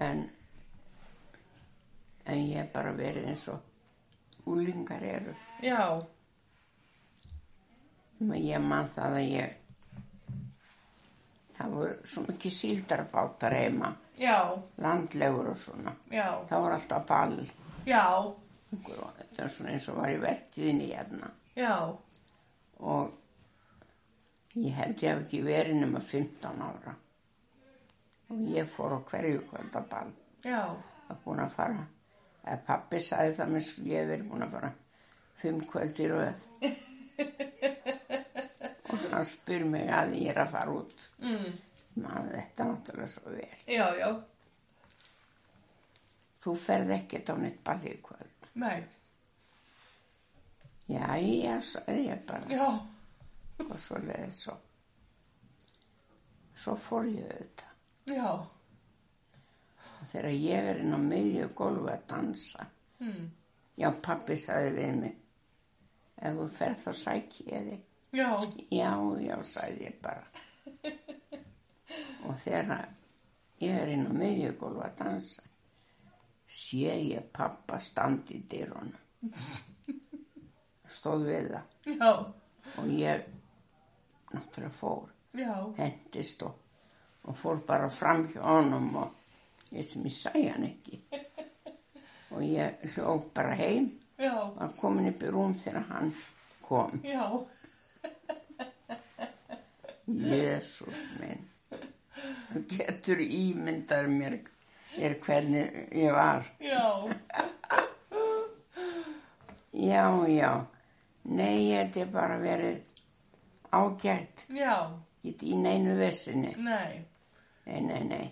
[SPEAKER 2] en, en ég hef bara verið eins og úlingar eru.
[SPEAKER 1] já,
[SPEAKER 2] Ma- Ég man það að ég, það voru svo mikið síldarbátar heima,
[SPEAKER 1] Já,
[SPEAKER 2] landlegur og svona.
[SPEAKER 1] já,
[SPEAKER 2] Það voru alltaf ball,
[SPEAKER 1] já,
[SPEAKER 2] einhver- þetta var svona eins og var í vertíðinni hérna.
[SPEAKER 1] já,
[SPEAKER 2] Og ég held ég hef ekki verið nema 15 ára. Og ég fór á hverju kvöldaball.
[SPEAKER 1] já,
[SPEAKER 2] að búin að fara eða pappi sagði það mér skulle ég hef verið búin að fara fimm kvöld í röð og hann spyr mig að ég er að fara út
[SPEAKER 1] mm,
[SPEAKER 2] maður þetta náttúrulega svo vel
[SPEAKER 1] já, já,
[SPEAKER 2] þú ferð ekkert á neitt balli í kvöld
[SPEAKER 1] nei,
[SPEAKER 2] já, já, sagði ég bara
[SPEAKER 1] já,
[SPEAKER 2] og svo leðið svo svo fór ég auðvitað
[SPEAKER 1] já,
[SPEAKER 2] og þegar ég er inn á miðju gólfu að dansa
[SPEAKER 1] mm,
[SPEAKER 2] já, pappi sagði við mig ef þú ferð þá sæki ég þig
[SPEAKER 1] já,
[SPEAKER 2] Já, já, sagði ég bara. og þegar ég er inn á miðjugólf að dansa, sé ég pappa standi í dyrunum. Stóð við það
[SPEAKER 1] já,
[SPEAKER 2] og ég náttúrulega fór,
[SPEAKER 1] já,
[SPEAKER 2] hendist og, og fór bara fram hjá honum og ég sem ég sæði hann ekki. Og ég hljóð bara heim,
[SPEAKER 1] já,
[SPEAKER 2] var komin upp í rúm þegar hann kom.
[SPEAKER 1] já,
[SPEAKER 2] Jésús minn þú getur ímyndar mér er hvernig ég var
[SPEAKER 1] já,
[SPEAKER 2] já, já nei, ég held ég bara verið ágætt
[SPEAKER 1] já,
[SPEAKER 2] get í neinu vissinni
[SPEAKER 1] nei,
[SPEAKER 2] nei, nei, nei,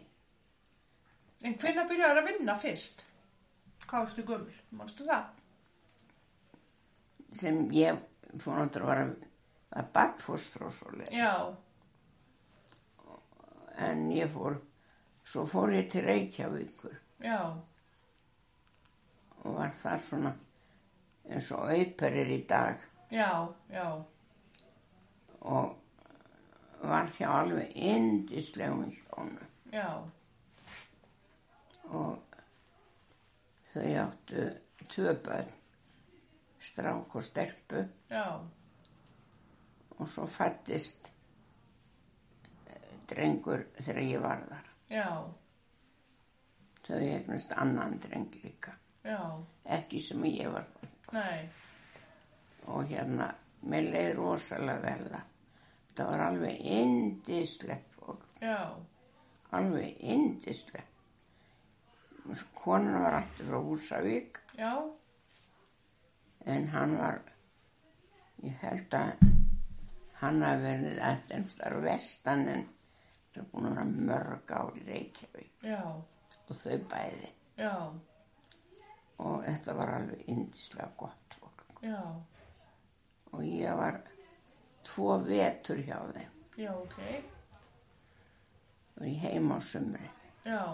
[SPEAKER 1] en hvenær byrjar að vinna fyrst? Hvað varstu gömul, manstu það?
[SPEAKER 2] sem ég fór náttúrulega var að að badfóstra og svo leið
[SPEAKER 1] Já,
[SPEAKER 2] en ég fór svo fór ég til Reykjavíkur
[SPEAKER 1] já,
[SPEAKER 2] og var þar svona eins og auperir í dag
[SPEAKER 1] já, já,
[SPEAKER 2] og var þjá alveg indislegum hjónu
[SPEAKER 1] já,
[SPEAKER 2] og þau áttu tvö börn, strák og stelpu
[SPEAKER 1] já,
[SPEAKER 2] og svo fættist eh, drengur þegar ég var þar.
[SPEAKER 1] já,
[SPEAKER 2] Þau eignast annan dreng líka,
[SPEAKER 1] já,
[SPEAKER 2] ekki sem ég var þar.
[SPEAKER 1] nei,
[SPEAKER 2] Og hérna, mér leið rosalega vel það. Það var alveg indislegt fólk,
[SPEAKER 1] já,
[SPEAKER 2] alveg indislegt. Konan var alltaf frá Húsavík
[SPEAKER 1] já,
[SPEAKER 2] en hann var ég held að hann hafi verið aðeins þar vestan en það er búin að vera mörg ár í Reykjavík
[SPEAKER 1] já,
[SPEAKER 2] og þau bæði
[SPEAKER 1] já,
[SPEAKER 2] og þetta var alveg indislega gott fólk
[SPEAKER 1] já,
[SPEAKER 2] og ég var tvo vetur hjá þeim
[SPEAKER 1] já, ok,
[SPEAKER 2] og ég heim á sumri
[SPEAKER 1] já,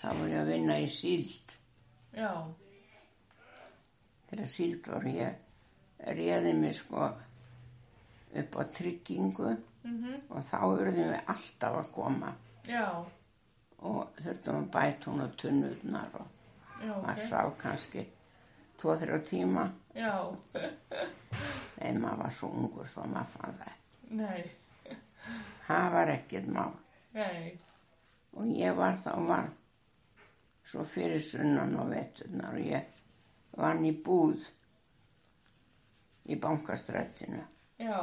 [SPEAKER 2] þá var ég að vinna í síld
[SPEAKER 1] já,
[SPEAKER 2] þegar síld var ég réði mig sko upp á tryggingu
[SPEAKER 1] mhm,
[SPEAKER 2] og þá urðum við alltaf að koma
[SPEAKER 1] já,
[SPEAKER 2] og þurftum að bæta hún á tunnurnar og
[SPEAKER 1] já,
[SPEAKER 2] maður
[SPEAKER 1] ok,
[SPEAKER 2] sá kannski 2-3 tíma
[SPEAKER 1] já,
[SPEAKER 2] en maður var svo ungur þó maður fann það
[SPEAKER 1] nei,
[SPEAKER 2] það var ekkert mál
[SPEAKER 1] nei,
[SPEAKER 2] og ég var þá var svo fyrir sunnan og veturnar og ég vann í búð í bankastrættinu
[SPEAKER 1] já,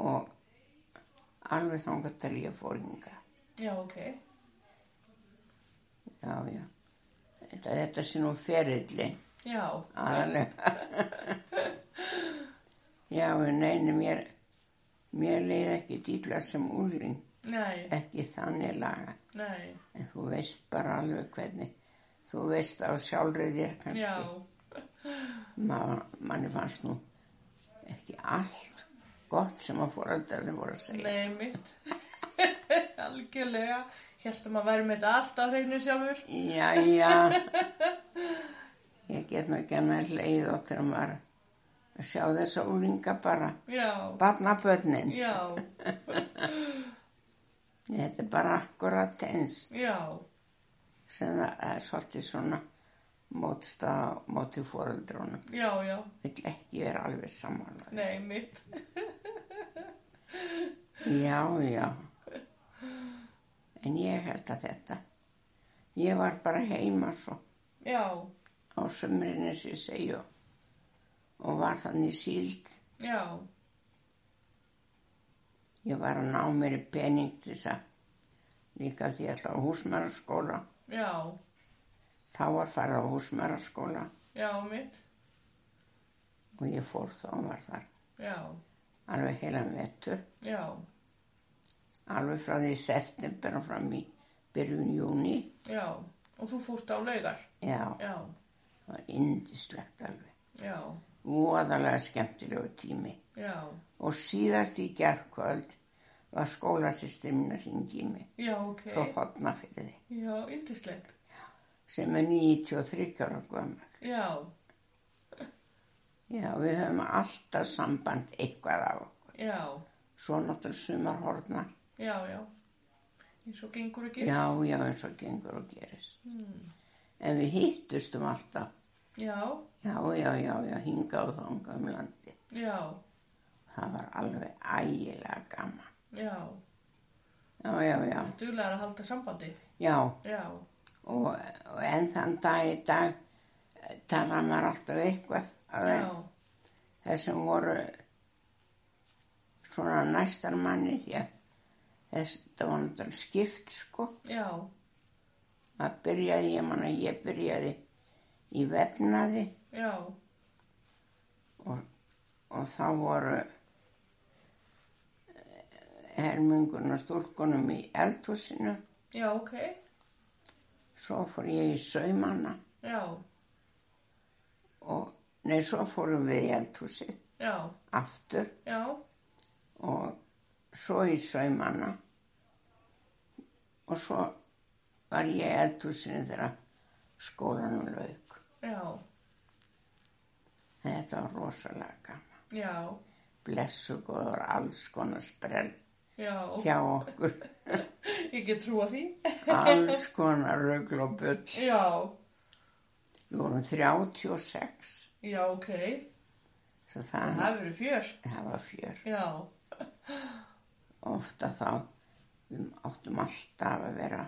[SPEAKER 2] og alveg þangað til ég fór hinga
[SPEAKER 1] já, ok,
[SPEAKER 2] já, já þetta, þetta sé nú eh, ferillin
[SPEAKER 1] já,
[SPEAKER 2] aðalega já, en einu mér mér leið ekki dýla sem úrling
[SPEAKER 1] nei,
[SPEAKER 2] ekki þannig laga
[SPEAKER 1] nei,
[SPEAKER 2] en þú veist bara alveg hvernig þú veist á sjálfri þér
[SPEAKER 1] já,
[SPEAKER 2] kannski Ma, manni fannst nú ekki allt gott sem að fóröldarnir voru að segja
[SPEAKER 1] nei, mitt, algjörlega, hjæltum að vera með þetta allt á hreinu sjálfur,
[SPEAKER 2] já, já ég get nú ekki að með leið og þegar maður að sjá þess að úrlinga bara
[SPEAKER 1] já,
[SPEAKER 2] barnabötnin
[SPEAKER 1] já,
[SPEAKER 2] þetta er bara akkurat eins
[SPEAKER 1] já,
[SPEAKER 2] sem það er svolítið svona mótstaða móti fóreldrónum.
[SPEAKER 1] já, já,
[SPEAKER 2] Vill ekki vera alveg samanlega.
[SPEAKER 1] nei, mitt.
[SPEAKER 2] Já, já. En ég held að þetta. Ég var bara heima svo
[SPEAKER 1] Já,
[SPEAKER 2] á sömurinn eins og ég segju og var þannig síld.
[SPEAKER 1] já,
[SPEAKER 2] Ég var að ná mér í pening til þess að líka því að það var húsmaraskóla.
[SPEAKER 1] já,
[SPEAKER 2] Þá var farið á húsmaraskóla
[SPEAKER 1] já, mitt.
[SPEAKER 2] og ég fór þá og var þar
[SPEAKER 1] Já,
[SPEAKER 2] alveg heila metur.
[SPEAKER 1] já,
[SPEAKER 2] Alveg frá því september og fram í byrjun júni.
[SPEAKER 1] já. Og þú fórst á laugar.
[SPEAKER 2] Já,
[SPEAKER 1] Já,
[SPEAKER 2] það var indislegt alveg.
[SPEAKER 1] já,
[SPEAKER 2] Voðalega skemmtilegu tími.
[SPEAKER 1] já,
[SPEAKER 2] Og síðast í gerðkvöld var skólasystir mín að ringi mig
[SPEAKER 1] já, ok.
[SPEAKER 2] frá Hotnafyrði
[SPEAKER 1] Já, yndislegt.
[SPEAKER 2] sem er 93 ára gömur.
[SPEAKER 1] Já,
[SPEAKER 2] Já, við höfum alltaf samband eitthvað á okkur.
[SPEAKER 1] já,
[SPEAKER 2] Svo náttúrulega sumar hornar.
[SPEAKER 1] já, já. Eins og gengur ekki.
[SPEAKER 2] Já, já, eins og gengur og gerist.
[SPEAKER 1] Hmm.
[SPEAKER 2] En við hittustum alltaf.
[SPEAKER 1] Já,
[SPEAKER 2] Já, já, já, já, hingað og þangað um landi.
[SPEAKER 1] já,
[SPEAKER 2] Það var alveg ægilega gaman.
[SPEAKER 1] já.
[SPEAKER 2] Já, já, já,
[SPEAKER 1] Duglegar að halda sambandi.
[SPEAKER 2] já.
[SPEAKER 1] Já,
[SPEAKER 2] Og, og enn þann dag í dag eh, talar maður alltaf eitthvað. að þeim.
[SPEAKER 1] já,
[SPEAKER 2] þeir sem voru svona næstar manni því að þess, það var náttúrulega skipt sko
[SPEAKER 1] já,
[SPEAKER 2] að byrjaði, ég manna ég byrjaði í vefnaði
[SPEAKER 1] já,
[SPEAKER 2] og, og þá voru hermunguna stúlkunum í eldhúsinu
[SPEAKER 1] já, ok.
[SPEAKER 2] svo fór ég í saumana
[SPEAKER 1] Já,
[SPEAKER 2] og nei, svo fórum við í eldhúsið
[SPEAKER 1] já,
[SPEAKER 2] aftur
[SPEAKER 1] já,
[SPEAKER 2] og svo í saumana og svo var ég í eldhúsinu þegar skólanum lauk.
[SPEAKER 1] já,
[SPEAKER 2] Þetta var rosalega gaman.
[SPEAKER 1] já,
[SPEAKER 2] Blessu góður alls konar sprell
[SPEAKER 1] já.
[SPEAKER 2] hjá okkur.
[SPEAKER 1] Ég get trúa því.
[SPEAKER 2] Alls konar rögl og bull.
[SPEAKER 1] Já,
[SPEAKER 2] Við vorum 36,
[SPEAKER 1] já, ok.
[SPEAKER 2] svo það,
[SPEAKER 1] Það hefur verið fjör.
[SPEAKER 2] það var fjör.
[SPEAKER 1] Já,
[SPEAKER 2] Ofta þá við áttum alltaf að vera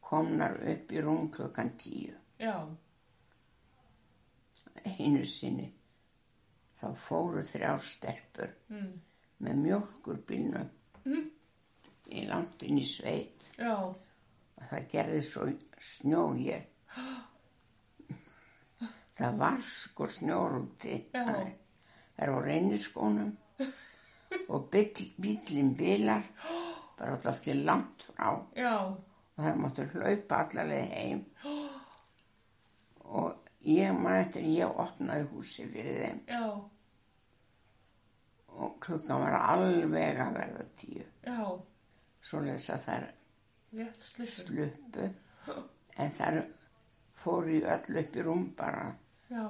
[SPEAKER 2] komnar upp í rúm klukkan tíu.
[SPEAKER 1] já,
[SPEAKER 2] einu sinni þá fóru þrjár stelpur
[SPEAKER 1] mm.
[SPEAKER 2] með mjölkurbílnum í langt inn í sveit
[SPEAKER 1] já,
[SPEAKER 2] og það gerði svo snjói það var sko snjór úti
[SPEAKER 1] Já.
[SPEAKER 2] það er á reyniskónum og bíll, bíllinn bílar bara þátti langt frá og
[SPEAKER 1] já,
[SPEAKER 2] það máttu hlaupa allaveg heim og ég maður eftir að ég opnaði húsi fyrir þeim
[SPEAKER 1] já,
[SPEAKER 2] og klukkan var alveg að verða tíu
[SPEAKER 1] já,
[SPEAKER 2] svo leys að þær
[SPEAKER 1] rétt sluttur.
[SPEAKER 2] sluppu en þær fóru í öll upp í rúm bara
[SPEAKER 1] Já,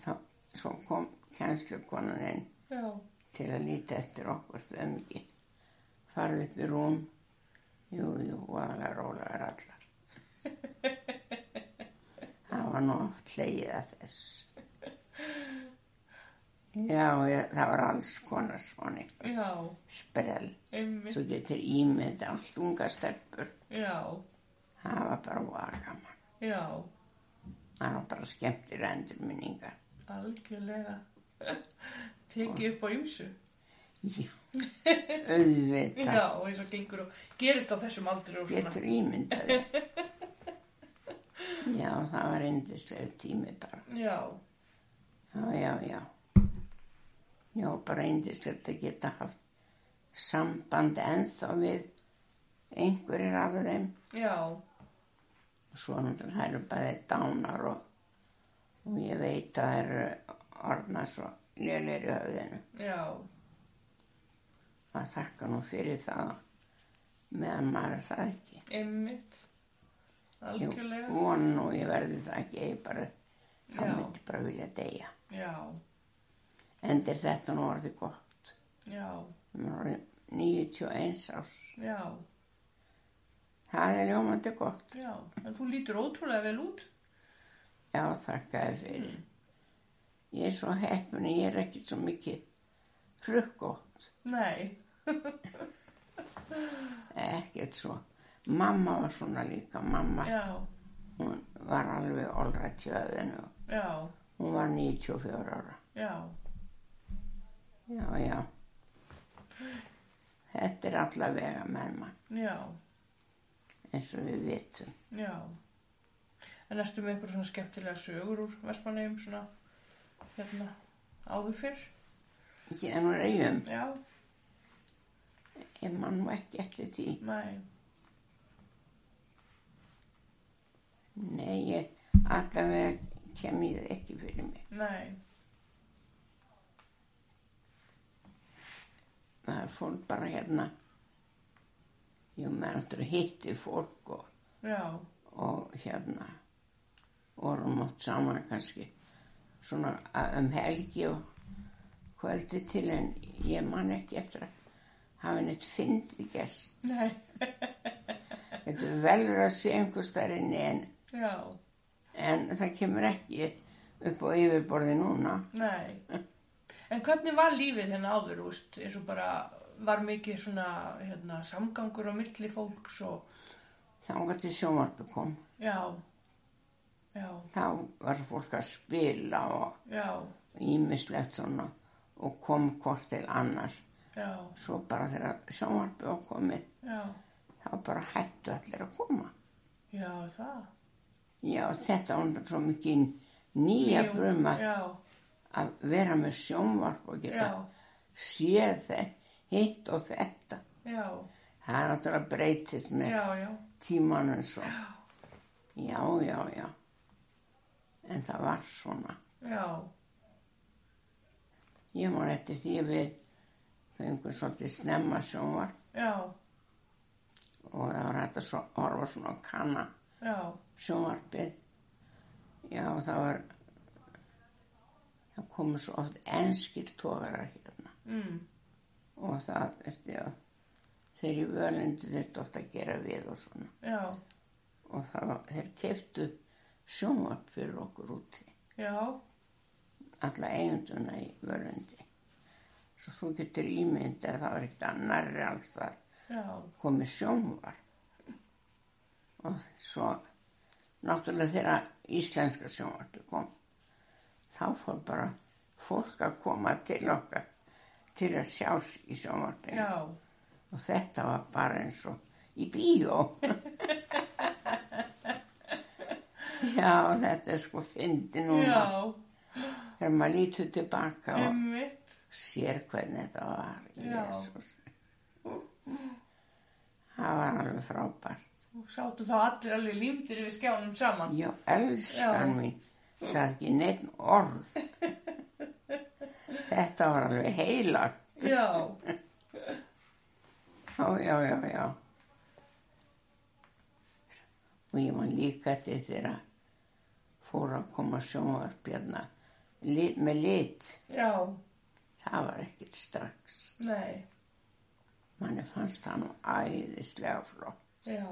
[SPEAKER 2] þá, svo kom kennslukonan inn
[SPEAKER 1] já,
[SPEAKER 2] til að líta eftir okkur þau ekki farið upp í rúm jú, jú, og alveg rólegar allar það var nú oft hleyið að þess já, ég, það var alls konar svona eitthvað
[SPEAKER 1] já,
[SPEAKER 2] sprell
[SPEAKER 1] einmitt,
[SPEAKER 2] Þú getur ímynd allt unga stelpur.
[SPEAKER 1] já,
[SPEAKER 2] Það var bara voða gaman.
[SPEAKER 1] já,
[SPEAKER 2] Það var bara skemmtir endurminningar.
[SPEAKER 1] algjörlega. Tekið upp á ymsu.
[SPEAKER 2] Já,
[SPEAKER 1] Já,
[SPEAKER 2] auðvitað.
[SPEAKER 1] og eins og gengur og gerist á þessum aldri og svona.
[SPEAKER 2] Getur ímyndað þér. Já, það var indislegu tími bara.
[SPEAKER 1] Já,
[SPEAKER 2] Já, já, já. Já, bara indislegt að geta haft samband ennþá við einhverjir af þeim.
[SPEAKER 1] já, svo.
[SPEAKER 2] Svo náttúrulega það eru bæði dánar og, og ég veit að það eru orðnar svo lélir í höfðinu.
[SPEAKER 1] já,
[SPEAKER 2] að þakka nú fyrir það meðan maður er það ekki.
[SPEAKER 1] einmitt,
[SPEAKER 2] Ég
[SPEAKER 1] algjörlega.
[SPEAKER 2] vona nú ég verði það ekki, ég bara, þá
[SPEAKER 1] Já.
[SPEAKER 2] myndi bara vilja deyja.
[SPEAKER 1] Já,
[SPEAKER 2] Endir þetta nú orðið gott.
[SPEAKER 1] já,
[SPEAKER 2] Nú er orðið 91 árs.
[SPEAKER 1] já,
[SPEAKER 2] Það er ljómandi gott.
[SPEAKER 1] já. En þú lítur ótrúlega vel út.
[SPEAKER 2] Já, þakkaði fyrir. Ég er svo heppin að ég er ekki svo mikið hrukkótt,
[SPEAKER 1] Nei.
[SPEAKER 2] ekkert svo. Mamma var svona líka, mamma,
[SPEAKER 1] Já,
[SPEAKER 2] hún var alveg olrætt hjá þennu.
[SPEAKER 1] já,
[SPEAKER 2] Hún var 94 ára.
[SPEAKER 1] já.
[SPEAKER 2] Já, já. Þetta er allavega með mann,
[SPEAKER 1] Já,
[SPEAKER 2] eins og við vitum.
[SPEAKER 1] já. En ertu með einhver svona skemmtilega sögur úr Vestmannegjum svona hérna áður fyrr?
[SPEAKER 2] Ekki þennan eigum,
[SPEAKER 1] Já,
[SPEAKER 2] ég mann nú ekki eftir því.
[SPEAKER 1] nei,
[SPEAKER 2] Nei, ég allavega kem ég það ekki fyrir mig.
[SPEAKER 1] nei,
[SPEAKER 2] það er fólk bara hérna ég meðan þetta hitti fólk og,
[SPEAKER 1] já,
[SPEAKER 2] og hérna vorum átt saman kannski svona a- um helgi og kvöldi til en ég man ekki eftir að hafa neitt fyndi gest
[SPEAKER 1] nei,
[SPEAKER 2] þetta velur að sé einhvers þar inni en,
[SPEAKER 1] já,
[SPEAKER 2] en það kemur ekki upp á yfirborði núna
[SPEAKER 1] nei. En hvernig var lífið hérna áður, þú veist, eins og bara var mikið svona hérna samgangur á milli fólks og
[SPEAKER 2] þá var til sjónvarpi kom
[SPEAKER 1] já, já,
[SPEAKER 2] þá var fólk að spila og
[SPEAKER 1] já,
[SPEAKER 2] ímislegt svona og kom hvort til annars
[SPEAKER 1] já,
[SPEAKER 2] svo bara þegar sjónvarpið var komið
[SPEAKER 1] já,
[SPEAKER 2] þá bara hættu allir að koma
[SPEAKER 1] já, það.
[SPEAKER 2] já þetta var svo mikið nýja
[SPEAKER 1] Jú,
[SPEAKER 2] bruma
[SPEAKER 1] Já,
[SPEAKER 2] að vera með sjónvarp og geta
[SPEAKER 1] já,
[SPEAKER 2] séð þetta hitt og þetta
[SPEAKER 1] já,
[SPEAKER 2] það er náttúrulega breytist með
[SPEAKER 1] já, já,
[SPEAKER 2] tímanum svo já já já en það var svona
[SPEAKER 1] já,
[SPEAKER 2] ég man eftir því að við fengum svolítið snemma sjónvarp
[SPEAKER 1] já,
[SPEAKER 2] og það var hægt að svo, horfa svona á kanna
[SPEAKER 1] já.
[SPEAKER 2] sjónvarpið já það var það komu svo oft enskir tógarar hérna
[SPEAKER 1] Mm,
[SPEAKER 2] og það eftir að þeir í völindu þurfti oft að gera við og svona
[SPEAKER 1] já,
[SPEAKER 2] og það var, þeir keftu sjónvarp fyrir okkur úti
[SPEAKER 1] já,
[SPEAKER 2] alla eigunduna í völundi svo þú getur ímyndið að það var ekkert annarri alls þar
[SPEAKER 1] já,
[SPEAKER 2] komið sjónvarp og svo náttúrulega þegar íslenska sjónvarpi kom þá fór bara fólk að koma til okkar til að sjás í sjónvarpinu
[SPEAKER 1] já,
[SPEAKER 2] og þetta var bara eins og í bíó Já, þetta er sko fyndi núna
[SPEAKER 1] já,
[SPEAKER 2] þegar maður lítur tilbaka og
[SPEAKER 1] einmitt,
[SPEAKER 2] sér hvernig þetta var
[SPEAKER 1] Já.
[SPEAKER 2] Jésús það var alveg frábært
[SPEAKER 1] og sáttu þá allir alveg límdir yfir skjánum saman.
[SPEAKER 2] já, elskan
[SPEAKER 1] Já.
[SPEAKER 2] mín sagði ekki neitt orð þetta var alveg heilagt
[SPEAKER 1] Já,
[SPEAKER 2] já, já, já, já og ég man líka til þeirra fór að koma sjónvarpjarna með lit
[SPEAKER 1] já,
[SPEAKER 2] það var ekkert strax
[SPEAKER 1] nei,
[SPEAKER 2] manni fannst það nú æðislega flott
[SPEAKER 1] já,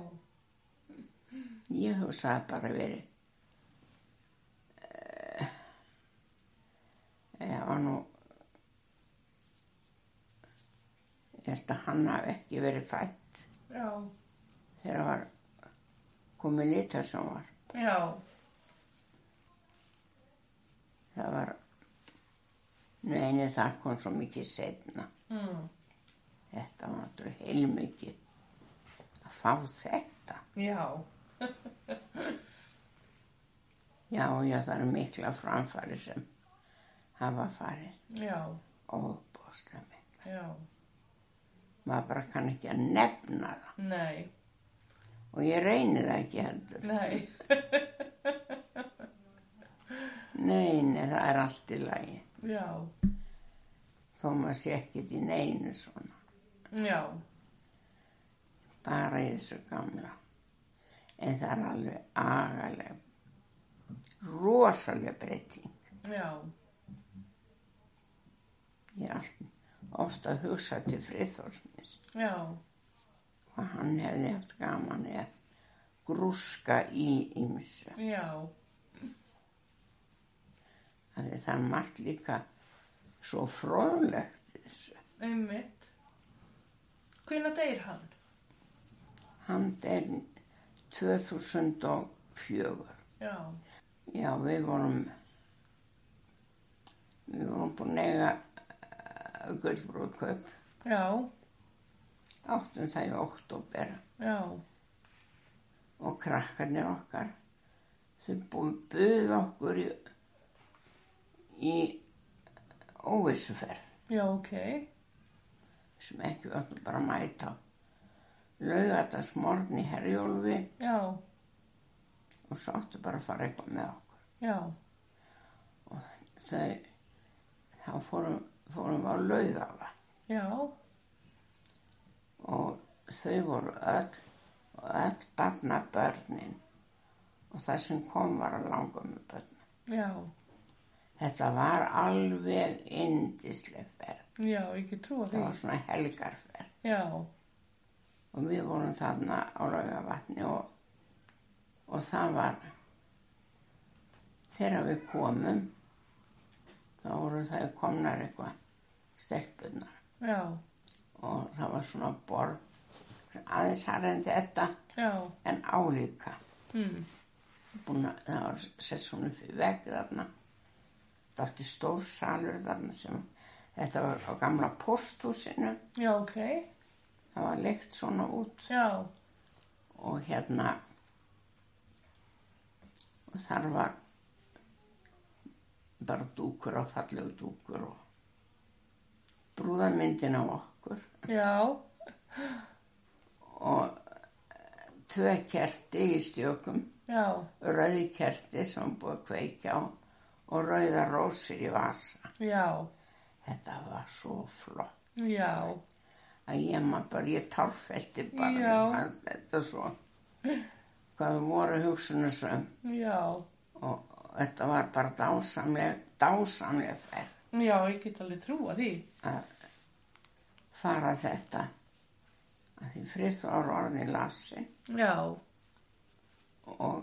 [SPEAKER 2] Ég hugsaði bara verið. Eh, Ég var nú, ég held að hann hafi ekki verið fætt
[SPEAKER 1] já,
[SPEAKER 2] þegar var komið lita sem var.
[SPEAKER 1] já,
[SPEAKER 2] Það var, nú einu það kom svo mikið setna.
[SPEAKER 1] mm,
[SPEAKER 2] Þetta var náttúrulega heilmikið að fá þetta.
[SPEAKER 1] já,
[SPEAKER 2] Já, já, það eru mikla framfæri sem hafa farið
[SPEAKER 1] já,
[SPEAKER 2] óbúslega mikið.
[SPEAKER 1] já,
[SPEAKER 2] maður bara kann ekki að nefna það
[SPEAKER 1] nei,
[SPEAKER 2] og ég reyni það ekki heldur
[SPEAKER 1] nei,
[SPEAKER 2] nei, nei, það er allt í lagi
[SPEAKER 1] já,
[SPEAKER 2] þó maður sé ekkert í neinu svona
[SPEAKER 1] já,
[SPEAKER 2] bara í þessu gamla en það er alveg agaleg rosaleg breyting
[SPEAKER 1] já,
[SPEAKER 2] ég er allt ofta að hugsa til friðþórsnis
[SPEAKER 1] já,
[SPEAKER 2] hvað hann hefði haft gaman eða grúska í ymsu
[SPEAKER 1] já,
[SPEAKER 2] Af því Það er margt líka svo fróðlegt í þessu.
[SPEAKER 1] einmitt. Hvenær deyr hann?
[SPEAKER 2] Hann er 2004.
[SPEAKER 1] Já,
[SPEAKER 2] Já, við vorum, við vorum búin að eiga uh, gullbrúðkaup,
[SPEAKER 1] já,
[SPEAKER 2] áttum það í oktober
[SPEAKER 1] já,
[SPEAKER 2] og krakkarnir okkar, þau búin buð okkur í, í óvissuferð
[SPEAKER 1] já, ok,
[SPEAKER 2] sem ekki við áttum bara að mæta. Laugatast morgun í Herjólfi
[SPEAKER 1] já,
[SPEAKER 2] og svo áttu bara að fara eitthvað með okkur.
[SPEAKER 1] já,
[SPEAKER 2] Og þau, þá fórum, fórum við á Laugava.
[SPEAKER 1] já,
[SPEAKER 2] og þau voru öll og öll barna börnin og það sem kom var að langa með börn.
[SPEAKER 1] já,
[SPEAKER 2] Þetta var alveg indisleg ferð.
[SPEAKER 1] já, ég get trúa
[SPEAKER 2] Það
[SPEAKER 1] því.
[SPEAKER 2] var svona helgarferð
[SPEAKER 1] Já,
[SPEAKER 2] og við vorum þarna á laugavatni og, og það var þegar við komum þá voru það komnar eitthvað stelpunar
[SPEAKER 1] já,
[SPEAKER 2] og það var svona borð aðeins harra en þetta
[SPEAKER 1] já,
[SPEAKER 2] en álíka.
[SPEAKER 1] mm,
[SPEAKER 2] búin að það var sett svona upp í vegg þarna það átti stór salur þarna sem þetta var á gamla posthúsinu
[SPEAKER 1] já, ok,
[SPEAKER 2] það var leikt svona út
[SPEAKER 1] já,
[SPEAKER 2] og hérna og þar var bara dúkur og fallegu dúkur og brúðarmyndin á okkur
[SPEAKER 1] já,
[SPEAKER 2] og eh, tvö kerti í stjökum
[SPEAKER 1] já,
[SPEAKER 2] rauði kerti sem var búið að kveikja á og rauða rósir í vasa.
[SPEAKER 1] já,
[SPEAKER 2] Þetta var svo flott
[SPEAKER 1] já,
[SPEAKER 2] að ég maður bara, ég tárfælti bara
[SPEAKER 1] Já.
[SPEAKER 2] ég man þetta svo. Hvað þau voru hugsunarsum
[SPEAKER 1] já,
[SPEAKER 2] og og þetta var bara dásamleg, dásamleg ferð
[SPEAKER 1] já, ég get alveg trúa því.
[SPEAKER 2] að fara þetta. Af því frið var orðin lasin
[SPEAKER 1] Já,
[SPEAKER 2] og,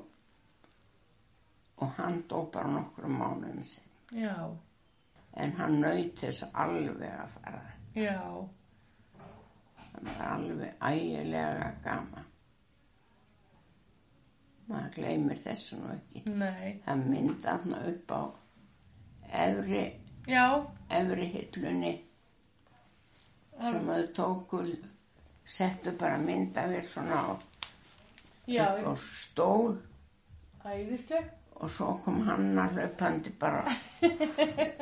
[SPEAKER 2] og hann dó bara nokkrum mánuðum sinn.
[SPEAKER 1] já,
[SPEAKER 2] En hann naut þess alveg að fara þetta.
[SPEAKER 1] já,
[SPEAKER 2] Það var alveg ægilega gaman. Maður gleymir þessu nú ekki.
[SPEAKER 1] nei,
[SPEAKER 2] Það myndi aðna upp á efri,
[SPEAKER 1] já,
[SPEAKER 2] efri hillunni sem þau tóku, settu bara mynda við svona á,
[SPEAKER 1] já,
[SPEAKER 2] upp á stól
[SPEAKER 1] æðistu,
[SPEAKER 2] og svo kom hann að hlaupandi bara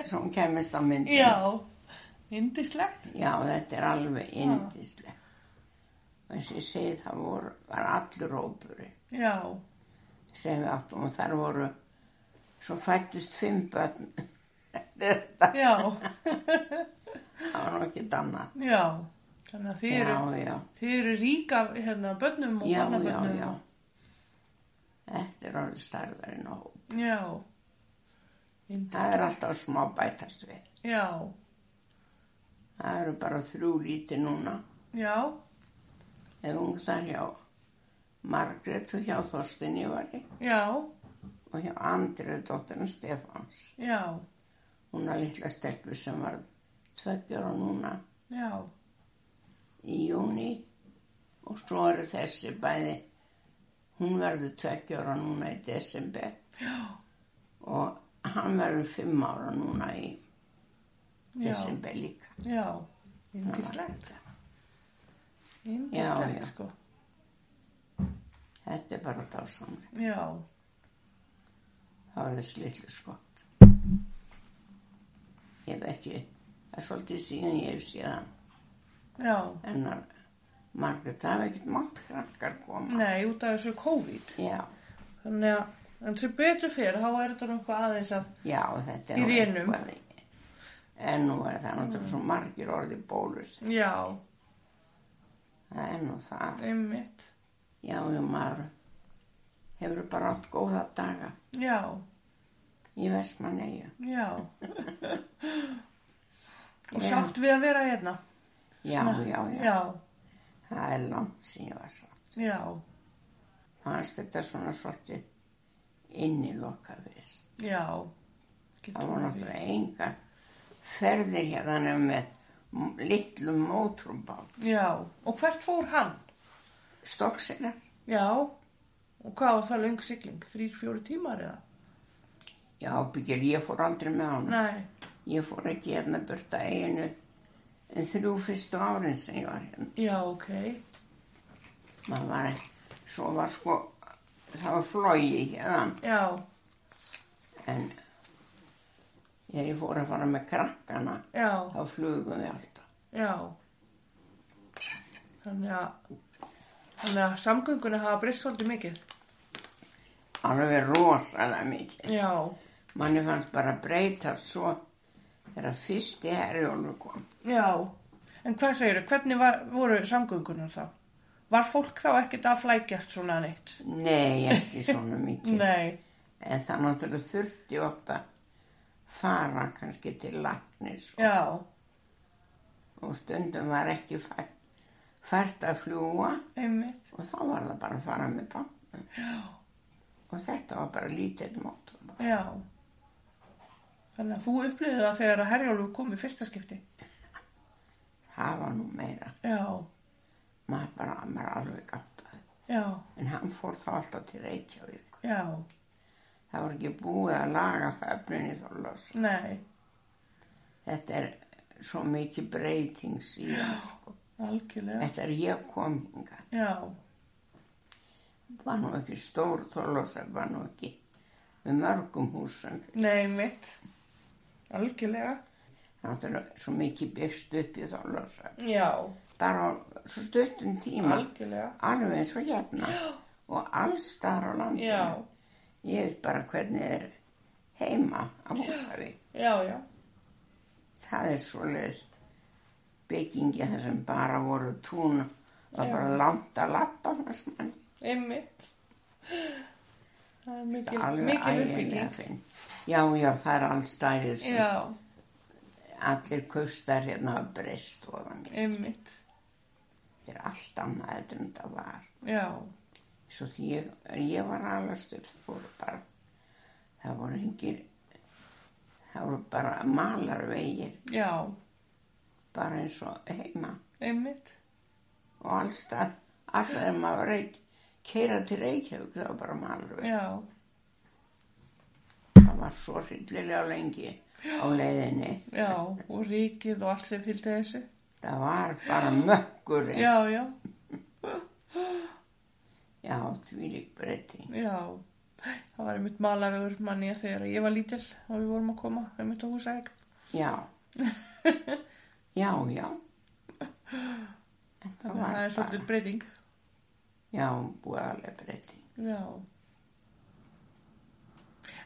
[SPEAKER 2] svo hún kemist á myndinu.
[SPEAKER 1] já, indislegt,
[SPEAKER 2] Já, þetta er alveg indislegt. Og eins og ég segi það voru, var allur óburinn.
[SPEAKER 1] já,
[SPEAKER 2] sem við áttum og þar voru svo fættist fimm börn þetta
[SPEAKER 1] já,
[SPEAKER 2] það var nú ekki annað
[SPEAKER 1] já, þannig að þið eru,
[SPEAKER 2] já, já,
[SPEAKER 1] þið eru ríka, hérna, bönnum og
[SPEAKER 2] já, já,
[SPEAKER 1] barnabörnum.
[SPEAKER 2] já þetta er orðið starðarinn og
[SPEAKER 1] Já, indislegt,
[SPEAKER 2] það er alltaf smá bætast við
[SPEAKER 1] já,
[SPEAKER 2] það eru bara þrjú líti núna
[SPEAKER 1] já,
[SPEAKER 2] eða hún þar hjá Margrét og hjá Þorstin Ívari
[SPEAKER 1] já,
[SPEAKER 2] og hjá Andrið dóttirinn Stefáns
[SPEAKER 1] já,
[SPEAKER 2] hún er litla stelpu sem var tveggjara núna
[SPEAKER 1] já,
[SPEAKER 2] í júni og svo eru þessi bæði hún verður tveggjóra núna í desember
[SPEAKER 1] já,
[SPEAKER 2] og hann verður fimm ára núna í
[SPEAKER 1] já,
[SPEAKER 2] desember líka
[SPEAKER 1] já,
[SPEAKER 2] Það var
[SPEAKER 1] indislegt.
[SPEAKER 2] þetta. Já,
[SPEAKER 1] Indislegt
[SPEAKER 2] já.
[SPEAKER 1] sko.
[SPEAKER 2] þetta er bara dásamlega
[SPEAKER 1] Já,
[SPEAKER 2] það var þessi litlu skott ég hef ekki það er svolítið síðan ég hef síðan
[SPEAKER 1] já.
[SPEAKER 2] hennar Margrét, það hef ekkert mátt krakkar koma
[SPEAKER 1] Nei, út af þessu COVID.
[SPEAKER 2] já,
[SPEAKER 1] Þannig að en sem betur fyrir þá er þetta nú eitthvað aðeins að
[SPEAKER 2] já, þetta
[SPEAKER 1] Í
[SPEAKER 2] er nú
[SPEAKER 1] rénum.
[SPEAKER 2] eitthvað en nú er það náttúrulega svo margir orðið bólus
[SPEAKER 1] Já,
[SPEAKER 2] það er nú það
[SPEAKER 1] einmitt.
[SPEAKER 2] Já, já, maður hefur bara átt góða daga
[SPEAKER 1] Já,
[SPEAKER 2] í Vestmanneju.
[SPEAKER 1] já. Og
[SPEAKER 2] Já.
[SPEAKER 1] sátt við að vera hérna.
[SPEAKER 2] Já, já, já,
[SPEAKER 1] Já,
[SPEAKER 2] Það er langt síðan ég var svo.
[SPEAKER 1] já,
[SPEAKER 2] Fannst þetta svona svolítið innilokað vist.
[SPEAKER 1] já,
[SPEAKER 2] Það voru náttúrulega engar ferðir hérna nema með m- litlu mótrúmbál.
[SPEAKER 1] Já, og hvert fór hann?
[SPEAKER 2] Stokksegar,
[SPEAKER 1] Já, og hvað var það löng sigling? Þrýr, fjóri tímar eða?
[SPEAKER 2] já byggir, ég fór aldrei með hann.
[SPEAKER 1] Nei,
[SPEAKER 2] Ég fór ekki hérna burt að eiginu en þrjú fyrstu árin sem ég var hérna.
[SPEAKER 1] já, ok.
[SPEAKER 2] Maður var ekki, svo var sko, það var flogi hérna
[SPEAKER 1] Já,
[SPEAKER 2] en þegar ég fór að fara með krakkana
[SPEAKER 1] já,
[SPEAKER 2] þá flugum við alltaf.
[SPEAKER 1] já. Þannig að, þannig að samgönguna hafa breyst svolítið mikið.
[SPEAKER 2] Alveg rosalega mikið.
[SPEAKER 1] Já,
[SPEAKER 2] Manni fannst bara breytast svo þegar fyrsti herjólu kom.
[SPEAKER 1] já. En hvað segirðu, hvernig var, voru samgöngunar þá? Var fólk þá ekkert að flækjast svona neitt?
[SPEAKER 2] Nei, ekki svona mikið.
[SPEAKER 1] Nei,
[SPEAKER 2] En það náttúrulega þurfti oft að fara kannski til lagnis og,
[SPEAKER 1] já,
[SPEAKER 2] og stundum var ekki fært, fært að fljúa
[SPEAKER 1] einmitt.
[SPEAKER 2] og þá var það bara að fara með bátnum.
[SPEAKER 1] Já.
[SPEAKER 2] Og þetta var bara lítill mótum.
[SPEAKER 1] Já. Þannig að þú upplýðið það þegar að Herjólfur kom í fyrsta skipti.
[SPEAKER 2] Það var nú meira.
[SPEAKER 1] Já,
[SPEAKER 2] Maður bara, maður alveg gátt að það.
[SPEAKER 1] já,
[SPEAKER 2] En hann fór þá alltaf til Reykjavík.
[SPEAKER 1] já,
[SPEAKER 2] Það var ekki búið að laga höfninni þó los.
[SPEAKER 1] nei,
[SPEAKER 2] Þetta er svo mikið breyting síðan,
[SPEAKER 1] Já.
[SPEAKER 2] sko.
[SPEAKER 1] algjörlega.
[SPEAKER 2] Þetta er ég kom hingað.
[SPEAKER 1] Já,
[SPEAKER 2] var nú ekki stór þorlósar, var nú ekki með mörgum húsum.
[SPEAKER 1] nei mitt, algjörlega.
[SPEAKER 2] Náttúrulega svo mikið byrst upp í þorlósar.
[SPEAKER 1] Já,
[SPEAKER 2] Bara á svo stuttum tíma,
[SPEAKER 1] Mm. algjörlega.
[SPEAKER 2] alveg eins og hérna og allstaðar á landinu.
[SPEAKER 1] Já,
[SPEAKER 2] Ég veit bara hvernig er heima á Húsavík.
[SPEAKER 1] já, já,
[SPEAKER 2] Það er svoleiðis byggingi þar sem bara voru tún Það var
[SPEAKER 1] Já.
[SPEAKER 2] bara langt að lappa fannst mann.
[SPEAKER 1] einmitt. Það er
[SPEAKER 2] Það
[SPEAKER 1] mikil,
[SPEAKER 2] er alveg
[SPEAKER 1] mikil
[SPEAKER 2] ægilega
[SPEAKER 1] uppbygging.
[SPEAKER 2] finn. Já, já, það er allstæðið sem
[SPEAKER 1] Já,
[SPEAKER 2] allir kustar hérna að breyst og þannig.
[SPEAKER 1] einmitt,
[SPEAKER 2] Þetta er allt annað heldur en þetta var.
[SPEAKER 1] já,
[SPEAKER 2] Svo því ég, en ég var alast upp, það voru bara, það voru engir, það voru bara malarvegir,
[SPEAKER 1] já,
[SPEAKER 2] bara eins og heima
[SPEAKER 1] einmitt.
[SPEAKER 2] og allstað, allar þegar maður reik, keira til Reykjavík, það var bara malarvegir.
[SPEAKER 1] Já,
[SPEAKER 2] Það var svo hryllilega lengi á leiðinni.
[SPEAKER 1] já, og ríkið og allt sem fylgdi þessu.
[SPEAKER 2] Það var bara mökkurinn.
[SPEAKER 1] Já, já,
[SPEAKER 2] Já, því lík breyting.
[SPEAKER 1] Já, það var einmitt malavegur manni að þegar ég var lítil og við vorum að koma einmitt á húsæk.
[SPEAKER 2] Já. já, já. En það
[SPEAKER 1] Þannig
[SPEAKER 2] var
[SPEAKER 1] að það er
[SPEAKER 2] bara,
[SPEAKER 1] svolítið breyting.
[SPEAKER 2] já, búið alveg breyting.
[SPEAKER 1] Já.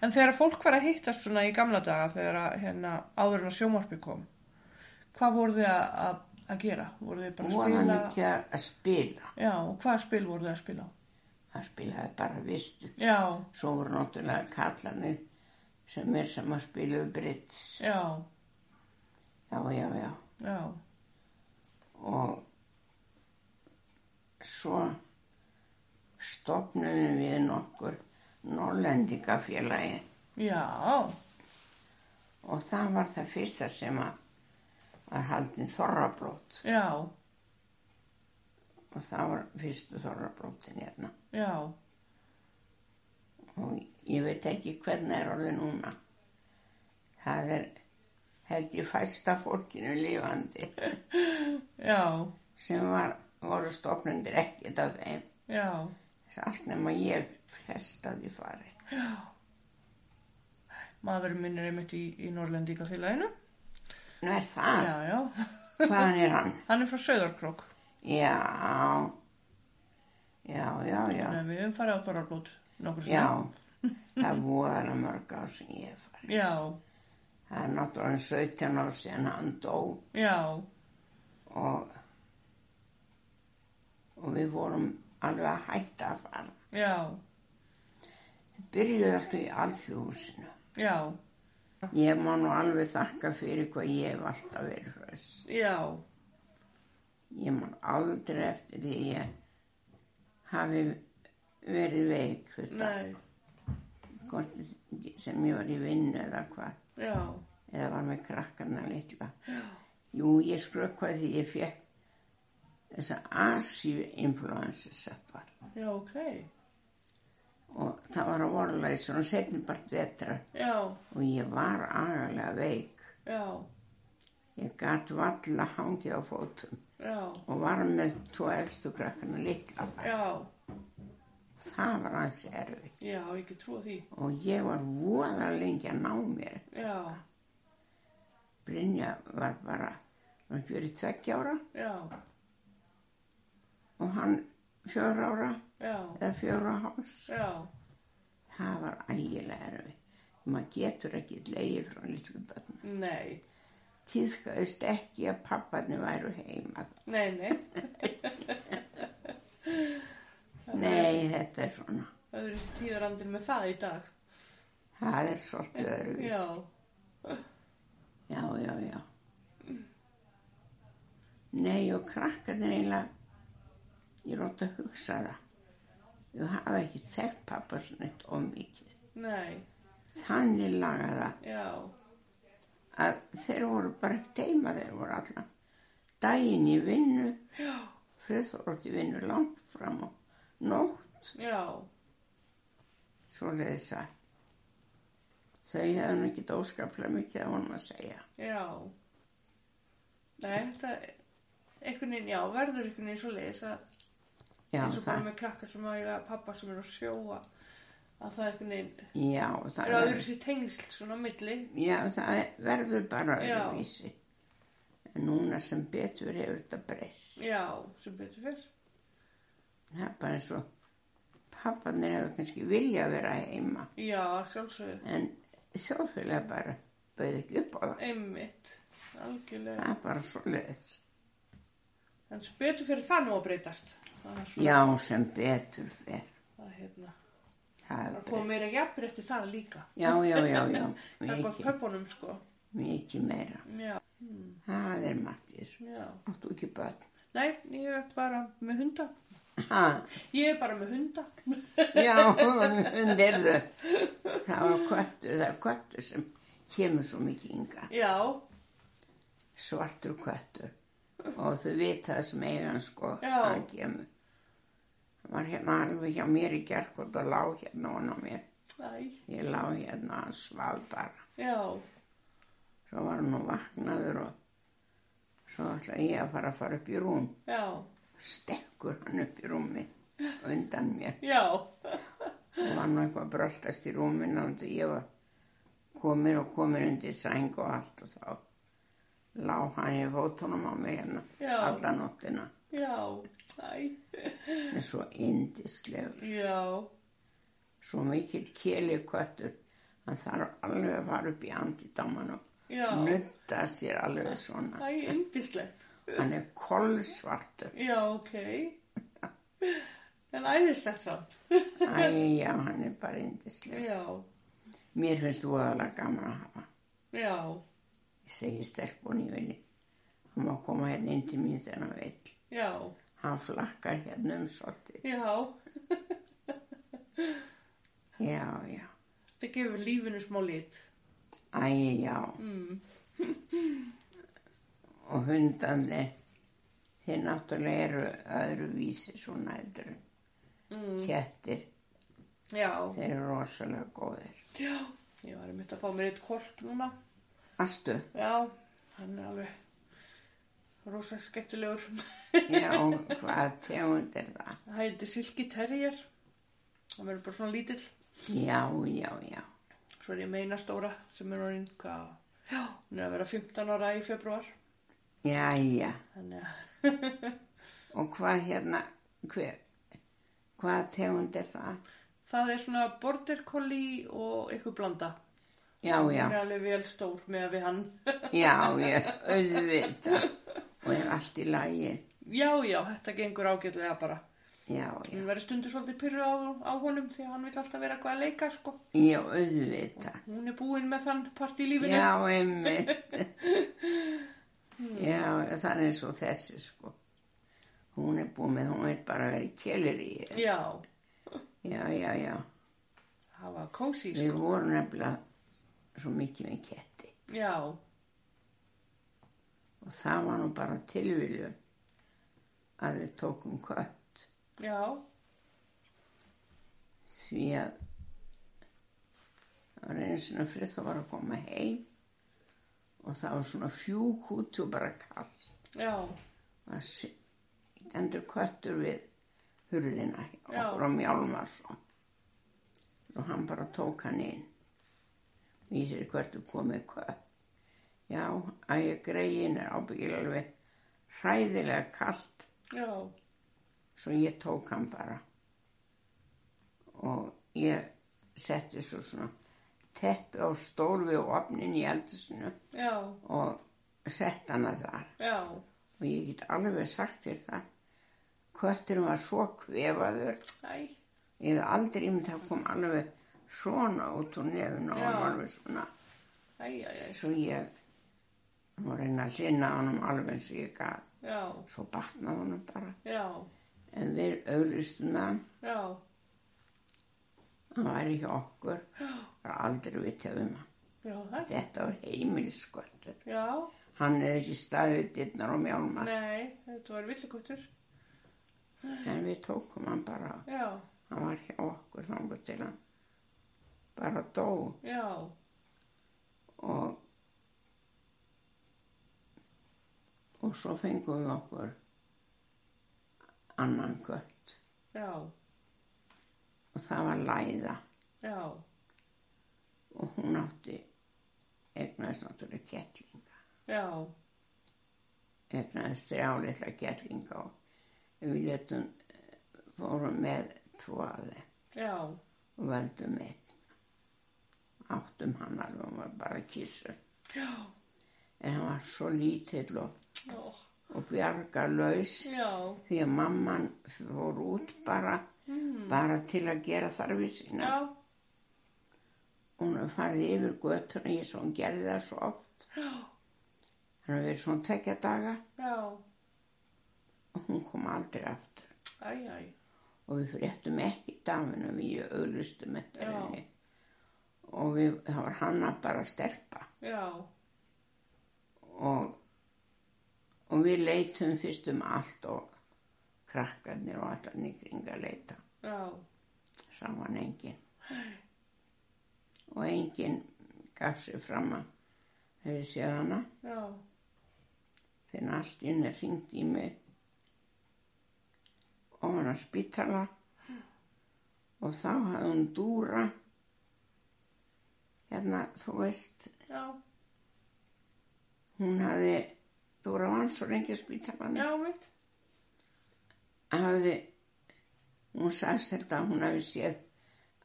[SPEAKER 1] En þegar fólk var að hittast svona í gamla daga þegar að, hérna, áður en að sjómarpi kom, hvað voru þið að, að, að gera? Voru þið bara að
[SPEAKER 2] Búið hann
[SPEAKER 1] spila?
[SPEAKER 2] ekki að að spila.
[SPEAKER 1] Já, og hvaða spil voru þið að spila?
[SPEAKER 2] Það spilaði bara vistu.
[SPEAKER 1] Já,
[SPEAKER 2] Svo voru náttúrulega kallanir sem er sem að spilaðu britts.
[SPEAKER 1] já,
[SPEAKER 2] Já, já, já.
[SPEAKER 1] já,
[SPEAKER 2] Og svo stopnum við nokkur Norrlendingafélagi
[SPEAKER 1] já,
[SPEAKER 2] og það var það fyrsta sem að var haldin þorrablót.
[SPEAKER 1] já,
[SPEAKER 2] og það var fyrstu þorrablótin hérna
[SPEAKER 1] já,
[SPEAKER 2] og ég veit ekki hvernig er orðið núna það er held ég fæsta fólkinu lífandi
[SPEAKER 1] já,
[SPEAKER 2] sem var, voru stofnundir ekkert af þeim
[SPEAKER 1] já,
[SPEAKER 2] þess að allt nema ég flest að ég fari
[SPEAKER 1] já. Maðurinn minn er einmitt í, í Norrlendingafélaginu.
[SPEAKER 2] nú er það,
[SPEAKER 1] Já, já.
[SPEAKER 2] hvaðan er hann?
[SPEAKER 1] Hann er frá Söðarkrók.
[SPEAKER 2] já já, já, já
[SPEAKER 1] Þannig að við höfum farið á Þorrablót nokkur
[SPEAKER 2] já, það er voðalega mörg á sem ég hef farið
[SPEAKER 1] Já,
[SPEAKER 2] það er náttúrulega 17 ár síðan hann dó
[SPEAKER 1] já,
[SPEAKER 2] og, og við vorum alveg að hætta að fara.
[SPEAKER 1] já,
[SPEAKER 2] Við Byrjuðu alltaf í alþjóðhúsinu.
[SPEAKER 1] já,
[SPEAKER 2] Ég má nú alveg þakka fyrir hvað ég hef alltaf verið hröss.
[SPEAKER 1] já,
[SPEAKER 2] Ég man aldrei eftir því að ég hafi verið veik fyrir það,
[SPEAKER 1] nei,
[SPEAKER 2] hvort sem ég var í vinnu eða hvað.
[SPEAKER 1] já,
[SPEAKER 2] eða var með krakkarna litla.
[SPEAKER 1] já,
[SPEAKER 2] Jú, ég skrökkvaði því ég fekk þessa asíu influensu seppar
[SPEAKER 1] já, ok,
[SPEAKER 2] og það var að vorlaði svona setnibart vetra
[SPEAKER 1] já,
[SPEAKER 2] og ég var agalega veik.
[SPEAKER 1] já,
[SPEAKER 2] Ég gat valla hangið á fótum
[SPEAKER 1] já,
[SPEAKER 2] og var með tvo elstu krakkarna litla.
[SPEAKER 1] já,
[SPEAKER 2] Það var aðeins erfitt
[SPEAKER 1] já, ég get trúið því,
[SPEAKER 2] og ég var voða lengi að ná mér.
[SPEAKER 1] já,
[SPEAKER 2] Brynja var bara, hann fyrir tveggja ára
[SPEAKER 1] já,
[SPEAKER 2] og hann fjóra ára
[SPEAKER 1] já,
[SPEAKER 2] eða fjóra og hálfs.
[SPEAKER 1] já,
[SPEAKER 2] Það var ægilega erfið. Maður getur ekki leiði frá litlu börnum.
[SPEAKER 1] nei,
[SPEAKER 2] Týðkaðist ekki að papparni væru heima.
[SPEAKER 1] nei, nei,
[SPEAKER 2] Nei, þetta er svona.
[SPEAKER 1] það eru tíðarandir með það í dag,
[SPEAKER 2] Það er svolítið öðruvís.
[SPEAKER 1] já,
[SPEAKER 2] já, já, já. Nei, og krakkarnir eiginlega, ég lótt að hugsa það. Þú hafa ekki þekkt pappa svona eitt of mikið.
[SPEAKER 1] nei,
[SPEAKER 2] Þannig laga það
[SPEAKER 1] já,
[SPEAKER 2] að þeir voru bara ekkert heima, þeir voru allan daginn í vinnu
[SPEAKER 1] já,
[SPEAKER 2] friðþórótti vinnu langt fram á nótt,
[SPEAKER 1] já,
[SPEAKER 2] svo leiðis að þau hefðu nú ekkert óskaplega mikið að honum að segja.
[SPEAKER 1] já, nei, þetta, einhvern veginn, já, verður einhvern veginn svo leiðis að
[SPEAKER 2] Já,
[SPEAKER 1] eins og bara
[SPEAKER 2] það,
[SPEAKER 1] með krakka sem að eiga pappa sem er að sjóa að það einhvern veginn
[SPEAKER 2] já, það,
[SPEAKER 1] eru að
[SPEAKER 2] verður,
[SPEAKER 1] vera sér tengsl svona á milli
[SPEAKER 2] já, það verður bara
[SPEAKER 1] Já.
[SPEAKER 2] öðruvísi. En núna sem betur hefur þetta breyst.
[SPEAKER 1] já, sem betur fyrr
[SPEAKER 2] Það er bara eins og pappanir hefur kannski vilja að vera heima,
[SPEAKER 1] já, sjálfsögðu,
[SPEAKER 2] en þjóðfélag bara bauð ekki upp á það.
[SPEAKER 1] einmitt algjörlega,
[SPEAKER 2] Það er bara svo leiðis.
[SPEAKER 1] en sem betur fyrr það nú að breytast það er svona
[SPEAKER 2] Já, sem betur fer.
[SPEAKER 1] að hérna,
[SPEAKER 2] Það er
[SPEAKER 1] það kom meira jafnir eftir það líka
[SPEAKER 2] Já, já, já, já,
[SPEAKER 1] það er bara
[SPEAKER 2] mikið,
[SPEAKER 1] köpunum sko
[SPEAKER 2] mikið meira.
[SPEAKER 1] já,
[SPEAKER 2] Það er margt í þessu.
[SPEAKER 1] já,
[SPEAKER 2] Áttu ekki börn.
[SPEAKER 1] nei, ég er bara með hunda
[SPEAKER 2] Ha,
[SPEAKER 1] ég er bara með hunda
[SPEAKER 2] já, hundirðu. Það var köttur, það er köttur sem kemur svo mikið ynga.
[SPEAKER 1] já,
[SPEAKER 2] Svartur köttur. Og þau vita það sem eiga hann sko,
[SPEAKER 1] Já.
[SPEAKER 2] hann kemur. Hann var hérna alveg hjá mér í gerkvöld og lá hérna honum mér.
[SPEAKER 1] næ,
[SPEAKER 2] Ég lá hérna, hann svaf bara.
[SPEAKER 1] já
[SPEAKER 2] Svo var hann nú vaknaður og svo ætla ég að fara að fara upp í rúm.
[SPEAKER 1] já,
[SPEAKER 2] Stekkur hann upp í rúmi undan mér.
[SPEAKER 1] já
[SPEAKER 2] og var nú eitthvað að bröltast í rúminu og ég var komin og komin undir sæng og allt og þá lá hann í fótunum á mig hérna
[SPEAKER 1] Já.
[SPEAKER 2] alla nóttina
[SPEAKER 1] Já, æ,
[SPEAKER 2] en svo indislegur
[SPEAKER 1] já,
[SPEAKER 2] svo mikill keli köttur hann þarf alveg að fara upp í andidaman og
[SPEAKER 1] já,
[SPEAKER 2] nutta sér alveg svona
[SPEAKER 1] æ, yndislegt,
[SPEAKER 2] hann er kolsvartur
[SPEAKER 1] já, ok, en æðislegt samt,
[SPEAKER 2] æ já hann er bara indislegur
[SPEAKER 1] já,
[SPEAKER 2] mér finnst voðalega gaman að hafa hann.
[SPEAKER 1] já,
[SPEAKER 2] ég segi stelpun í vilji hann má koma hérna inn til mín þegar hann vill
[SPEAKER 1] já,
[SPEAKER 2] hann flakkar hérna um svolítið.
[SPEAKER 1] já,
[SPEAKER 2] Já, já,
[SPEAKER 1] þetta gefur lífinu smá lit,
[SPEAKER 2] æ, já,
[SPEAKER 1] mm.
[SPEAKER 2] og hundarnir, þeir náttúrulega eru öðruvísi svona heldur en
[SPEAKER 1] Mm.
[SPEAKER 2] kettir,
[SPEAKER 1] já,
[SPEAKER 2] þeir eru rosalega góðir.
[SPEAKER 1] já, ég var einmitt að fá mér eitt kork núna,
[SPEAKER 2] Astu,
[SPEAKER 1] já, hann er alveg rosa skemmtilegur,
[SPEAKER 2] já, hvaða tegund er það?
[SPEAKER 1] það heitir Silki Terrier, hann verður bara svona lítill,
[SPEAKER 2] Já, já, já,
[SPEAKER 1] Svo er ég meina stóra sem er orðin hvað, já, hún er að vera 15 ára í februar.
[SPEAKER 2] já, já,
[SPEAKER 1] Þannig að,
[SPEAKER 2] og hvað hérna, hver, hvaða tegund er það?
[SPEAKER 1] það er svona border collie og ykkur blanda.
[SPEAKER 2] Já, já,
[SPEAKER 1] Hún er alveg vel stór með við hann.
[SPEAKER 2] já, já, auðvitað, og er allt í lagi,
[SPEAKER 1] já, já, þetta gengur ágætlega bara.
[SPEAKER 2] já, já,
[SPEAKER 1] Hún verður stundur svolítið pyrru á, á honum því að hann vil alltaf vera eitthvað að leika, sko.
[SPEAKER 2] já, auðvitað.
[SPEAKER 1] Hún er búin með þann part í lífinu.
[SPEAKER 2] Já, einmitt. Já, það er eins og þessi sko. Hún er búin með, hún er bara að vera í kjelir í.
[SPEAKER 1] já
[SPEAKER 2] Já, já, já.
[SPEAKER 1] það var kósi, sko.
[SPEAKER 2] Við vorum nefnilega svo mikið með ketti
[SPEAKER 1] já,
[SPEAKER 2] og það var nú bara tilviljun að við tókum kött
[SPEAKER 1] já,
[SPEAKER 2] því að það var einu sinna frið þá var að koma heim og það var svona fjúk út og bara kall
[SPEAKER 1] já,
[SPEAKER 2] það stendur köttur við hurðina hjá
[SPEAKER 1] Já.
[SPEAKER 2] okkur á Mjálmarsson og hann bara tók hann inn og ég sér hvert er komið kött já, að ég greiðin er ábyggilega alveg hræðilega kallt
[SPEAKER 1] já,
[SPEAKER 2] Svo ég tók hann bara og ég setti svo svona teppi á stól við opnin í eldusinu
[SPEAKER 1] já,
[SPEAKER 2] og sett hana þar.
[SPEAKER 1] já,
[SPEAKER 2] Og ég get alveg sagt þér það, kötturinn var svo kvefaður,
[SPEAKER 1] æ,
[SPEAKER 2] ég hef aldrei um það kom alveg svona út úr nefn og hann
[SPEAKER 1] Já.
[SPEAKER 2] alveg svona.
[SPEAKER 1] æ, æ, æ,
[SPEAKER 2] Svo ég, hann var að reyna að hlinna honum alveg eins og ég gaf,
[SPEAKER 1] já,
[SPEAKER 2] svo batnaði honum bara.
[SPEAKER 1] já,
[SPEAKER 2] En við auðlistum með hann
[SPEAKER 1] já,
[SPEAKER 2] Hann væri hjá okkur, bara aldrei vitað um hann.
[SPEAKER 1] já, það,
[SPEAKER 2] Þetta var heimilisköttur.
[SPEAKER 1] já,
[SPEAKER 2] Hann er ekki staðið dittnar og mjálma,
[SPEAKER 1] nei, þetta var villikottur,
[SPEAKER 2] en við tókum hann bara.
[SPEAKER 1] já,
[SPEAKER 2] Hann var hjá okkur þangur til hann bara dó
[SPEAKER 1] já,
[SPEAKER 2] og, og svo fengum við okkur annan kött
[SPEAKER 1] já,
[SPEAKER 2] og það var læða
[SPEAKER 1] já,
[SPEAKER 2] og hún átti egnaðist náttúrulega kettling.
[SPEAKER 1] já,
[SPEAKER 2] egnaðist þrjá litla gerlinga og við letum, øh, fórum með tvo af þeim
[SPEAKER 1] já,
[SPEAKER 2] og veldum einn. Áttum hann alveg, hann var bara kísur.
[SPEAKER 1] já,
[SPEAKER 2] En hann var svo lítill og,
[SPEAKER 1] ó,
[SPEAKER 2] og bjarga laus
[SPEAKER 1] já,
[SPEAKER 2] því að mamman fór út bara,
[SPEAKER 1] mm,
[SPEAKER 2] bara til að gera þarfi sína.
[SPEAKER 1] já,
[SPEAKER 2] Hún hafði farið yfir götuna, ég svo hún gerði það svo oft.
[SPEAKER 1] já,
[SPEAKER 2] Hann hafði verið svona tvekja daga
[SPEAKER 1] já,
[SPEAKER 2] og hún kom aldrei aftur.
[SPEAKER 1] æ, æ,
[SPEAKER 2] og við fréttum ekki dafinu við auðlustum eftir
[SPEAKER 1] Já.
[SPEAKER 2] henni og við, það var hanna bara að stelpa
[SPEAKER 1] já,
[SPEAKER 2] og, og við leitum fyrst um allt og krakkarnir og allar nýkring að leita
[SPEAKER 1] já,
[SPEAKER 2] saman engin og engin gaf sér fram að hefði séð hana
[SPEAKER 1] já,
[SPEAKER 2] þegar allt inni ringdi í mig og hann að spítala og þá hafði hún dúra hérna, þú veist
[SPEAKER 1] já,
[SPEAKER 2] hún hafði dúra vann svo lengi að spítalanum
[SPEAKER 1] já, mitt,
[SPEAKER 2] hafði hún sagðist þetta að hún hafi séð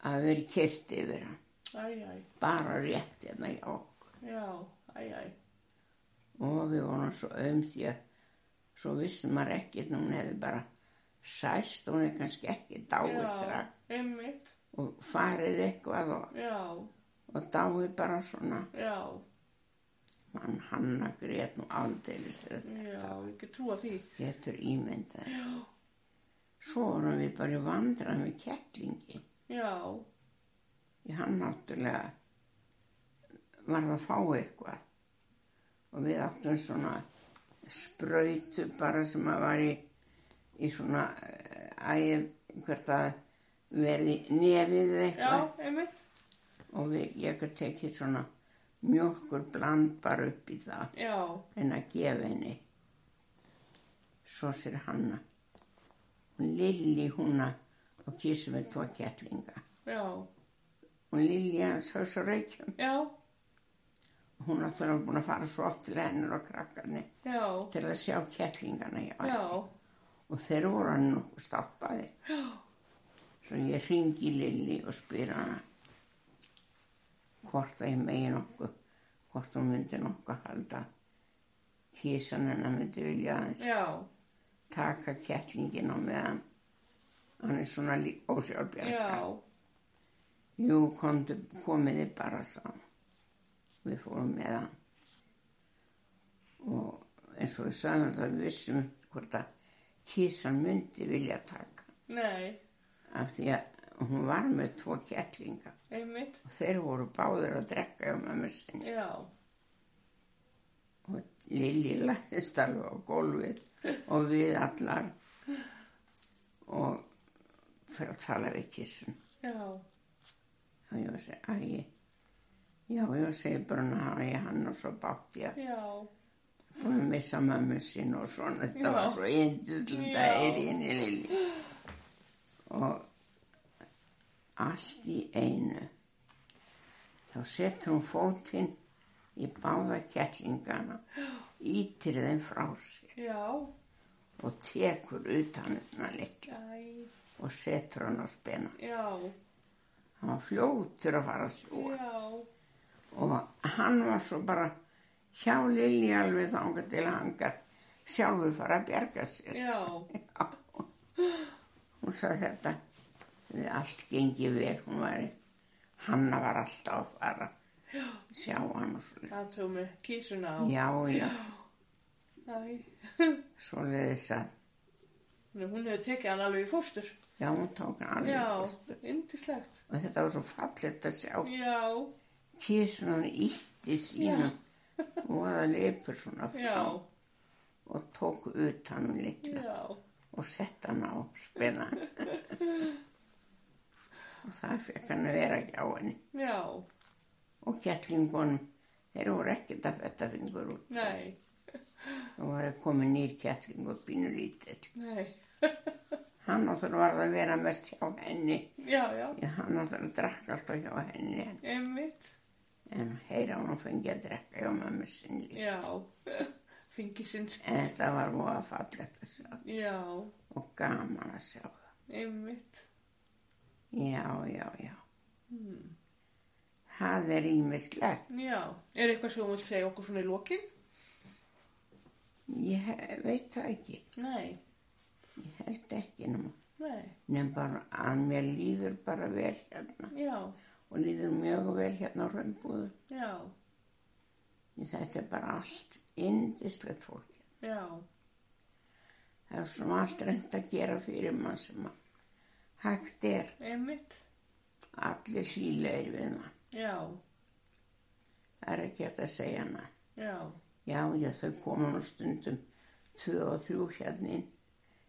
[SPEAKER 2] að hafi verið kyrt yfir
[SPEAKER 1] æ,
[SPEAKER 2] hann
[SPEAKER 1] æ,
[SPEAKER 2] bara rétt hérna hjá okkur
[SPEAKER 1] já, æ, æ,
[SPEAKER 2] og við vorum svo um því að svo vissum maður ekkert hún hefði bara sæst hún hefði kannski ekki dáið strax
[SPEAKER 1] já, einmitt,
[SPEAKER 2] og farið eitthvað og,
[SPEAKER 1] já,
[SPEAKER 2] og dáið bara svona
[SPEAKER 1] já,
[SPEAKER 2] mann hanna grét nú aldeilis
[SPEAKER 1] já, ég get trúa því,
[SPEAKER 2] getur ímyndað
[SPEAKER 1] já,
[SPEAKER 2] svo vorum við bara vandrað með kettlingi
[SPEAKER 1] já,
[SPEAKER 2] í hann náttúrulega varð að fá eitthvað og við áttum svona spröytu bara sem að var í, í svona æg hvert að verði nefið eða
[SPEAKER 1] já,
[SPEAKER 2] eitthvað
[SPEAKER 1] einmitt,
[SPEAKER 2] og við, ég hef tekið svona mjölkur bland bara upp í það
[SPEAKER 1] já,
[SPEAKER 2] en að gefa henni svo sér hanna hún Lilli húna og kísum með tvo kettlinga
[SPEAKER 1] já,
[SPEAKER 2] hún Lilli hans haus á reykjum
[SPEAKER 1] já,
[SPEAKER 2] hún áttur að búin að fara svo oft til hennar og krakkarni
[SPEAKER 1] já,
[SPEAKER 2] til að sjá kettlingana hjá henni
[SPEAKER 1] já,
[SPEAKER 2] og þeir voru hann nokkuð stoppaði
[SPEAKER 1] já,
[SPEAKER 2] svo ég ringi Lilli og spyr hana hvort að ég megi nokkuð hvort hún myndi nokkuð halda kísan hennar myndi vilja aðeins
[SPEAKER 1] já,
[SPEAKER 2] taka kettlingin á meðan hann er svona ósjálfbjarga
[SPEAKER 1] já,
[SPEAKER 2] jú komdu, komiði bara saman við fórum með hann og eins og við sagðum það við vissum hvort að kísan myndi vilja taka
[SPEAKER 1] nei,
[SPEAKER 2] af því að og hún var með tvo kettlinga
[SPEAKER 1] einmitt,
[SPEAKER 2] og þeir voru báðir að drekka hjá mömmu sinni
[SPEAKER 1] já,
[SPEAKER 2] og Lili læðist alveg á gólfið og við allar og fyrir að tala við kissun
[SPEAKER 1] já,
[SPEAKER 2] og ég var að segja, æ, já, ég var að segja bara hann, ég hann og svo bátt ég
[SPEAKER 1] já,
[SPEAKER 2] búin að missa mömmu sín og svona, þetta
[SPEAKER 1] Já.
[SPEAKER 2] var svo yndislega
[SPEAKER 1] Já.
[SPEAKER 2] að heyri henni Lili og allt í einu þá setur hún fótinn í báða kettlingana ítir þeim frá sér
[SPEAKER 1] já,
[SPEAKER 2] og tekur utan hennar litla
[SPEAKER 1] æ,
[SPEAKER 2] og setur hann á spena.
[SPEAKER 1] já,
[SPEAKER 2] Hann var fljótur að fara að sjúa
[SPEAKER 1] já,
[SPEAKER 2] og hann var svo bara hjá Lilji alveg þanga til að hann gætt sjálfur fara að bjarga sér.
[SPEAKER 1] já,
[SPEAKER 2] Já. Hún sagði þetta, þegar allt gengi vel, hún var, hanna var alltaf að fara, að sjá hann og svo.
[SPEAKER 1] það tók mig kísuna á,
[SPEAKER 2] Já, já,
[SPEAKER 1] æ,
[SPEAKER 2] svo leiðis að,
[SPEAKER 1] Nú, hún hefur tekið hann alveg í fóstur,
[SPEAKER 2] já, hún tók hann alveg.
[SPEAKER 1] já,
[SPEAKER 2] burt.
[SPEAKER 1] yndislegt,
[SPEAKER 2] Og þetta var svo fallit að sjá.
[SPEAKER 1] já,
[SPEAKER 2] kísunan ítti sínum og það leipur svona frá
[SPEAKER 1] já,
[SPEAKER 2] og tók utan um litla
[SPEAKER 1] já,
[SPEAKER 2] og sett hann á spenna og það fekk hann að vera hjá henni
[SPEAKER 1] já,
[SPEAKER 2] og kettlingunum þeir voru ekkert að fetta fingur út
[SPEAKER 1] nei,
[SPEAKER 2] þá var komið nýr kettling og bínu lítill
[SPEAKER 1] nei,
[SPEAKER 2] hann náttúrulega varð að vera mest hjá henni
[SPEAKER 1] já, já,
[SPEAKER 2] Ég, hann náttúrulega drakk alltaf hjá henni
[SPEAKER 1] einmitt,
[SPEAKER 2] en heyra hann og fengi að drekka hjá mamma sinni líka.
[SPEAKER 1] já, fingisins,
[SPEAKER 2] en þetta var móða fallegt að sjá
[SPEAKER 1] já,
[SPEAKER 2] og gaman að sjá það.
[SPEAKER 1] einmitt,
[SPEAKER 2] Já, já, já. Það er ímislegt.
[SPEAKER 1] Hmm. já, er eitthvað sem þú vilt segja okkur svona í lokin?
[SPEAKER 2] Ég he- veit það ekki.
[SPEAKER 1] Nei,
[SPEAKER 2] Ég held ekki nema.
[SPEAKER 1] nei,
[SPEAKER 2] Nefn bara að mér líður bara vel hérna
[SPEAKER 1] já,
[SPEAKER 2] og líður mjög vel hérna á römbúðu.
[SPEAKER 1] já,
[SPEAKER 2] Þetta er bara allt indislegt fólk. hérna.
[SPEAKER 1] já,
[SPEAKER 2] Það er svona allt reynd að gera fyrir mann sem að hægt er.
[SPEAKER 1] einmitt,
[SPEAKER 2] Allir síleir við mann.
[SPEAKER 1] já,
[SPEAKER 2] Það er ekki hægt að segja hana.
[SPEAKER 1] já,
[SPEAKER 2] Já, já, þau koma nú stundum tvö og þrjú hérna inn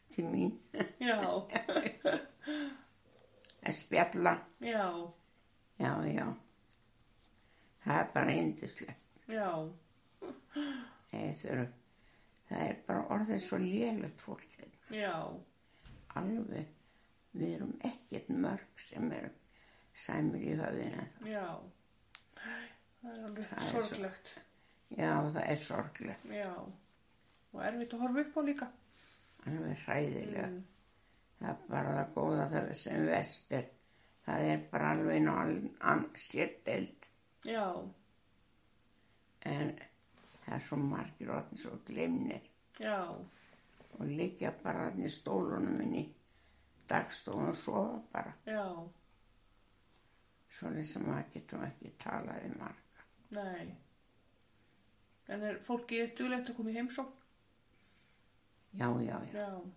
[SPEAKER 2] til mín
[SPEAKER 1] já,
[SPEAKER 2] að spjalla.
[SPEAKER 1] já,
[SPEAKER 2] Já, já. Það er bara yndislegt.
[SPEAKER 1] já,
[SPEAKER 2] Nei, þau eru- Það er bara orðið svo lélegt fólk. hérna.
[SPEAKER 1] já,
[SPEAKER 2] Alveg, við erum ekkert mörg sem eru sæmur í höfðinu.
[SPEAKER 1] já, það er alveg
[SPEAKER 2] Það er svo-
[SPEAKER 1] sorglegt,
[SPEAKER 2] Já, það er sorglegt,
[SPEAKER 1] já, og erfitt að horfa upp á líka,
[SPEAKER 2] alveg hræðilega.
[SPEAKER 1] Mm.
[SPEAKER 2] Það er bara það góða það sem vest er. Það er bara alveg inn á al- an- sér deild.
[SPEAKER 1] já,
[SPEAKER 2] En það er svo margir orðin svo glimnir
[SPEAKER 1] já,
[SPEAKER 2] og liggja bara þannig í stólunum minni dagstofun og sofa bara.
[SPEAKER 1] já,
[SPEAKER 2] Svolítið sem maður getum ekki talað um marga.
[SPEAKER 1] nei, en er fólkið duðlegt að koma í heimsókn?
[SPEAKER 2] Já, já, já.
[SPEAKER 1] Já,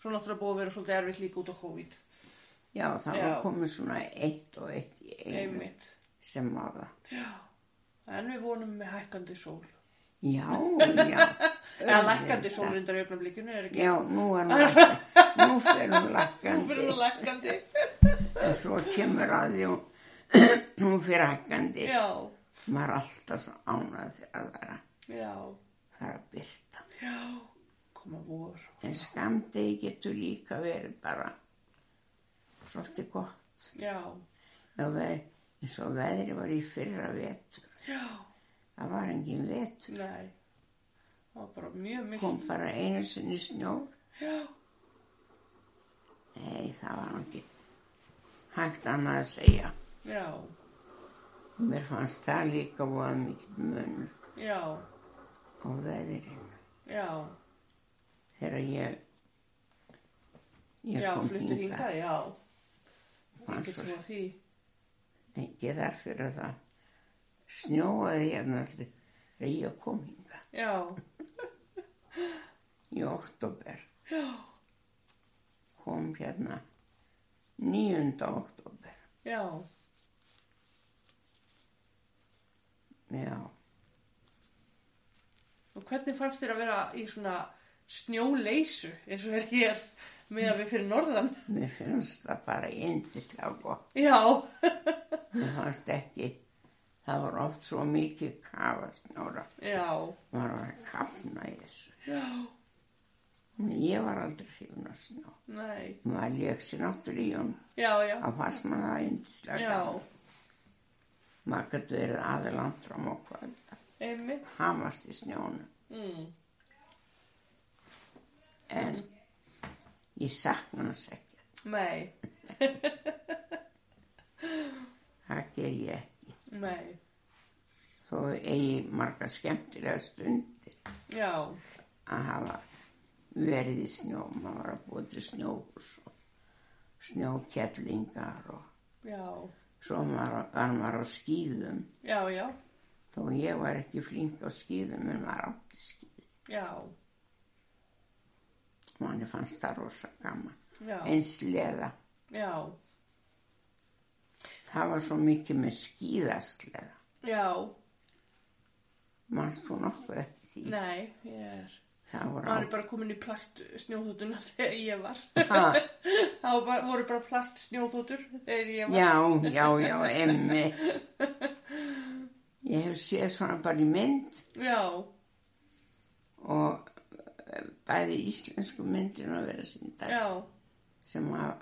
[SPEAKER 1] svo náttúrulega búið að vera svolítið erfitt líka út á COVID,
[SPEAKER 2] Já, það
[SPEAKER 1] Já.
[SPEAKER 2] var komið svona eitt og eitt í einu
[SPEAKER 1] einmitt,
[SPEAKER 2] sem var það.
[SPEAKER 1] já, en við vonum með hækkandi sól,
[SPEAKER 2] Já, já.
[SPEAKER 1] eða lækkandi sól reyndar í öfnablikinu, er ekki?
[SPEAKER 2] Já, nú er hún lakkandi. Nú fer hún
[SPEAKER 1] Hún fyrir
[SPEAKER 2] lakkandi
[SPEAKER 1] hún lækkandi,
[SPEAKER 2] og svo kemur að því hún, hún fer hækkandi.
[SPEAKER 1] já,
[SPEAKER 2] Maður er alltaf svo ánað þegar það er að
[SPEAKER 1] já,
[SPEAKER 2] fara að byrta.
[SPEAKER 1] já, koma vor,
[SPEAKER 2] En skamdegi getur líka verið bara svolítið gott.
[SPEAKER 1] já,
[SPEAKER 2] Já, veð, eins og veðri var í fyrra vetur.
[SPEAKER 1] já,
[SPEAKER 2] Það var engin vetur.
[SPEAKER 1] nei, það var bara mjög mikið,
[SPEAKER 2] Kom bara einu sinni snjór.
[SPEAKER 1] já,
[SPEAKER 2] Nei, það var nú ekki hægt annað að segja.
[SPEAKER 1] já,
[SPEAKER 2] Mér fannst það líka voða mikið mun
[SPEAKER 1] já,
[SPEAKER 2] á veðrinu.
[SPEAKER 1] já,
[SPEAKER 2] Þegar ég, ég
[SPEAKER 1] já,
[SPEAKER 2] kom
[SPEAKER 1] fluttu hingað, já, ég
[SPEAKER 2] fannst
[SPEAKER 1] get
[SPEAKER 2] svo
[SPEAKER 1] trúa því,
[SPEAKER 2] ekki þar fyrir að það. Snjóaði hérna allir þegar ég kom hingað
[SPEAKER 1] já,
[SPEAKER 2] í oktober.
[SPEAKER 1] já,
[SPEAKER 2] Kom hérna 9. oktober.
[SPEAKER 1] Já,
[SPEAKER 2] Já,
[SPEAKER 1] og hvernig fannst þér að vera í svona snjóleysu eins og er hér með að við fyrir norðan?
[SPEAKER 2] mér finnst það bara yndislega gott.
[SPEAKER 1] Já,
[SPEAKER 2] Mér fannst ekki, það var oft svo mikið kafasnóra.
[SPEAKER 1] já,
[SPEAKER 2] Maður var að kafna í þessu.
[SPEAKER 1] já,
[SPEAKER 2] En Ég var aldrei hrifin að snó.
[SPEAKER 1] nei,
[SPEAKER 2] Maður leik sér náttúrulega í hún.
[SPEAKER 1] já, já,
[SPEAKER 2] Það fannst maður það yndislega
[SPEAKER 1] já,
[SPEAKER 2] gaman. Maður gæti verið aðilangt frá mókvölda.
[SPEAKER 1] einmitt,
[SPEAKER 2] Hamast í snjónu.
[SPEAKER 1] mm.
[SPEAKER 2] En ég sakna hans ekki.
[SPEAKER 1] nei,
[SPEAKER 2] Það ger ég ekki.
[SPEAKER 1] nei,
[SPEAKER 2] Þó eigi marga skemmtilega stundir
[SPEAKER 1] já,
[SPEAKER 2] að hafa verið í snjó. Maður var að búa til snjóhús og snjókettlingar og
[SPEAKER 1] já,
[SPEAKER 2] svo maður, var maður á skýðum.
[SPEAKER 1] já, já,
[SPEAKER 2] Þó ég var ekki flink á skýðum en maður átti skýðum.
[SPEAKER 1] já,
[SPEAKER 2] Manni fannst það rosa gaman.
[SPEAKER 1] já,
[SPEAKER 2] Eins leða.
[SPEAKER 1] já,
[SPEAKER 2] Það var svo mikið með skýðasleða.
[SPEAKER 1] já,
[SPEAKER 2] Manst þú nokkuð eftir því?
[SPEAKER 1] nei, ég er...
[SPEAKER 2] Það voru
[SPEAKER 1] maður er bara komin í plast snjóþótuna þegar ég var
[SPEAKER 2] Ha.
[SPEAKER 1] þá var- voru bara plast snjóþótur þegar ég var
[SPEAKER 2] Já, já, já, emmi. Ég hef séð svona bara í mynd
[SPEAKER 1] já,
[SPEAKER 2] og eh, bæði íslensku myndin að vera síndar
[SPEAKER 1] já,
[SPEAKER 2] sem að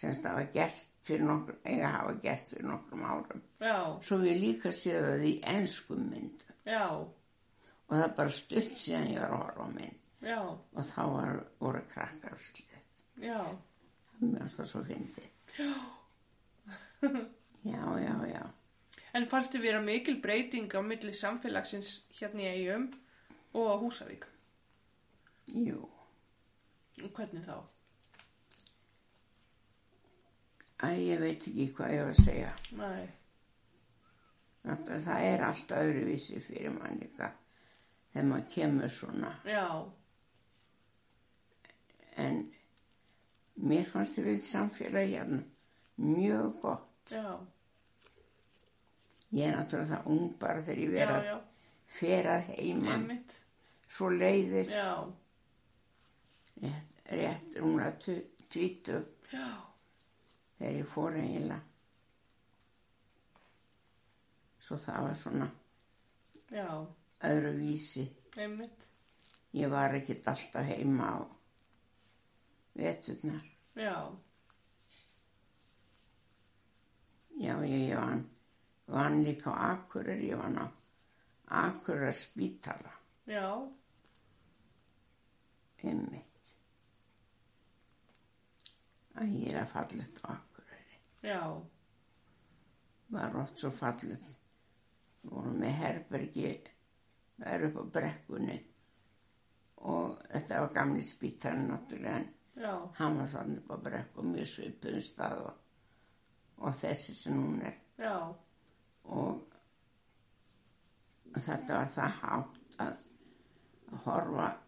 [SPEAKER 2] sem það var gert fyrir nokkur, eiga að hafa gert fyrir nokkrum árum.
[SPEAKER 1] já,
[SPEAKER 2] Svo við líka séð það í ensku mynd
[SPEAKER 1] já,
[SPEAKER 2] og það er bara stutt síðan ég var að horfa á mynd
[SPEAKER 1] já,
[SPEAKER 2] og þá var, voru krakkar á slið.
[SPEAKER 1] já,
[SPEAKER 2] Mér fannst það svo fyndið. Já, já, já.
[SPEAKER 1] en fannst þið vera mikil breyting á milli samfélagsins hérna í eigum og á Húsavík
[SPEAKER 2] Jú.
[SPEAKER 1] og hvernig þá?
[SPEAKER 2] Æ, ég veit ekki hvað ég var að segja.
[SPEAKER 1] Nei,
[SPEAKER 2] Náttúrulega það er allt öðruvísi fyrir mann líka þegar maður kemur svona.
[SPEAKER 1] já,
[SPEAKER 2] En mér fannst þið við samfélagi hérna mjög gott.
[SPEAKER 1] já,
[SPEAKER 2] Ég er náttúrulega það ung bara þegar ég
[SPEAKER 1] já,
[SPEAKER 2] verið
[SPEAKER 1] já,
[SPEAKER 2] að ferað heima.
[SPEAKER 1] einmitt,
[SPEAKER 2] Svo leiðis
[SPEAKER 1] já,
[SPEAKER 2] rétt, rétt rúmlega tu- tvítu
[SPEAKER 1] já,
[SPEAKER 2] þegar ég fór eiginlega. Svo það var svona
[SPEAKER 1] já,
[SPEAKER 2] öðruvísi.
[SPEAKER 1] einmitt,
[SPEAKER 2] Ég var ekkert alltaf heima á veturnar.
[SPEAKER 1] já,
[SPEAKER 2] Já, ég, ég vann, vann líka á Akureyri, ég vann á Akureyra spítala,
[SPEAKER 1] já,
[SPEAKER 2] einmitt. Að ég er að fallet á Akureyri.
[SPEAKER 1] já,
[SPEAKER 2] Var oft svo fallet. Voru með herbergi, verið upp á brekkunni. Og þetta var gamli spítalinn náttúrulega, en
[SPEAKER 1] já,
[SPEAKER 2] hann var þannig upp á brekku, mjög svipuðum stað og, og þessi sem hún er.
[SPEAKER 1] já,
[SPEAKER 2] og þetta var það hátt að að horfa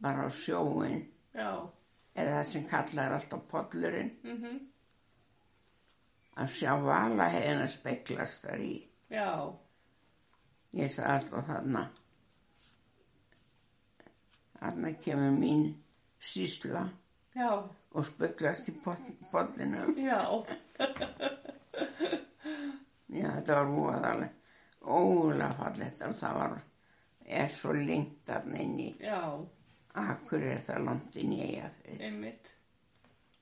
[SPEAKER 2] bara á sjóin
[SPEAKER 1] já,
[SPEAKER 2] eða það sem kallar alltaf pollurinn
[SPEAKER 1] mhm,
[SPEAKER 2] að sjá vala hefðina speglast þar í
[SPEAKER 1] já,
[SPEAKER 2] ég sagði alltaf þarna þarna kemur mín sísla
[SPEAKER 1] já,
[SPEAKER 2] og speglast í pollinum
[SPEAKER 1] já,
[SPEAKER 2] já þetta var óðalega ólega fallegt og það var er svo lengt þarna inn í
[SPEAKER 1] já,
[SPEAKER 2] Akkur er það langt inn í Eyjafjörð.
[SPEAKER 1] einmitt,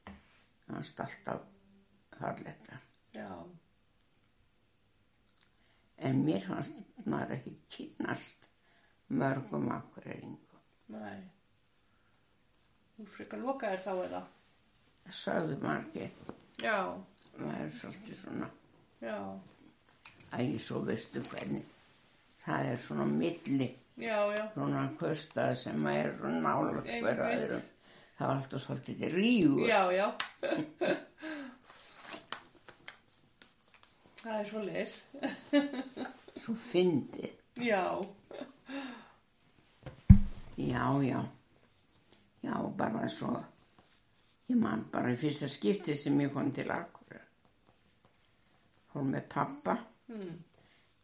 [SPEAKER 2] Það var alltaf harletar.
[SPEAKER 1] já,
[SPEAKER 2] En mér fannst maður ekki kynast mörgum akkureyringum.
[SPEAKER 1] næ. Þú frekar lokaðir þá eða?
[SPEAKER 2] Það sögðu margi,
[SPEAKER 1] Já,
[SPEAKER 2] maður er svolítið svona,
[SPEAKER 1] já,
[SPEAKER 2] að ég svo veistu hvernig. Það er svona milli,
[SPEAKER 1] já, já,
[SPEAKER 2] svona kustað sem maður er svona nálaðt hver
[SPEAKER 1] Einmitt.
[SPEAKER 2] öðrum. Það var alltaf svolítið rígur.
[SPEAKER 1] já, já. Það er svo leis.
[SPEAKER 2] Svo fyndið.
[SPEAKER 1] Já,
[SPEAKER 2] Já, já. Já, bara svo Ég man bara í fyrsta skipti sem ég kom til Akureyri. Fór með pappa.
[SPEAKER 3] Mm.
[SPEAKER 1] mhm,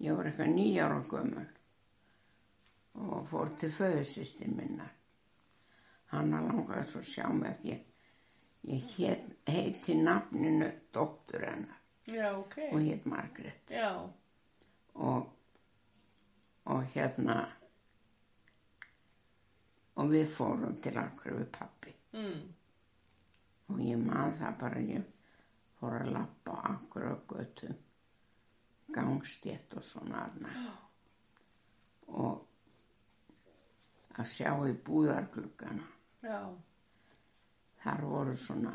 [SPEAKER 2] Ég var eitthvað nýjar og gömul og fór til föðusýstir minna. Hanna langaði svo að sjá mig að ég, ég hét, heiti nafninu dóttur hennar
[SPEAKER 3] Já, ok.
[SPEAKER 2] og hétt Margrét
[SPEAKER 3] Já,
[SPEAKER 2] og, og hérna og við fórum til akkur við pappi
[SPEAKER 1] mhm.
[SPEAKER 3] mm.
[SPEAKER 2] og ég maður það bara ég fór að lappa akkur á götu gangstétt og svona aðna og að sjá í búðargluggana
[SPEAKER 3] já,
[SPEAKER 2] þar voru svona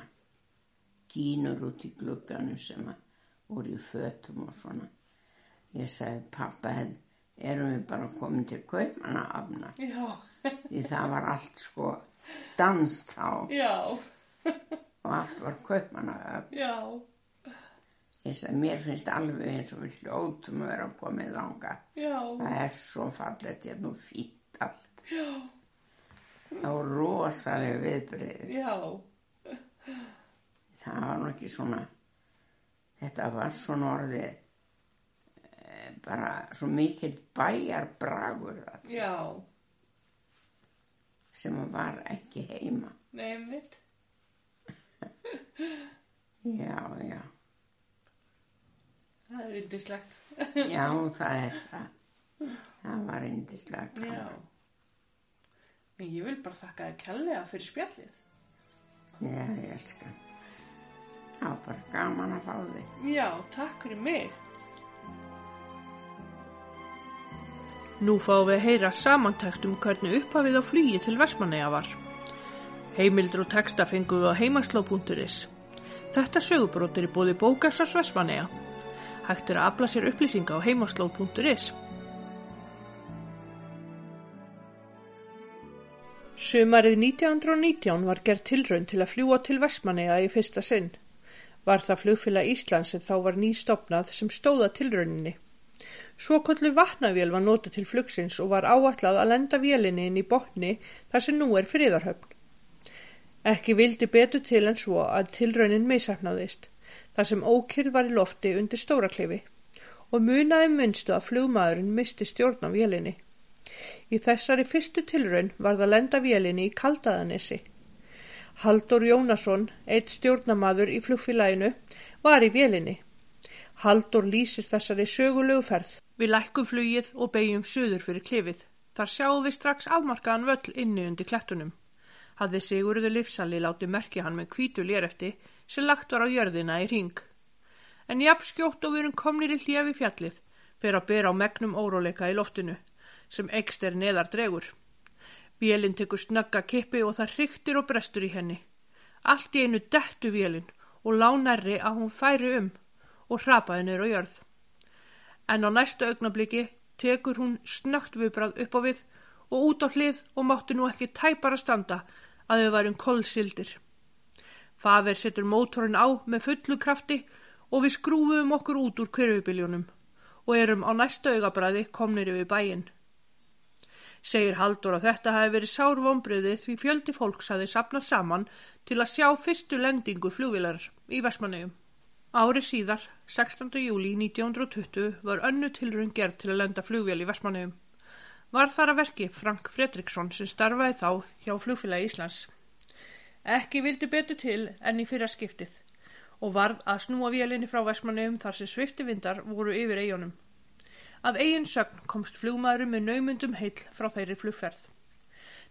[SPEAKER 2] gínur út í glugganum sem að voru í fötum og svona ég sagði pappa hefð, erum við bara komin til kaupmanna afna
[SPEAKER 3] já,
[SPEAKER 2] því það var allt sko dans þá
[SPEAKER 3] já,
[SPEAKER 2] og allt var kaupmanna
[SPEAKER 3] já,
[SPEAKER 2] ég sagði mér finnst alveg eins og við hljótum að vera komið þanga
[SPEAKER 3] já,
[SPEAKER 2] það er svo fallet ég nú fýtt allt
[SPEAKER 3] já,
[SPEAKER 2] það voru rosalega viðbreyði
[SPEAKER 3] já,
[SPEAKER 2] það var nú ekki svona þetta var svona orðið eh, bara svo mikill bæjarbragur þarna
[SPEAKER 3] já,
[SPEAKER 2] sem var ekki heima
[SPEAKER 3] nei mitt,
[SPEAKER 2] já, já,
[SPEAKER 3] það er yndislegt.
[SPEAKER 2] já það er það það var indislega
[SPEAKER 3] Já.
[SPEAKER 2] gaman.
[SPEAKER 3] Nei, Ég vil bara þakka þér kærlega fyrir spjallið.
[SPEAKER 2] já, ég elskan það var bara gaman að fá þig
[SPEAKER 3] Já, takk fyrir mig.
[SPEAKER 1] Nú fáum við að heyra samantækt um hvernig upphafið á flugi til Vestmanneja var. Heimildur og texta fengum við á heimasló.is. Þetta sögubrót er í bóði bókastars Vestmanneja. Hægt er að afla sér upplýsinga á heimasló.is. Sumarið 1919 var gerð tilraun til að fljúa til Vestmanneja í fyrsta sinn. Var það flugfélag Íslands en þá var nýstopnað sem stóða tilrauninni. Svo kollu vatnavél var notið til flugsins og var áætlað að lenda vélinni inn í botni þar sem nú er friðarhöfn. Ekki vildi betur til en svo að tilraunin meðsefnaðist, þar sem ókyrð var í lofti undir stóraklifi og munaði munstu að flugmaðurinn misti stjórn á vélinni. Í þessari fyrstu tilraun var það lenda vélinni í kaldaðanessi. Haldur Jónasson, eitt stjórnamaður í flugfélaginu, var í vélinni. Haldur lýsir þessari sögulegu ferð. Við lækkum flugið og beigjum suður fyrir klifið. Þar sjáum við strax afmarkaðan völl inni undir klettunum. Hafði Sigurður Lifsali látið merki hann með hvítu lérefti sem lagt var á jörðina í ring. En jafn skjótt og við erum komnir í hljef í fjallið fyrir að bera á megnum óróleika í loftinu sem ekst er neðar dregur. Vélinn tekur snögga kippi og það hryktir og brestur í henni. Allt í einu dettu vélinn og lánarri að hún færi um og hrapaði niður á jörð. En á næsta augnabliki tekur hún snögt viðbrað upp á við og út á hlið og mátti nú ekki tæpar að standa að þau værum kolsildir. Faver setur mótorinn á með fullu krafti og við skrúfum okkur út úr kyrfubiljónum og erum á næsta augabræði komnir yfir bæinn. Segir Haldur að þetta hafi verið sár vonbriði því fjöldi fólks hafi sapnað saman til að sjá fyrstu lendingu flugvilar í Vestmannegjum. Ári síðar, 16. júli 1920, var önnu tilrun gerð til að lenda flugvél í Vestmannegjum. Var þar að verki Frank Fredriksson sem starfaði þá hjá flugfélagi Íslands. Ekki vildi betur til enn í fyrra skiptið og varð að snúa vélinni frá Vestmannegjum þar sem sviftivindar voru yfir eigunum. Af eigin sögn komst flugmaðurum með naumundum heill frá þeirri flugferð.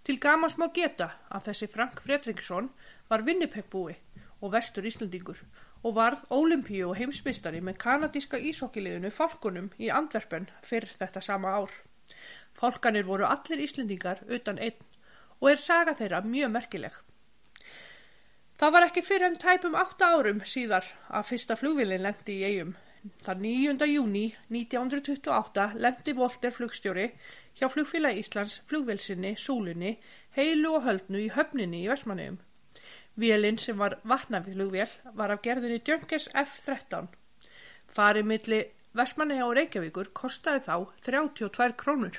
[SPEAKER 1] Til gamans má geta að þessi Frank Fredriksson var Winnipegbúi og vestur Íslandingur og varð ólimpíu og heimsmystari með kanadíska ísokkiliðinu Falkunum í Andverpen fyrr þetta sama ár. Falkanir voru allir Íslandingar utan einn og er saga þeirra mjög merkileg. Það var ekki fyrir en tæpum átta árum síðar að fyrsta flugvillin lendi í eigum. Það 9. júni 1928 lendi Volter flugstjóri hjá flugfélag Íslands flugvilsinni Súlunni heilu og höldnu í höfninni í Vestmanneum. Vélinn sem var vatnaflugvél var af gerðinni Junkers F-13. Farið milli Vestmanneja og Reykjavíkur kostaði þá 32 krónur.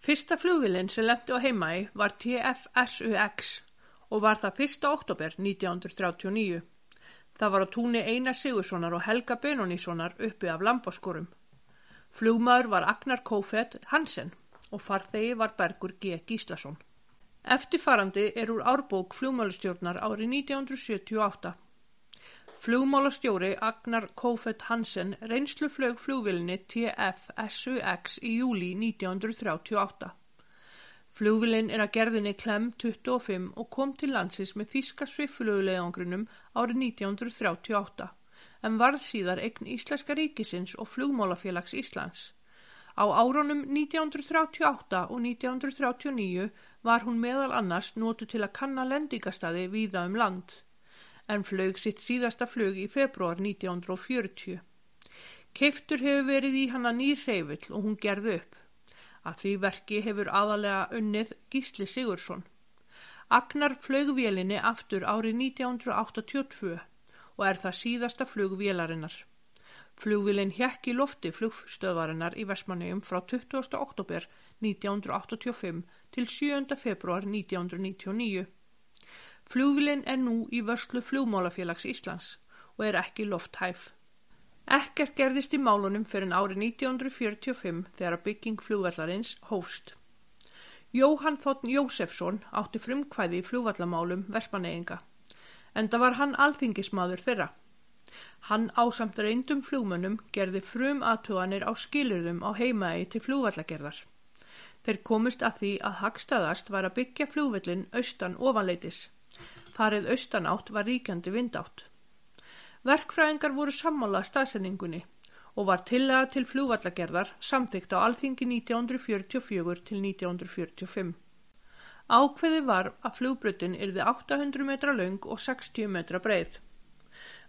[SPEAKER 1] Fyrsta flugvillin sem lendi á heimaði var TFSUX og var það 1. oktober 1939. Það var á túni Einar Sigurssonar og Helga Benoníssonar uppi af lambáskorum. Flugmaður var Agnar Kófett Hansen og farþegi var Bergur G. Gíslason. Eftirfarandi er úr árbók flugmálastjórnar árið 1978. Flugmálastjóri Agnar Kófett Hansen reynsluflög flugvillinni TF-SUX í júli 1938. Flugvillin er að gerðinni Klem 25 og kom til landsins með þýska sviffluglegangrunum árið 1938 en varð síðar eign Íslenska ríkisins og flugmálafélags Íslands. Á árunum 1938 og 1939 var hún meðal annars notu til að kanna lendingastaði víða um land, en flög sitt síðasta flug í februar 1940. Keiftur hefur verið í hana nýr hreyfill og hún gerði upp. Að því verki hefur aðalega unnið Gísli Sigursson. Agnar flögvélinni aftur árið 1982 og er það síðasta flugvélarinnar. Flugvélinn hjekk í lofti flugstöðvarinnar í Vestmanneum frá 20. oktober 1985 til 7. februar 1999. Flugvélinn er nú í vörslu flugmálafélags Íslands og er ekki lofthæf. Ekkert gerðist í málunum fyrir árið 1945 þegar bygging flugvallarins hófst. Jóhann Þóttn Jósefsson átti frumkvæði í flugvallamálum Vespaneyinga, en það var hann alþingismadur þeirra. Hann ásamt reyndum flugmönnum gerði frum aðtuganir á skilurðum á heimaði til flugvallagerðar. Þeir komust að því að hagstaðast var að byggja flugvallin austan ofanleitis. Farið austan átt var ríkjandi vindátt. Verkfræðingar voru sammála staðsendingunni og var tillaga til flugvallagerðar samþygt á alþingi 1944 til 1945. Ákveði var að flugbrutin yrði 800 metra laung og 60 metra breið.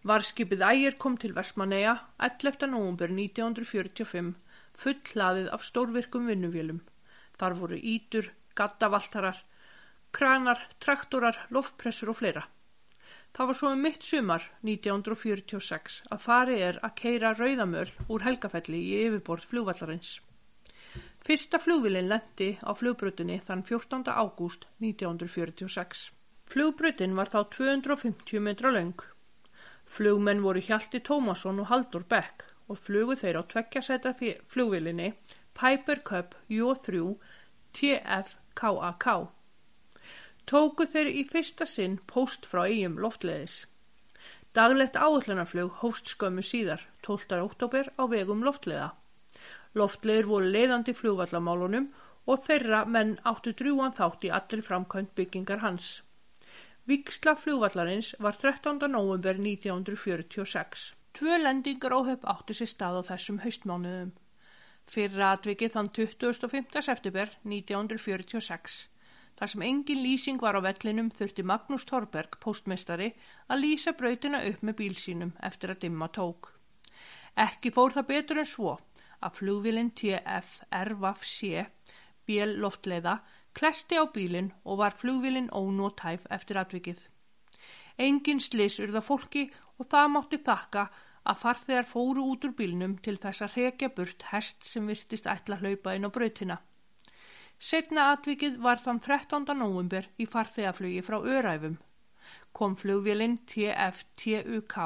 [SPEAKER 1] Varskipið ægir kom til Vestmanneia 11. november 1945 full hlaðið af stórvirkum vinnuvélum. Þar voru ítur, gattavaltarar, kranar, traktorar, loftpressur og fleira. Það var svo um mitt sumar 1946 að farið er að keira rauðamöl úr helgafelli í yfirborð flugvallarins. Fyrsta flugvilin lendi á flugbrutinni þann 14. ágúst 1946. Flugbrutin var þá 250 metra löng. Flugmenn voru Hjalti Tómasson og Haldur Beck og flugu þeir á tveggja seta flugvilinni Piper Cup J3 TFKAK tóku þeir í fyrsta sinn póst frá eigum loftleðis. Daglegt áhullunarflug hófst skömmu síðar, 12. oktober á vegum loftleða. Loftleðir voru leiðandi flugvallamálunum og þeirra menn áttu drúan þátt í allir framkvæmt byggingar hans. Víksla flugvallarins var 13. november 1946. Tvö lendingar óhef áttu sér stað á þessum haustmánuðum. Fyrra atvikið þann 25. september 1946. Þar sem engin lýsing var á vellinum þurfti Magnús Torberg, postmestari, að lýsa brautina upp með bíl sínum eftir að dimma tók. Ekki fór það betur en svo að flugvilin TF-RVAF-C, bíl loftleiða, klesti á bílinn og var flugvilin ónótæf eftir atvikið. Engin slis urða fólki og það mátti þakka að farþegar fóru út úr bílnum til þess að hrekja burt hest sem virtist ætla hlaupa inn á brautina. Setna atvikið var þann 13. november í farþegaflugi frá Öræfum. Kom flugvélinn TFTUK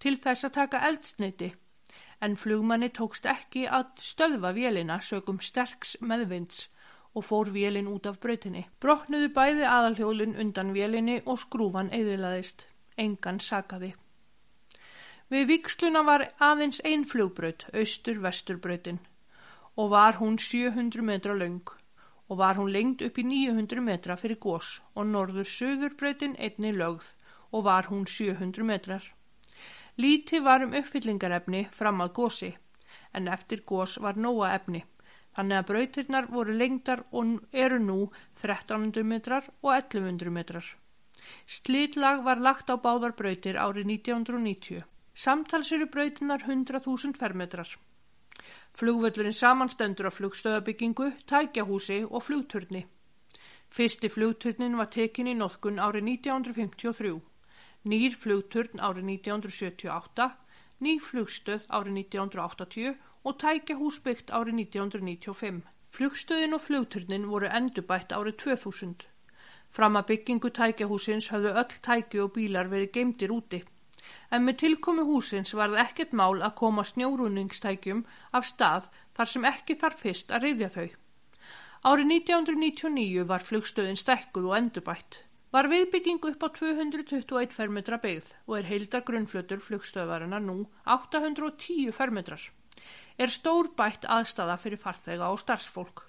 [SPEAKER 1] til þess að taka eldsneiti, en flugmanni tókst ekki að stöðva vélina sögum sterks meðvinds og fór vélin út af brautinni. Broknuðu bæði aðalhjólinn undan vélinni og skrúfan eðilaðist. Engan sagaði. Við viksluna var aðeins ein flugbraut, austur-vesturbrautin, og var hún 700 metra laung og var hún lengt upp í 900 metra fyrir gós og norður-söðurbreytin einni lögð og var hún 700 metrar. Líti var um uppfyllingarefni fram að gósi, en eftir gós var nóa efni, þannig að breytirnar voru lengtar og eru nú 1300 metrar og 1100 metrar. Slitlag var lagt á báðar breytir árið 1990. Samtals eru breytinar 100.000 fermetrar. Flugvöldurinn samanstendur af flugstöðabyggingu, tækjahúsi og flugturni. Fyrsti flugturnin var tekin í nóðkun árið 1953, nýr flugturn árið 1978, ný flugstöð árið 1980 og tækjahús byggt árið 1995. Flugstöðin og flugturnin voru endurbætt árið 2000. Fram að byggingu tækjahúsins höfðu öll tæki og bílar verið geimdir úti. En með tilkomi húsins varð ekkert mál að koma snjórunningstækjum af stað þar sem ekki þarf fyrst að reyðja þau. Árið 1999 var flugstöðin stækkuð og endurbætt. Var viðbyggingu upp á 221 fermetra byggð og er heildar grunnflötur flugstöðvarana nú 810 fermetrar. Er stór bætt aðstaða fyrir farþega og starfsfólk.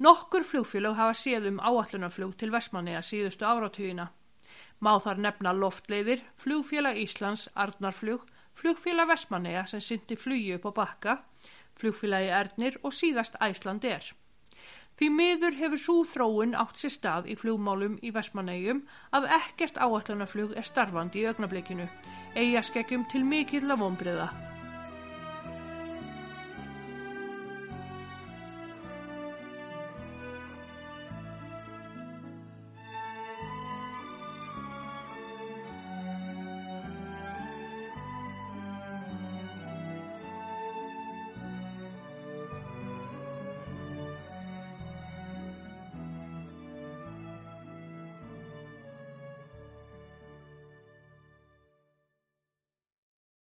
[SPEAKER 1] Nokkur flugfélög hafa séð um áallunarflug til Vestmanneia síðustu áratugina. Má þar nefna loftleiðir, flugfélag Íslands, Arnarflug, flugfélag Vestmanneia sem syndi flugi upp á bakka, flugfélagi Ernir og síðast Æsland er. Því miður hefur svo þróun átt sér stað í flugmálum í Vestmanneium að ekkert áallunarflug er starfandi í augnablikinu, eigaskekkjum til mikill að vonbriða.